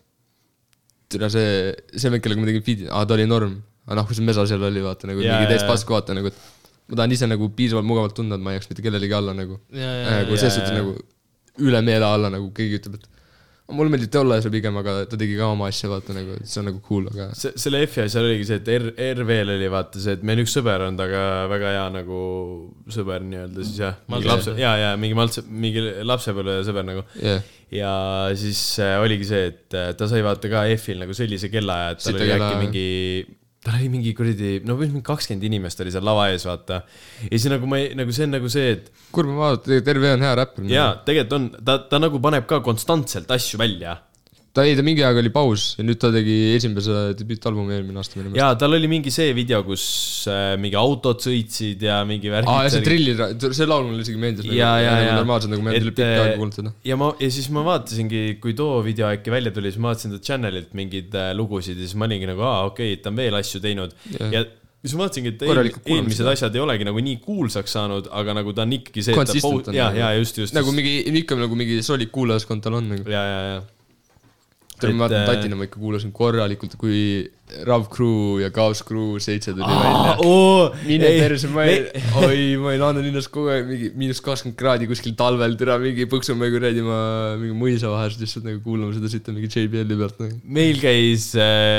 türa see , see vend , kellega ma tegin feat'i , aa ta oli norm . aga noh , kui see mesa seal oli , vaata nagu
Jaa,
mingi
jaa,
täis
jaa.
pasku , vaata nagu , et ma tahan ise nagu piisavalt mugavalt tunda , et ma ei jääks mitte kellelegi alla nagu
ja , ja ,
Äh,
ja ,
kui selles
jaa,
suhtes
jaa.
nagu üle meele alla nagu keegi ütleb , et mulle meeldib Teola see pigem , aga ta tegi ka oma asja , vaata nagu , et see on nagu cool , aga
Se- selle F-i asjal oligi see , et R- , RV-l oli vaata see , et meil üks sõber on taga väga hea nagu sõber nii-öelda siis jah .
Maltse-
lapse , ja , ja mingi maltse , mingi lapsepõlvesõber nagu .
jah ,
ja siis äh, oligi see , et äh, ta sai vaata ka F-il nagu sellise kellaaja , et tal
Sita
oli
kellaaja,
äkki
jah.
mingi , tal oli mingi kuradi , no umbes mingi kakskümmend inimest oli seal lava ees , vaata . ja siis nagu ma ei , nagu see on nagu see , et
kurb on vaadata , tegelikult RV on hea räppar . nagu.
jaa , tegelikult on , ta , ta nagu paneb ka konstantselt asju välja
ta ei , ta mingi aeg oli paus ja nüüd ta tegi esimese debüütalbumi eelmine aasta minu meelest .
jaa , tal oli mingi see video , kus äh, mingi autod sõitsid ja mingi värk .
aa , ja Ah, see trilli , see laul mulle isegi meeldis .
ja , ja , ja .
normaalselt nagu meeldib pikka aega kuulnud seda ..
äh, ja ma , ja siis ma vaatasingi , kui too video äkki välja tuli , siis ma vaatasin ta channel'ilt mingeid äh, lugusid ja siis ma olingi nagu , aa , okei okay, , ta on veel asju teinud
Jah.
yeah. ja siis ma vaatasingi , et eel,
Korralikult kuulamist,
eelmised asjad ei olegi nagu nii kuulsaks saanud , aga nagu ta on ikkagi see , et ta
Consistent on
ja ,
nagu.
ja just , just .
nagu mingi , ikka nagu mingi solid kuulajaskond tal on nagu .
ja , ja , ja .
tead , ma vaatan
Et, äh,
Tatina , ma ikka kuulasin korralikult , kui Rav Crew ja Kaos Crew seitse tuli välja . mine perse , ma ei , oi , ma olin Annelinnas kogu aeg mingi miinus kakskümmend kraadi kuskil talvel , türa mingi Põksumäe kuradi ma mingi mõisa vahel lihtsalt nagu kuulama seda sitta mingi JBL-i pealt nagu .
meil käis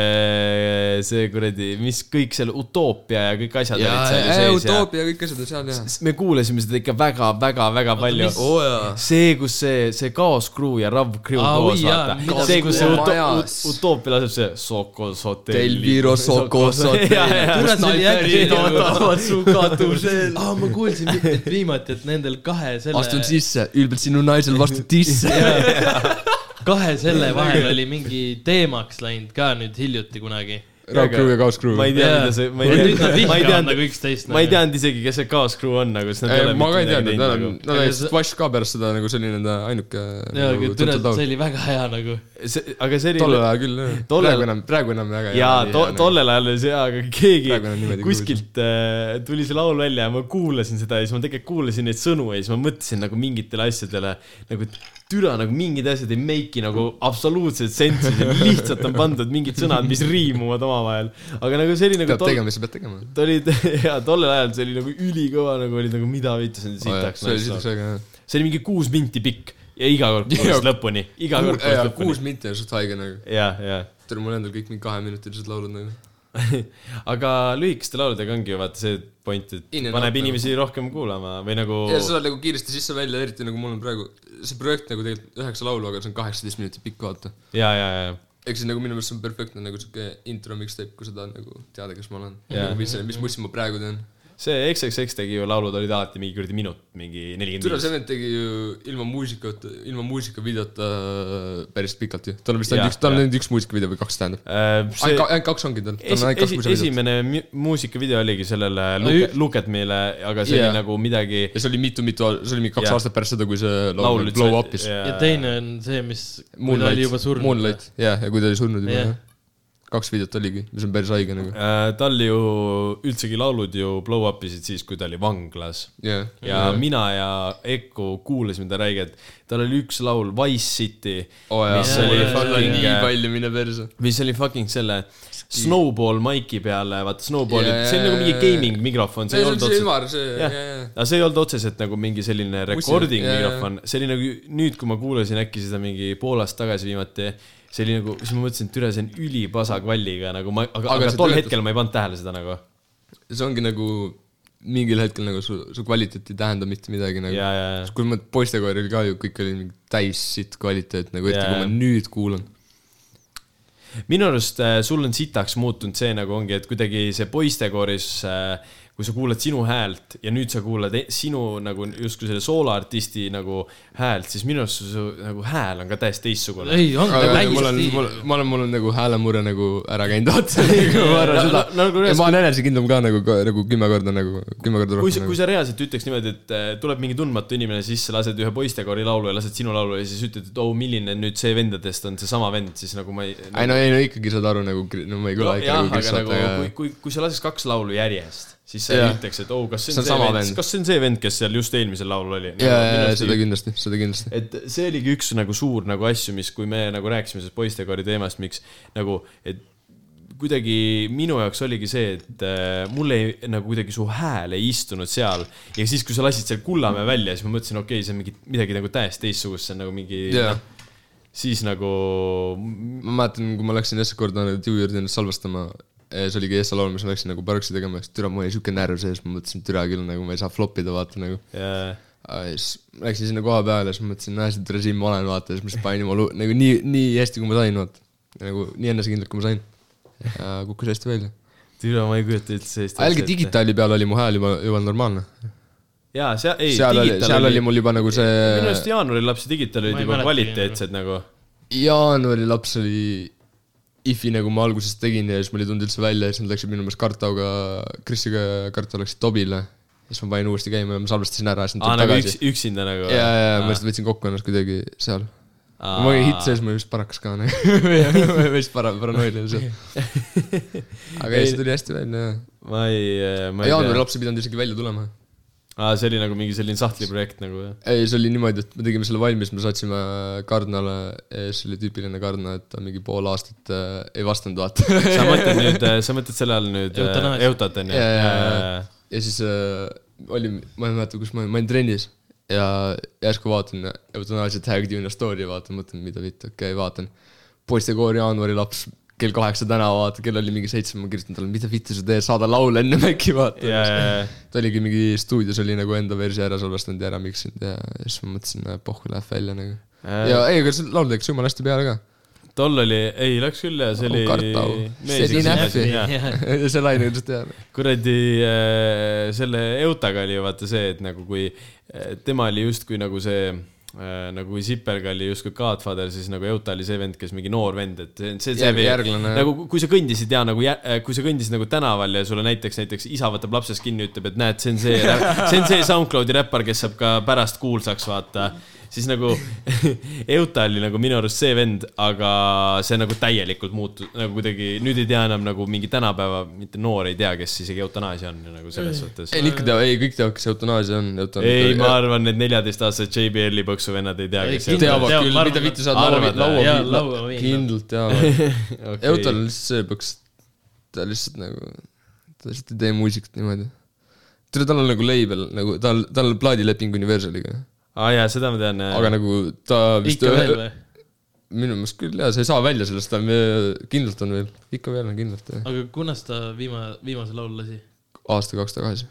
äh, see kuradi , mis kõik seal Utoopia ja kõik asjad
ja ,
olid seal
ja , ja
ju sees ja
Utoopia ja kõik asjad on seal ja .
S- me kuulasime seda ikka väga-väga-väga palju
mis- .
oo jaa .
see , kus see , see Kaos Crew ja Rav Crew
Aa,
koos
oi jaa,
vaata
mida .
see ,
see
kus see
kohe
uto-
majas.
ut- utoopia laseb see Sokos hotell .
Delviro Sokos hotell .
Kurat, see oli äkki-
su katuse .
aa , ma kuulsin mitmeid viimati , et nendel kahe
astun
selle ,
sisse , ülbelt sinu naisel vastu tisse .
kahe selle vahel oli mingi teemaks läinud ka nüüd hiljuti kunagi .
Rav Crew ja Kaos Crew .
ma ei tea , mida see , ma
Ja
ei
nüüd nad
tea , ma ei
vihkavad nagu
teadnud ,
üksteist .
ma ei teadnud isegi , kes see Kaos Crew on , aga siis nad ei ole
ma ka ei
mitte
teadnud ,
midagi
nad on
teinud nagu .,
nad
Aga
olid
see-
Splash ka pärast seda nagu selline nende ainuke .
jaa , aga tule , see oli väga hea nagu .
see , aga
tol
selline
ajal küll ,
tollel-
praegu enam , praegu enam väga
jaa , to- , tollel ajal oli see , aga
nagu- Praegu on
keegi
niimoodi
kuskilt äh, tuli see laul välja ja ma kuulasin seda ja siis ma tegelikult kuulasin neid sõnu ja siis ma mõtlesin nagu mingitele asjadele nagu et türa nagu mingid asjad ei make'i nagu absoluutselt sensi , lihtsalt on pandud mingid sõnad , mis riimuvad omavahel . aga nagu see oli nagu
peab tegema , mis sa pead tegema .
ta oli ja tollel ajal see oli nagu ülikõva nagu oli nagu mida vittu see on sitaks
see oli sitaks
naissoo .
väga hea .
see oli mingi kuus minti pikk ja iga kord
Jaa.
kuulas lõpuni , iga kord kuulas lõpuni .
kuus minti on suht haige nagu .
ja , ja
tere , mul endal kõik mingi kaheminutilised laulud nagu .
aga lühikeste lauludega ongi ju vaata see point , et
In and out
paneb
nagu.
inimesi rohkem kuulama või nagu
ja sa saad nagu kiiresti sisse-välja , eriti nagu mul on praegu , see projekt nagu tegelikult üheksa laulu , aga see on kaheksateist minutit pikk , vaata .
ja , ja , ja ,
ehk siis nagu minu meelest see on perfektne nagu siuke intro mixtape , kui sa tahad nagu teada , kes ma olen .
Jaa.
mis , mis mussi ma praegu teen .
see XXX tegi ju laulud olid alati mingi kuradi minut , mingi
Türa
nelikümmend viis .
Seven tegi ju ilma muusikata , ilma muusikavideota äh, päris pikalt ju . tal on vist
Jaa,
ainult üks , tal on
jaa.
ainult üks muusikavideo või kaks tähendab .
Äh, see
ainult ka- ainult kaks ongi tal , tal on
esi-
ainult kaks
esi-
muusikavideot .
esimene mu- muusikavideo oligi sellele
No
Look
ü-
at- Look at me'le , aga see
Jaa.
oli nagu midagi
ja see oli mitu-mitu , see oli mingi kaks
Jah.
aastat pärast seda , kui see laul
laul
nüüd blow up'is .
ja teine on see , mis , kui ta oli juba surnud .
Moonlight , jah , ja kui ta oli surnud juba
Jah.
yeah. , kaks videot oligi , mis on päris haige nagu .
Äh, tal ju üldsegi laulud ju blow up isid siis , kui ta oli vanglas
jah ,
ja mina ja Eko kuulasime ta räiget , tal oli üks laul Wise City ,
oo Oh, jaa
mis ,
oli
oli
fucking-
nii palju mine perse .
mis oli fucking selle Snowball maiki peale , vaata Snowball
Jaa,
yeah, , see on nagu mingi
jaa, jaa.
gaming mikrofon , see
see
ei
on
olnud
see
otseselt ,
ümar , see ,
jah
jah , jah .
aga see ei olnud otseselt nagu mingi selline recording
jaa, jaa.
mikrofon , see oli nagu nüüd , kui ma kuulasin äkki seda mingi pool aastat tagasi viimati , see oli nagu , siis ma mõtlesin , et üle see on ülipasa kvalliga nagu ma , aga,
Aga
aga,
see
aga tol
töötas.
hetkel ma ei pannud tähele seda nagu
see ongi nagu mingil hetkel nagu su , su kvaliteet ei tähenda mitte midagi nagu
Jaa, jaa, jaa.
Sest kui ma poistekoeril ka ju kõik oli mingi täis sitt kvaliteet nagu , eriti
Jaa,
kui ma
jaa.
nüüd kuulan .
minu arust äh, sul on sitaks muutunud see nagu ongi , et kuidagi see poistekooris , kui sa kuulad sinu häält ja nüüd sa kuulad e- sinu nagu justkui selle soolaartisti nagu häält , siis minu arust su, su nagu hääl on ka täiesti teistsugune . Nagu
ei , on
aga mul on ,
täiesti
mul , ma olen , mul on nagu häälemure nagu ära käinud otsa nagu ma arvan
No-
seda
no- no nagu .
ja
ühes-
ma olen enesekindlam ka nagu , nagu kümme korda nagu , kümme korda
kui
rohkem
sa ,
nagu
kui . sa reaalselt ütleks niimoodi , et äh, tuleb mingi tundmatu inimene sisse , lased ühe poistekoori laulu ja lased sinu laulu ja siis ütled , et oo , milline nüüd see vendadest on seesama vend , siis nagu ma ei .
ei no , ei no ikkagi saad aru nagu , no ma ei kõla ikka
jah ,
nagu
aga
kristalt ,
nagu
aga
kui , kui , kui sa laseks kaks laulu järjest , siis sa ei
Jah.
ütleks , et oo , kas see
See
on
on
see
sama
vend
vend. ,
kas see on see vend , kes seal just eelmisel laulul oli ?
jaa , jaa , jaa , seda kindlasti , seda kindlasti .
et see oligi üks nagu suur nagu asju , mis , kui me nagu rääkisime sellest poistekoori teemast , miks nagu , et kuidagi minu jaoks oligi see , et äh, mulle ei, nagu kuidagi su hääl ei istunud seal ja siis , kui sa lasid seal Kullamäe välja , siis ma mõtlesin , okei okay, , see on mingi midagi nagu täiesti teistsugust , see on nagu mingi
Jaa.
noh, siis nagu
ma mäletan , kui ma läksin esimest korda Tiu juurde ennast salvestama , see oligi Essa laul , mis ma läksin nagu barksi tegema , siis türa , mul oli siuke närv sees , ma mõtlesin , türa küll nagu ma ei saa flop ida , vaata nagu .
äh,
siis ma läksin sinna koha peale , siis ma mõtlesin , näe , see türa siin ma olen , vaata , siis ma lihtsalt panin oma lu- , nagu nii , nii hästi , kui ma sain , vaata . nagu nii enesekindlalt , kui ma sain . kukkus hästi välja .
türa , ma ei kujuta üldse Eesti
aga jällegi . digitaali peal oli mu hääl juba , juba normaalne .
jaa , seal , ei ,
seal oli , seal oli mul juba nagu
minu
see
arust jaanuarilapse digitaal
Ma ei
olid juba
mäletagi
kvaliteetsed nagu
jaanuari laps oli IFi nagu ma alguses tegin ja siis mul ei tulnud üldse välja ja siis nad läksid minu meelest Kartauga , Krisiga ja Karto läksid Tobile . ja siis ma panin uuesti käima ja ma salvestasin ära ja siis nad
aa ,
tulid
nagu
tagasi
üks ., üksinda nagu
ja , ja , ja ma lihtsalt võtsin kokku ennast kuidagi seal . mul oli hitt sees , ma olin vist parakas ka . nagu. ma olin vist para- , paranoiline seal . aga ei , see tuli hästi välja jah .
ma ei , ma ei
jaanuari
tea .
laps ei pidanud isegi välja tulema
aa , see oli nagu mingi selline sahtliprojekt nagu jah ?
ei , see oli niimoodi , et me tegime selle valmis , me saatsime Kardnale , see oli tüüpiline Kardna , et ta mingi pool aastat äh, ei vastanud , vaata .
sa mõtled nüüd , sa mõtled selle all nüüd äh,
Eutanaasia.
eutat onju ?
ja , ja , ja , ja siis äh, olin , ma ei mäleta , kus ma olin , ma olin trennis ja järsku vaatan eutanaasia tag'i in a story , vaatan , mõtlen , mida vitt , okei okay, , vaatan . poistekoor jaanuari laps , kell kaheksa täna , vaata , kell oli mingi seitse , ma kirjutan talle , mida vittu sa teed , saada laule enne äkki , vaata .
ja , ja ,
ta oligi mingi stuudios oli nagu enda versi ära salvestanud ja ära miksinud ja ja siis ma mõtlesin , et pohhu läheb välja nagu . ja
ja .
ei , aga see laul läks jumala hästi peale ka .
tol oli , ei läks küll ja see oli .
Kartau. Selline ähvi. see laine üldse teab .
kuradi äh, selle eutaga oli ju vaata see , et nagu kui äh, tema oli justkui nagu see äh, nagu kui Sipelga oli justkui Godfather , siis nagu Euta oli see vend , kes mingi noor vend , et see , see , see
Järg- järglane.
nagu kui sa kõndisid ja nagu , kui sa kõndisid nagu tänaval ja sulle näiteks , näiteks isa võtab lapsest kinni , ütleb , et näed , see on see , see on see SoundCloudi räppar , kes saab ka pärast kuulsaks , vaata . siis nagu Euta oli nagu minu arust see vend , aga see nagu täielikult muutus , nagu kuidagi nüüd ei tea enam nagu mingi tänapäeva , mitte noor ei tea , kes isegi eutanaasia on ju nagu selles suhtes .
ei , ikka teab , ei kõik teavad , kes eutanaasia on .
ei , ma arvan , need neljateistaastased JBL-i põksu vennad ei tea , kes
kindlalt
teavad
teavad,
küll
ma , arvan,
mida
nad
vittu saad
arvavad,
laua
jaa,
viin-
lauaviin.
kindlalt teavad .
Okei.
Eutal lihtsalt see peaks , ta lihtsalt nagu , ta lihtsalt ei tee muusikat niimoodi . tead , tal on nagu label nagu tal , tal on plaadileping Universaliga ,
aa jaa , seda ma tean .
aga nagu ta vist
ikka veel või ?
minu meelest küll jaa , sa ei saa välja sellest , ta on , kindlalt on veel , ikka veel on kindlalt jah ,
aga kunas ta viima- , viimase laulu lasi ?
aasta kaks tagasi .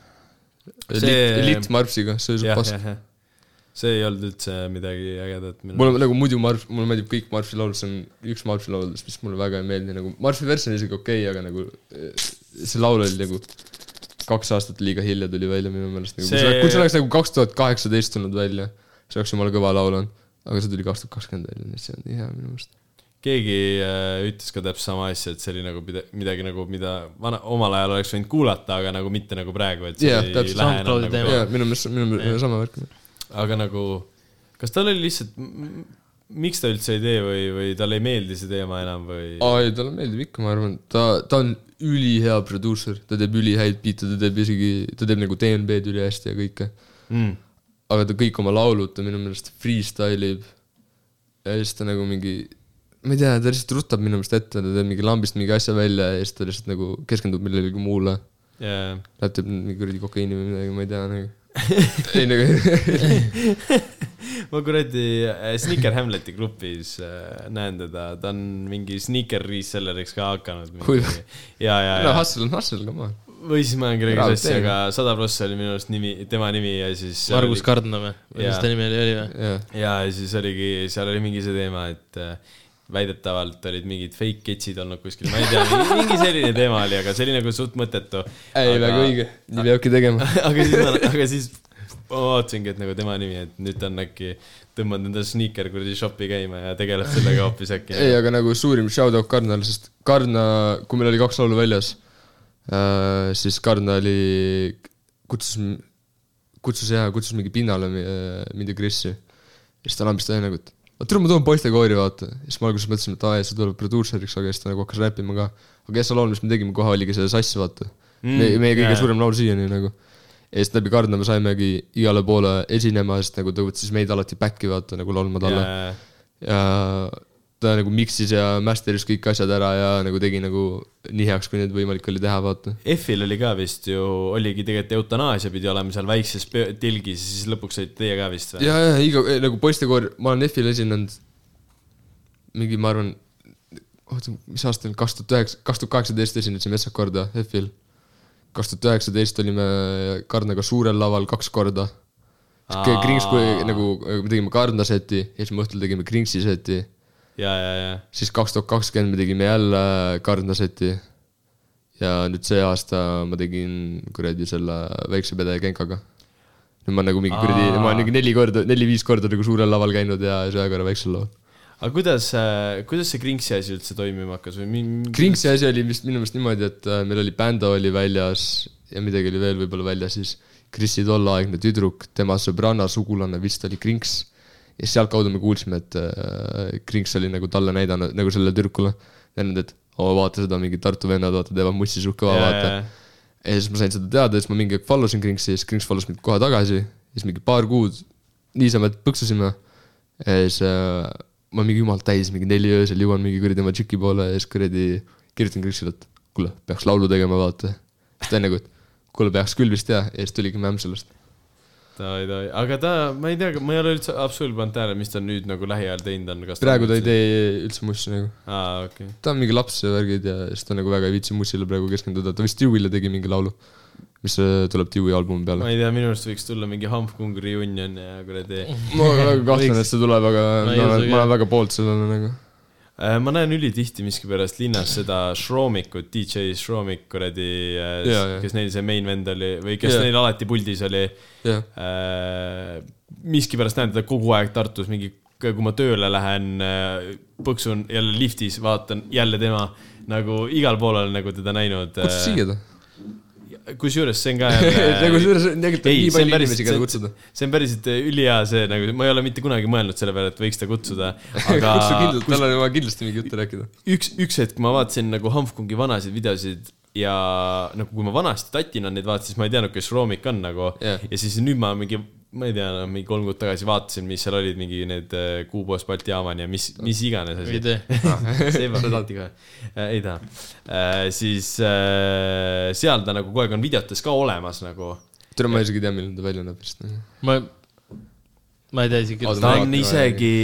See-
Lit , Lit Marpsiga , see oli suht
jah ,
pass .
jah , jah . see ei olnud üldse midagi ägedat minu
mulle nagu muidu Marš , mulle meeldib kõik Marši laulud , see on üks Marši lauludest , mis mulle väga ei meeldi , nagu Marši vers on isegi okei okay, , aga nagu eh, see laul oli nagu kaks aastat liiga hilja tuli välja minu meelest nagu, . See...
See-
kui see oleks nagu kaks tuhat kaheksateist tulnud välja , see oleks jumala kõva laul olnud , aga see tuli kaks tuhat kakskümmend välja , nii et see on nii hea minu meelest .
keegi äh, ütles ka täpselt sama asja , et see oli nagu mida- midagi nagu , mida vana , omal ajal oleks võinud kuulata , aga nagu mitte nagu praegu , et see
Jah,
ei
täpselt.
lähe enam
SoundCloudi
nagu
teema.
jaa , minu meelest , minu meelest sama värk .
aga nagu , kas tal oli lihtsalt , miks ta üldse ei tee või , või talle ei meeldi see teema enam või ?
aa ei , talle meeldib ikka , ma arvan , ta , ta on ülihea produusser , ta teeb ülihäid biite , ta teeb isegi , ta teeb nagu DNB-d ülihästi ja kõike
Mm.
aga ta kõik oma laulud ta minu meelest freestyle ib . ja siis ta nagu mingi , ma ei tea , ta lihtsalt rutab minu meelest ette , ta teeb mingi lambist mingi asja välja ja siis ta lihtsalt nagu keskendub millelegi muule .
Yeah.
Läheb teeb mingi kuradi kokaiini või midagi , ma ei tea nagu . ei nagu ,
ma kuradi äh, Sneaker Hamleti grupis äh, näen teda , ta on mingi sneaker reselleriks ka hakanud .
Kui-
ja , ja ,
no
ja .
hustle on hustle , come on .
või siis ma olen kellegagi
Raud
sassi ,
tee.
aga sada pluss oli minu arust nimi , tema nimi ja siis . äh,
Margus Kardna või ? või mis
Jaa.
ta nimi oli , oli või ?
jah ,
ja siis oligi , seal oli mingi see teema , et äh, väidetavalt olid mingid fake ketsid olnud kuskil , ma ei tea , mingi selline teema oli , aga see oli nagu suht mõttetu .
ei aga... väga õige , nii peabki tegema .
aga siis , aga siis ma vaatasingi , et nagu tema nimi , et nüüd ta on äkki tõmmanud enda sneaker kuradi shopi käima ja tegeleb sellega hoopis äkki .
ei , aga nagu suurim shout-out Karnale , sest Karna , kui meil oli kaks laulu väljas äh, , siis Karna oli , kutsus , kutsus jaa , kutsus mingi pinnale mi- äh, mind ja Krisi . ja siis ta lambis täie nagu , et aga tule ma toon poistekoori , vaata . ja siis ma alguses mõtlesin , et aa , ja see tuleb produusseriks , aga siis ta nagu hakkas räppima ka . aga jah , see laul , mis me tegime kohe , oligi see Sass , vaata mm, . meie, meie kõige
jaa.
yeah. suurem laul siiani nagu . ja siis läbi Karna me saimegi igale poole esinema , sest nagu ta võttis meid alati back'i , vaata nagu laulma talle yeah ja ta nagu mix'is ja master'is kõik asjad ära ja nagu tegi nagu nii heaks , kui neid võimalik oli teha , vaata .
F-il oli ka vist ju , oligi tegelikult eutanaasia pidi olema seal väikses pö- tilgis ja siis lõpuks olite teie ka vist või ?
ja , ja iga eh, nagu poistekoor , ma olen F-il esinenud mingi , ma arvan , oota , mis aasta oli , kaks tuhat üheksa , kaks tuhat kaheksateist esinesime esmast korda F-il . kaks tuhat üheksateist olime Karnaga suurel laval kaks korda .
Aa.
Krings , nagu me tegime Karna seti ja siis me õhtul tegime Kringsi seti
ja , ja , ja .
siis kaks tuhat kakskümmend me tegime jälle Karna seti . ja nüüd see aasta ma tegin kuradi selle väikse pede Genkaga . nüüd ma olen nagu mingi kuradi , ma olen mingi neli korda , neli-viis korda nagu suurel laval käinud ja siis ühe korra väiksel laval .
aga kuidas , kuidas see Kringsi asi üldse toimima hakkas või mi- ?
Kringsi asi oli vist minu meelest niimoodi , et äh, meil oli bändo oli väljas ja midagi oli veel võib-olla väljas , siis Krisi tolleaegne tüdruk , tema sõbranna , sugulane vist oli Krings . ja siis sealtkaudu me kuulsime , et äh, Krings oli nagu talle näidanud , nagu sellele tüdrukule , näidanud , et oo , vaata seda mingi Tartu vennad , vaata , teevad mussi suht kõva ,
Jaa,
vaata
jaa. .
ja siis ma sain seda teada , siis ma mingi hetk follow sin Kringsi , siis Krings follows mind kohe tagasi , siis mingi paar kuud niisama põksusime . ja siis äh, ma mingi jumal täis , mingi neli öösel jõuan mingi kuradi oma tšiki poole ja siis kuradi kirjutan Kringsile , et kuule , peaks laulu tegema , vaata . siis ta on nagu , et kuule , peaks küll vist ja , ja siis tuligi mämm sellest .
davai , davai , aga ta , ma ei tea , ma ei ole üldse absoluutselt pannud tähele , mis ta nüüd nagu lähiajal teinud on , kas
praegu ta ei tee üldse mussi nagu .
aa , okei okay. .
ta on mingi laps ja värgid ja siis ta nagu väga ei viitsi mussile praegu keskenduda , ta vist Dewey'le tegi mingi laulu , mis äh, tuleb Dewey albumi peale
ma . ei tea , minu arust võiks tulla mingi Hanfkong reunion ja kuradi .
ma väga kahtlen , et see tuleb , aga
Ma
ma,
ei usu
ma, olen,
ka.
ma olen väga poolt sellele nagu .
Äh, ma näen ülitihti miskipärast linnas seda Shroomikut , DJ Shroomik kuradi äh,
Jaa, jaa. ,
kes neil see main vend oli või kes
Jaa.
neil alati puldis oli
jah ,
Äh, miskipärast näen teda kogu aeg Tartus mingi , kui ma tööle lähen , põksun jälle liftis , vaatan jälle tema nagu igal pool olen nagu teda näinud .
kutsus siia ta .
kusjuures see on ka
ja
jälle
kusjuures tegelikult on
ei,
nii
see on
palju
päris-
inimesi , keda
see-
kutsuda .
see on päriselt äh, ülihea see nagu , ma ei ole mitte kunagi mõelnud selle peale , et võiks ta kutsuda , aga
kutsu kindlalt , tal on vaja kindlasti mingi juttu rääkida .
üks , üks hetk ma vaatasin nagu Hanfkongi vanasid videosid ja nagu kui ma vanasti tatina neid vaatasin , siis ma ei teadnud , kes Roomik on nagu
Jah.
ja siis nüüd ma mingi , ma ei tea , mingi kolm kuud tagasi vaatasin , mis seal olid , mingi need äh, Kuubos , Balti jaaman ja mis , mis iganes
ei
asi .
tee .
see ei pane lahti kohe , ei taha . siis äh, seal ta nagu kogu aeg on videotes ka olemas nagu .
tere , ma isegi ei tea , milline ta välja näeb vist . nagu.
ma , ma ei tea isegi
Oota, .
ta
ma
on
vaatan
isegi ,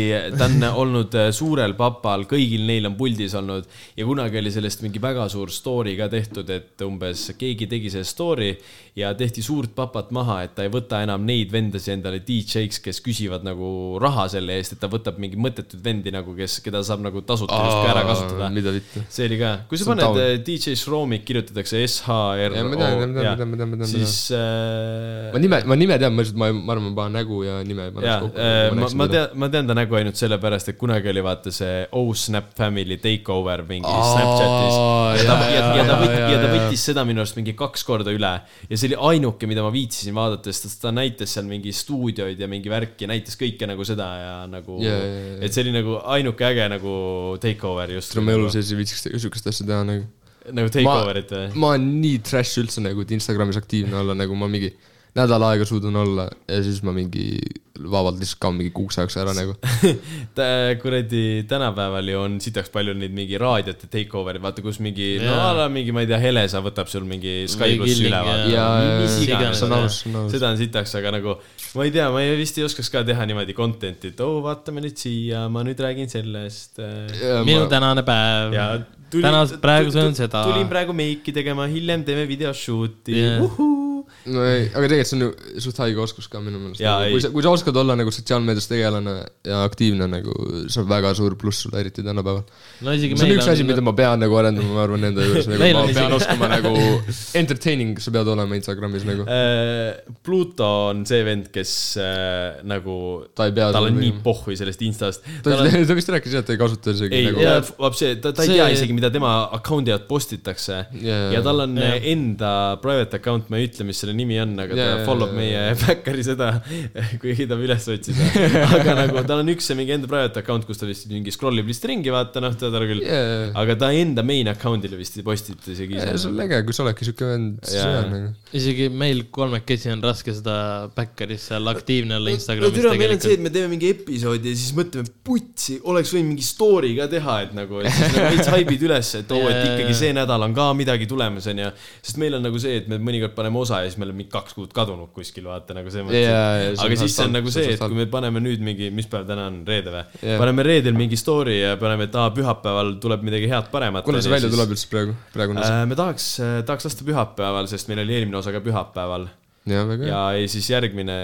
ta on olnud äh, suurel papal , kõigil neil on puldis olnud ja kunagi oli sellest mingi väga suur story ka tehtud , et umbes keegi tegi selle story ja tehti suurt papat maha , et ta ei võta enam neid vendasid endale DJ-ks , kes küsivad nagu raha selle eest , et ta võtab mingi mõttetuid vendi nagu , kes , keda saab nagu tasuta justkui ära kasutada .
mida vittu .
see oli ka , kui sa
See on
paned
taun.
äh, DJ Shromik , kirjutatakse
Jaa, ma tean, ma tean, ma tean, ma tean, ma
S-H-R-O
tean. ,
siis äh,
ma nime , ma nime tean , ma lihtsalt , ma , ma arvan , ma panen nägu ja nime . nagu
jaa ,
äh,
äh, ma , ma . tean , ma tean ta nägu ainult sellepärast , et kunagi oli vaata see Oh Snap Family takeover mingi
Aa,
Snapchatis . ja ta , ja,
jaa,
ja ta
jaa,
võttis ,
jaa,
ja ta
jaa.
võttis seda minu arust mingi kaks korda üle ja see oli ainuke , mida ma viitsisin vaadata , sest ta näitas seal mingi stuudioid ja mingi värki , näitas kõike nagu seda ja nagu
Jaa, jaa, jaa.
et see oli nagu ainuke äge nagu takeover just .
tere , ma elu sees ei viitsiks sihukest asja teha nagu .
nagu takeover'it või ?
ma olen nii trash üldse nagu , et Instagramis aktiivne olla , nagu ma mingi nädal aega suudan olla ja siis ma mingi vabalt lihtsalt kaon mingi kuuks ajaks ära nagu .
Ta- kuradi , tänapäeval ju on sitaks palju neid mingi raadiote takeover'id , vaata kus mingi , no
Jaa.
a la mingi , ma ei tea , Helesa võtab sul mingi Sky
Või
pluss
Killing
üle ,
ja-
vaata .
ja
Mis iganes,
see on
jah.
aus , see on aus .
seda on sitaks , aga nagu ma ei tea , ma ei, vist ei oskaks ka teha niimoodi content'i , et oo , vaatame nüüd siia , ma nüüd räägin sellest .
minu tänane päev . tänas , praegu see on seda .
tulin praegu meiki tegema , hiljem teeme videoshoot'i
Jaa.
yeah. , uhuu .
no ei , aga tegelikult see on ju suht haige oskus ka minu meelest
Jaa, . ei.
kui sa , kui sa oskad olla nagu sotsiaalmeedias tegelane ja aktiivne nagu , see on väga suur pluss sulle , eriti tänapäeval .
no isegi
see on
meil
üks asi , mida
on ,
ma pean nagu arendama , ma arvan , enda juures nagu, .
Meil
ma
on
pean
isegi-
oskama nagu entertaining , sa pead olema Instagramis
Äh,
nagu .
Pluto on see vend , kes äh, nagu ,
ta ei pea .
tal on nii . pohhui sellest instast .
ta vist- ta vist rääkis jah , et ta ei kasuta isegi
ei ,
nagu .
vapsi , ta , ta ei
See-
tea isegi , mida tema account'i alt postitakse
Jaa.
ja tal on
Jaa.
enda private account , ma ei ütle , mis selle nimi on , aga
Jaa,
ta
jaa,
follow
jaa.
meie backeri seda , kuigi ta üles otsis . aga nagu tal on üks see mingi enda private account , kus ta vist mingi scroll ib lihtsalt ringi , vaata noh , tead ära küll .
jaa ,
aga ta enda main account'ile vist ei postita isegi
see
ise .
on äge , kui sa oledki siuke vend , siis
Jaa.
hea on nagu .
isegi meil kolmekesi on raske seda backeris seal aktiivne olla Instagramis
türa , meil on see ,
tegelikult .
et me teeme mingi episoodi ja siis mõtleme , putsi , oleks võinud mingi story ka teha , et nagu , et siis nagu veits haibid üles , et oo , et ikkagi see nädal on ka midagi tulemas , onju . sest meil on nagu see , et me mõnikord paneme osa ja siis me oleme mingi kaks kuud kadunud kuskil , vaata nagu selles mõttes
Jaa, jaa,
et-
see on
aga siis see
halb,
on nagu
see on
see , et
halb.
kui me paneme nüüd mingi , mis päev täna on , reede või ?
Jaa.
paneme reedel mingi story ja paneme , et aa , pühapäeval tuleb midagi head paremat .
kuna see välja tuleb üldse praegu , praegu on see .
Äh, me tahaks , tahaks lasta pühapäeval , sest meil oli eelmine osa ka pühapäeval
jaa , väga hea .
ja , ja siis järgmine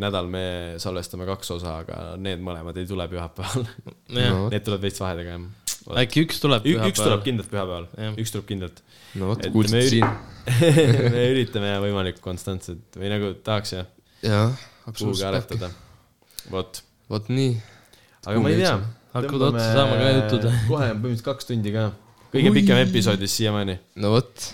nädal me salvestame kaks osa , aga need mõlemad ei tule pühapäeval .
jah ,
vot.
Need tulevad veits vahedega , jah .
äkki üks tuleb
üks tuleb . kindlalt pühapäeval
Jah. ,
üks tuleb kindlalt .
no vot
et , me
kuulsite
üri-
siin .
me üritame jah, võimalikult konstantselt või nagu tahaks jah ,
jah ,
kuhugi
absoluutselt .
aretada . vot ,
vot nii .
aga ma ei tea .
Hakkavad otsa saama ka jutud.
kohe on põhimõtteliselt kaks tundi ka . kõige pikem episoodis siiamaani .
no vot ,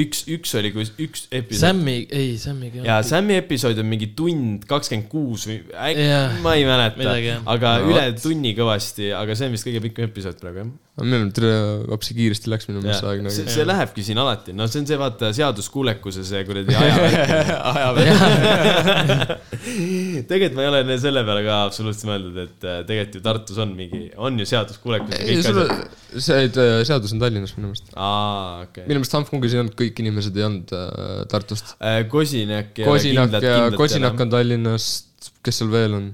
üks , üks oli , kui üks episood .
Sammi , ei Sammiga .
ja Sam'i episood on mingi tund kakskümmend kuus või äkki
Jah. ,
ma ei mäleta
Midagi, jah. ,
aga
No
üle tunni kõvasti , aga see on vist kõige pikem episood praegu jah .
meil on tere , hoopis kiiresti läks minu meelest see aeg
see, see,
nagu .
see lähebki siin alati , no see on see vaata seaduskuulekuse see kuradi ajavärk . tegelikult ma ei ole ne- selle peale ka absoluutselt mõelnud , et äh, tegelikult ju Tartus on mingi , on ju seaduskuulekus ja
ei ,
kõik
sul
asjad .
on , see äh, seadus on Tallinnas minu meelest .
aa , okei .
minu meelest Hanfkongis ei olnud kõik inimesed ei olnud äh, Tartust .
Kosinak .
Kosinak ja Kosinak on Tallinnast , kes seal veel on ?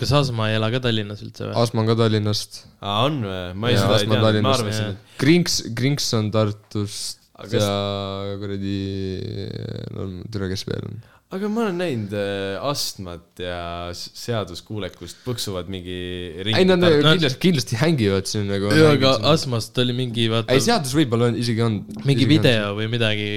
kas Asma ei ela ka Tallinnas üldse või ?
Asma on ka Tallinnast .
aa , on või ? ma ei
ja
seda ei
Asma on
teadnud , ma
Tallinnast
arvasin , et .
Krinks , Krinks on Tartust
Aga kas-
ja kuradi , no tere , kes veel on ?
aga ma olen näinud äh, astmat ja s- seaduskuulekust põksuvad mingi
ei , nad
ringi .
Nad-
kindlasti , kindlasti hängivad siin nagu .
jaa , aga Asmast oli mingi , vaata
ei , seadus võib-olla on- isegi on .
mingi . video või midagi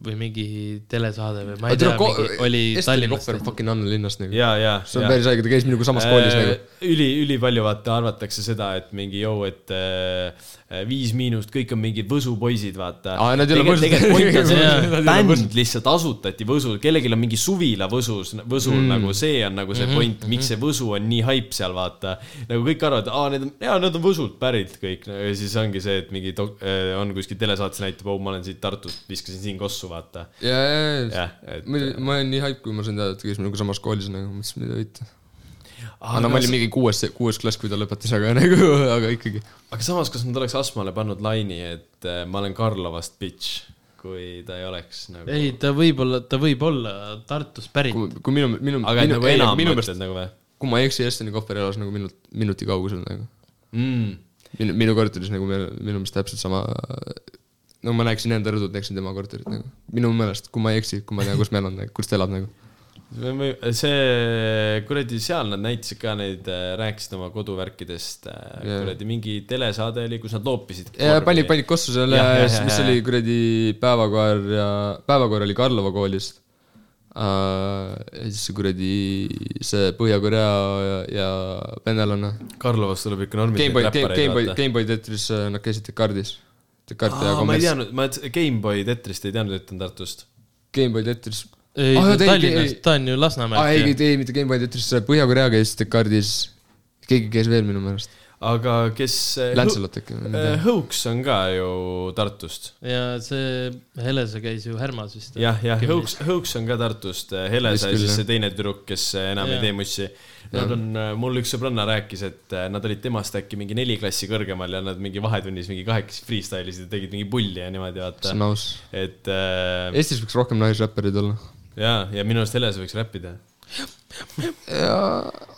või mingi telesaade või ma ei tea , mingi oli
oli Estoni
Tallinnast
kohver . on fucking Anna linnast nagu .
ja , ja .
see on päris haige , ta käis minuga samas koolis nagu .
Äh, üli , ülipalju vaata arvatakse seda , et mingi joo , et äh, Viis Miinust , kõik on mingid Võsu poisid , vaata .
Aa, nad ei ole Võsust. Nad ei ole
bänd
Võsust.
lihtsalt asutati Võsul , kellelgi on mingi suvila Võsus , Võsul mm. nagu see on nagu see
Mhm,
point , miks see Võsu on nii haip seal , vaata . nagu kõik arvavad , aa , need on , jaa , nad on Võsult pärit kõik no, . ja siis ongi see , et mingi dok- , on kuskil telesaates näitab , oh , ma olen siit Tartust , viskasin siin kossu , vaata .
ja , ja , ja
jah ,, et
ma ma olin nii haip , kui ma sain teada , et ta käis minuga samas koolis nagu , mõtlesin , mida võita .
Aa,
aga no
kas-
ma olin mingi kuues , kuues klass , kui ta lõpetas , aga nagu , aga ikkagi .
aga samas , kas nad oleks Asmale pannud laini , et äh, ma olen Karlovast bitch , kui ta ei oleks nagu .
ei , ta võib olla , ta võib olla Tartust pärit .
kui , kui minu , minu ,
aga et
minu ,
nagu enam
minu meelest ,
mõtled nagu või
kui ma ei eksi , Estoni kohver elas nagu minut , minuti kaugusel nagu .
mm. ?
minu , minu korteris nagu meil , minu meelest täpselt sama . no ma näeksin enda rõdut , näeksin tema korterit nagu . minu meelest , kui ma ei eksi , kui ma tean , kus me elame , kus ta elab nagu .
see kuradi , seal nad näitasid ka neid , rääkisid oma koduvärkidest yeah. ,
Jaa.
kuradi mingi telesaade oli , kus nad loopisid .
panid , panid kossu selle
Jah, jah, , jah,
mis
jah.
oli kuradi päevakoer ja , päevakoer oli Karlova koolist . ja siis see kuradi , see Põhja-Korea ja, ja venelane .
Karlovast tuleb ikka normid .
Gameboy , Gameboy , Gameboy Tetris , nad käisid Descartes . Descartes ja
Aa, ma
kommerts .
ei teadnud , ma Gameboy Tetrist ei teadnud , et on Tartust .
Gameboy Tetris .
ei ,
Ah,
ta
jaa,
on
ta ei-
Tallinnast
ei- ,
ta on ju
aa ei , ei
Lasnamäelt .
tee mitte Gameboy Tetris , Põhja-Korea käis Descartes . keegi käis veel minu meelest .
aga kes .
Lancelot äkki või midagi .
Hõuks on ka ju Tartust .
ja see Helese käis ju Härmas vist .
jah , jah , Hõuks , Hõuks on ka Tartust , Heles
Vist
ja
küll,
siis
jah.
see teine tüdruk , kes eh, enam ja.
Jaa.
ei tee mussi . Nad on , mul üks sõbranna rääkis , et äh, nad olid temast äkki mingi neli klassi kõrgemal ja nad mingi vahetunnis mingi kahekesi freestyle isid ja tegid mingi pulli ja niimoodi ,
see
vaata
on . aus .
et äh,
Eestis võiks rohkem naisräppareid olla .
ja , ja minu arust Heles võiks räppida .
jaa ,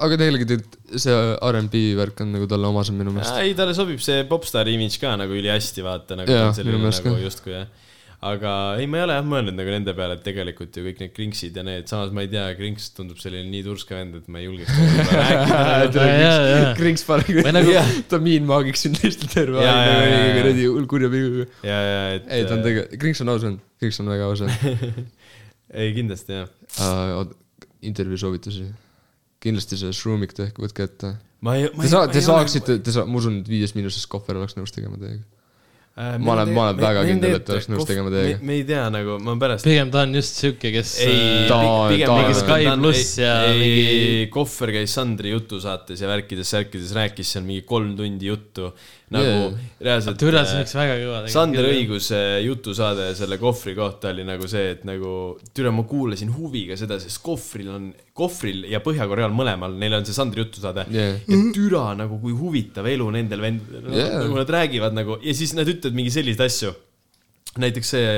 aga tegelikult see R'n'B värk on nagu talle omasem minu meelest .
ei , talle sobib see popstaar imidž ka nagu ülihästi , vaata nagu
Jaa,
selline
minu meelest
nagu
ka.
justkui jah aga ei , ma ei ole jah mõelnud nagu nende peale , et tegelikult ju kõik need krinksid ja need , samas ma ei tea , krinks tundub selline nii turska vend , et ma ei julgeks temaga rääkida .
Krings paneb
Või nagu-
tamiin maagiks sind lihtsalt terve
Jaa,
aeg
jaa,
nagu
jaa, jaa.
kuradi hull kurja pilguga .
ja , ja , et . äh,
ei , ta on tegelikult , Krings on aus vend , Krings on väga aus vend
ei , kindlasti jah .
uh, . intervjuu soovitusi . kindlasti see Shroomik tehke , võtke ette .
ma ei ,
Te saa- , te saaksite , te saa- , ma usun , et viies miinuses kohver oleks nõus tegema teiega .
Äh,
ma olen- ma olen väga kindel, et oleks nõus tegema teiega.
me ei tea nagu , ma pärast .
pigem ta on just siuke , kes .
ei ,
ta- ta-
mingi
Sky pluss ja
mingi
mingi- .
kohver käis Sandri jutusaates ja värkides , särkides rääkis seal mingi kolm tundi juttu nagu
Jaa.
reaalselt . äh,
türa , see oleks väga kõva .
Sander . Õiguse jutusaade selle kohvri kohta oli nagu see , et nagu türa , ma kuulasin huviga seda , sest kohvril on , kohvril ja Põhja-Koreal mõlemal , neil on see Sandri jutusaade
Yeah.
ja türa nagu kui huvitav elu nendel vendadel no,
Yeah.
yeah. , nagu nad räägivad nagu ja siis nad ütlevad mingi selliseid asju . näiteks see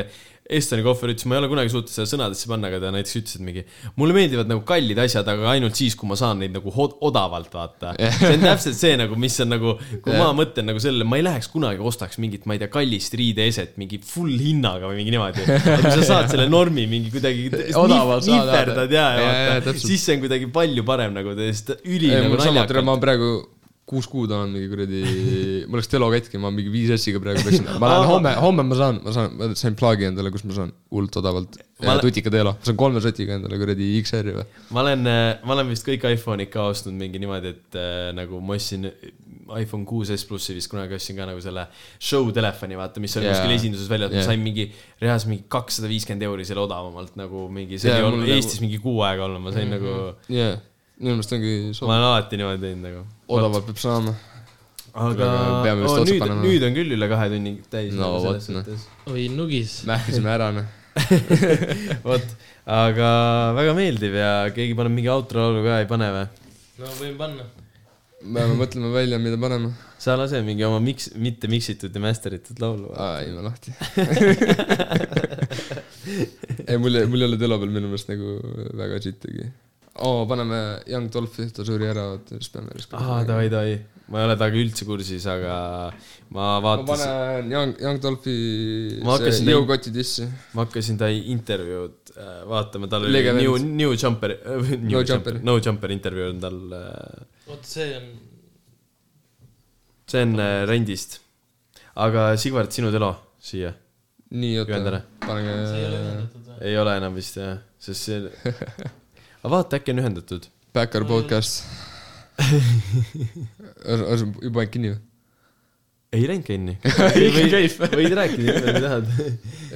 Estoni kohver ütles , ma ei ole kunagi suutnud seda sõnadesse panna , aga ta näiteks ütles , et mingi mulle meeldivad nagu kallid asjad , aga ainult siis , kui ma saan neid nagu hod- odavalt , vaata . see on täpselt see nagu , mis on nagu , kui ma mõtlen nagu sellele , ma ei läheks kunagi ostaks mingit , ma ei tea , kallist riideeset mingi full hinnaga või mingi niimoodi . sa saad selle normi mingi kuidagi
Odavalt saad, vaata.
nihverdad ja ,
Jaa,
ja
jaa,
vaata ,
täpselt.
siis see on kuidagi palju parem nagu , sest üli
ei ,
nagu
mul sama , tere ,
naljakalt .
ma praegu kuus kuud olen mingi kuradi , mul läks telo katki , ma mingi viis S-iga praegu peaksin , ma lähen homme , homme ma saan , ma saan , ma sain plaagi endale , kus ma saan hullult odavalt
Ma
ma...
lä-
tutika telo , ma saan kolme sotiga endale kuradi XR-i või .
ma olen , ma olen vist kõik iPhone'id ka ostnud mingi niimoodi , et äh, nagu ma ostsin iPhone 6s plussi vist kunagi ostsin ka nagu selle show telefoni , vaata , mis oli
Jaa.
yeah. kuskil esinduses väljas yeah. ,
Jaa.
ma sain mingi , reaalselt mingi kakssada viiskümmend euri selle odavamalt nagu mingi , see
Jaa,
yeah,
mul
oli olnud
nagu- Mhm.
Eestis mingi kuu aega olnud , ma sain mm -hmm.
jaa , minu meelest ongi
nagu ,
soov
ma , olen alati niimoodi teinud nagu .
odavalt peab saama .
aga
peame vist
oh,
otsa
nüüd
panema. ,
nüüd on küll üle kahe tunni täis .
No vot, noh.
suhtes .
oi nugis .
mähkisime ära , noh .
vot , aga väga meeldiv ja keegi paneb mingi outro laulu ka , ei pane või ?
no võin panna .
me peame mõtlema välja , mida paneme .
sa lase mingi oma miks , mitte miksitud ja masteritud laulu .
aa , ei , ma lahti . ei , mul , mul ei ole telo peal minu meelest nagu väga sittagi . oo , paneme Young Dolphi , ta suri ära , vaata , siis peame järsku .
aa , davai , davai . ma ei ole temaga üldse kursis , aga ma
ma
vaatasin ,
panen Young , Young Dolphi
Ma hakkasin
see
neid-
jõukoti dissi .
ma hakkasin ta intervjuud äh, vaatama , tal oli
Lege
New ,
vend.
New Jumper ,
No
New Jumper
Jumper. ,
No Jumper intervjuu on tal ,
vot see on .
äh, see on äh, rendist . aga Sigvard , sinu telo siia .
nii , oota
Ühendale. ,
pange
ei ole enam vist jah , sest see aga vaata , äkki on ühendatud .
Backer podcast . juba ainult kinni või ?
ei läinud kinni . võid rääkida , mida tahad .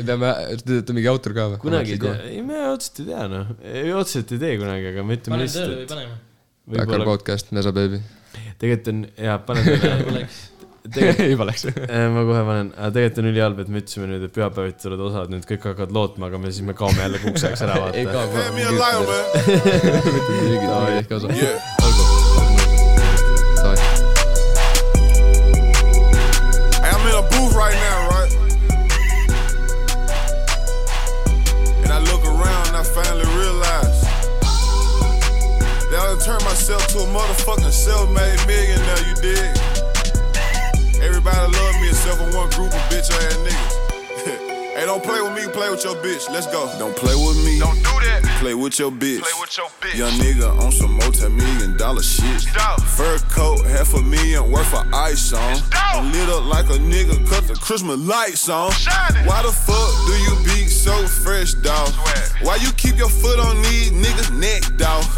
peame , te teete mingi autor ka või ?
kunagi ei tea , ei me otseselt ei tea noh , ei otseselt ei tee kunagi , aga me ütleme
panen tööle või
lihtsalt ,
paneme ?
et
Backer
võib-olla
podcast , Nesa Baby .
tegelikult on jaa , pane tööle .
oleks .
tegelikult
juba läks .
Eh, ma kohe panen , aga tegelikult on ülihalb , et me ütlesime nüüd , et pühapäeviti tulevad osad , nüüd kõik hakkavad lootma , aga me siis me kaome jälle kuuks ajaks ära
ei
vaata .
ka .
Leave me alone, man.
Davai .
Yeah. I'm in a booth right now, right? And I look around and I finally realize that I done turned myself to a motherfucking self-made millionaire, you dig? Everybody love me except for one group of bitch ass niggas. hey, don't play with me, play with your bitch. Let's go. Don't play with me.
Don't do that.
Play with your bitch.
Play with your bitch.
Young nigga on some multi-million dollar shit.
Stop.
Fur coat, half a million worth of ice on.
Stop.
I'm Lit up like a nigga, cut the Christmas lights on.
Shine it.
Why the fuck do you be so fresh, dog?
Swag.
Why you keep your foot on these niggas' neck, dog?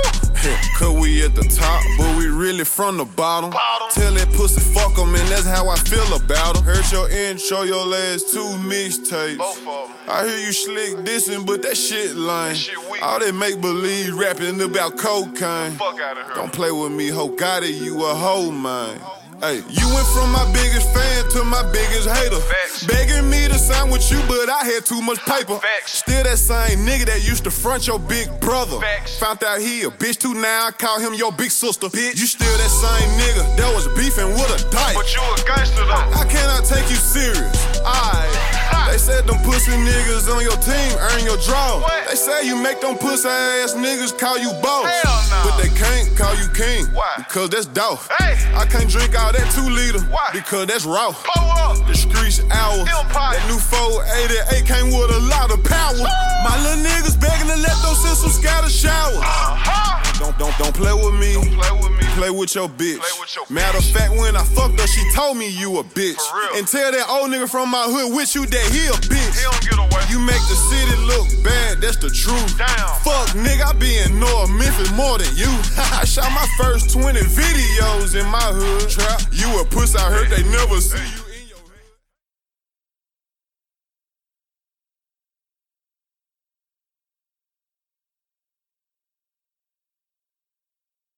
Cause we at the top, but we really from the bottom.
Bottom.
Tell that pussy fuck 'em, and that's how I feel about 'em. Heard your intro, your last two mixtapes.
Both of 'em.
I hear you slick dissing, but that shit lame.
shit weak.
All they make believe rapping about cocaine.
Fuck outta here.
Don't play with me, ho got it, you a hoe man. Hey, you went from my biggest fan to my biggest hater.
Facts.
Begging me to sign with you, but I had too much paper.
Facts.
Still that same nigga that used to front your big brother.
Facts.
Found out he a bitch too now, I call him your big sister. Bitch. You still that same nigga that was beefing with a dyke.
But you a gangster though.
I cannot take you serious. Ah, Aight. They said them pussy niggas on your team earn your draw.
What?
They say you make them pussy ass niggas call you boss.
Hell nah.
But they can't call you king.
Why?
Because that's doff.
Hey.
I can't drink all that two liter.
Why?
Because that's raw.
Pull up.
The streets hours.
Empire.
That new 488 came with a lot of power. My little niggas begging to let those systems scatter showers.
Uh-huh.
Don't, don't, don't play with me.
Don't play with me.
Play with your bitch.
Play with your
Matter of
bitch.
fact, when I fucked her, she told me you a bitch.
For real.
And tell that old nigga from my hood with you that he a bitch.
He don't get away.
You make the city look bad, that's the truth.
Damn.
Fuck nigga, I be in North Memphis more than you. I shot my first 20 videos in my hood. Trap, you a puss, I heard they never see you.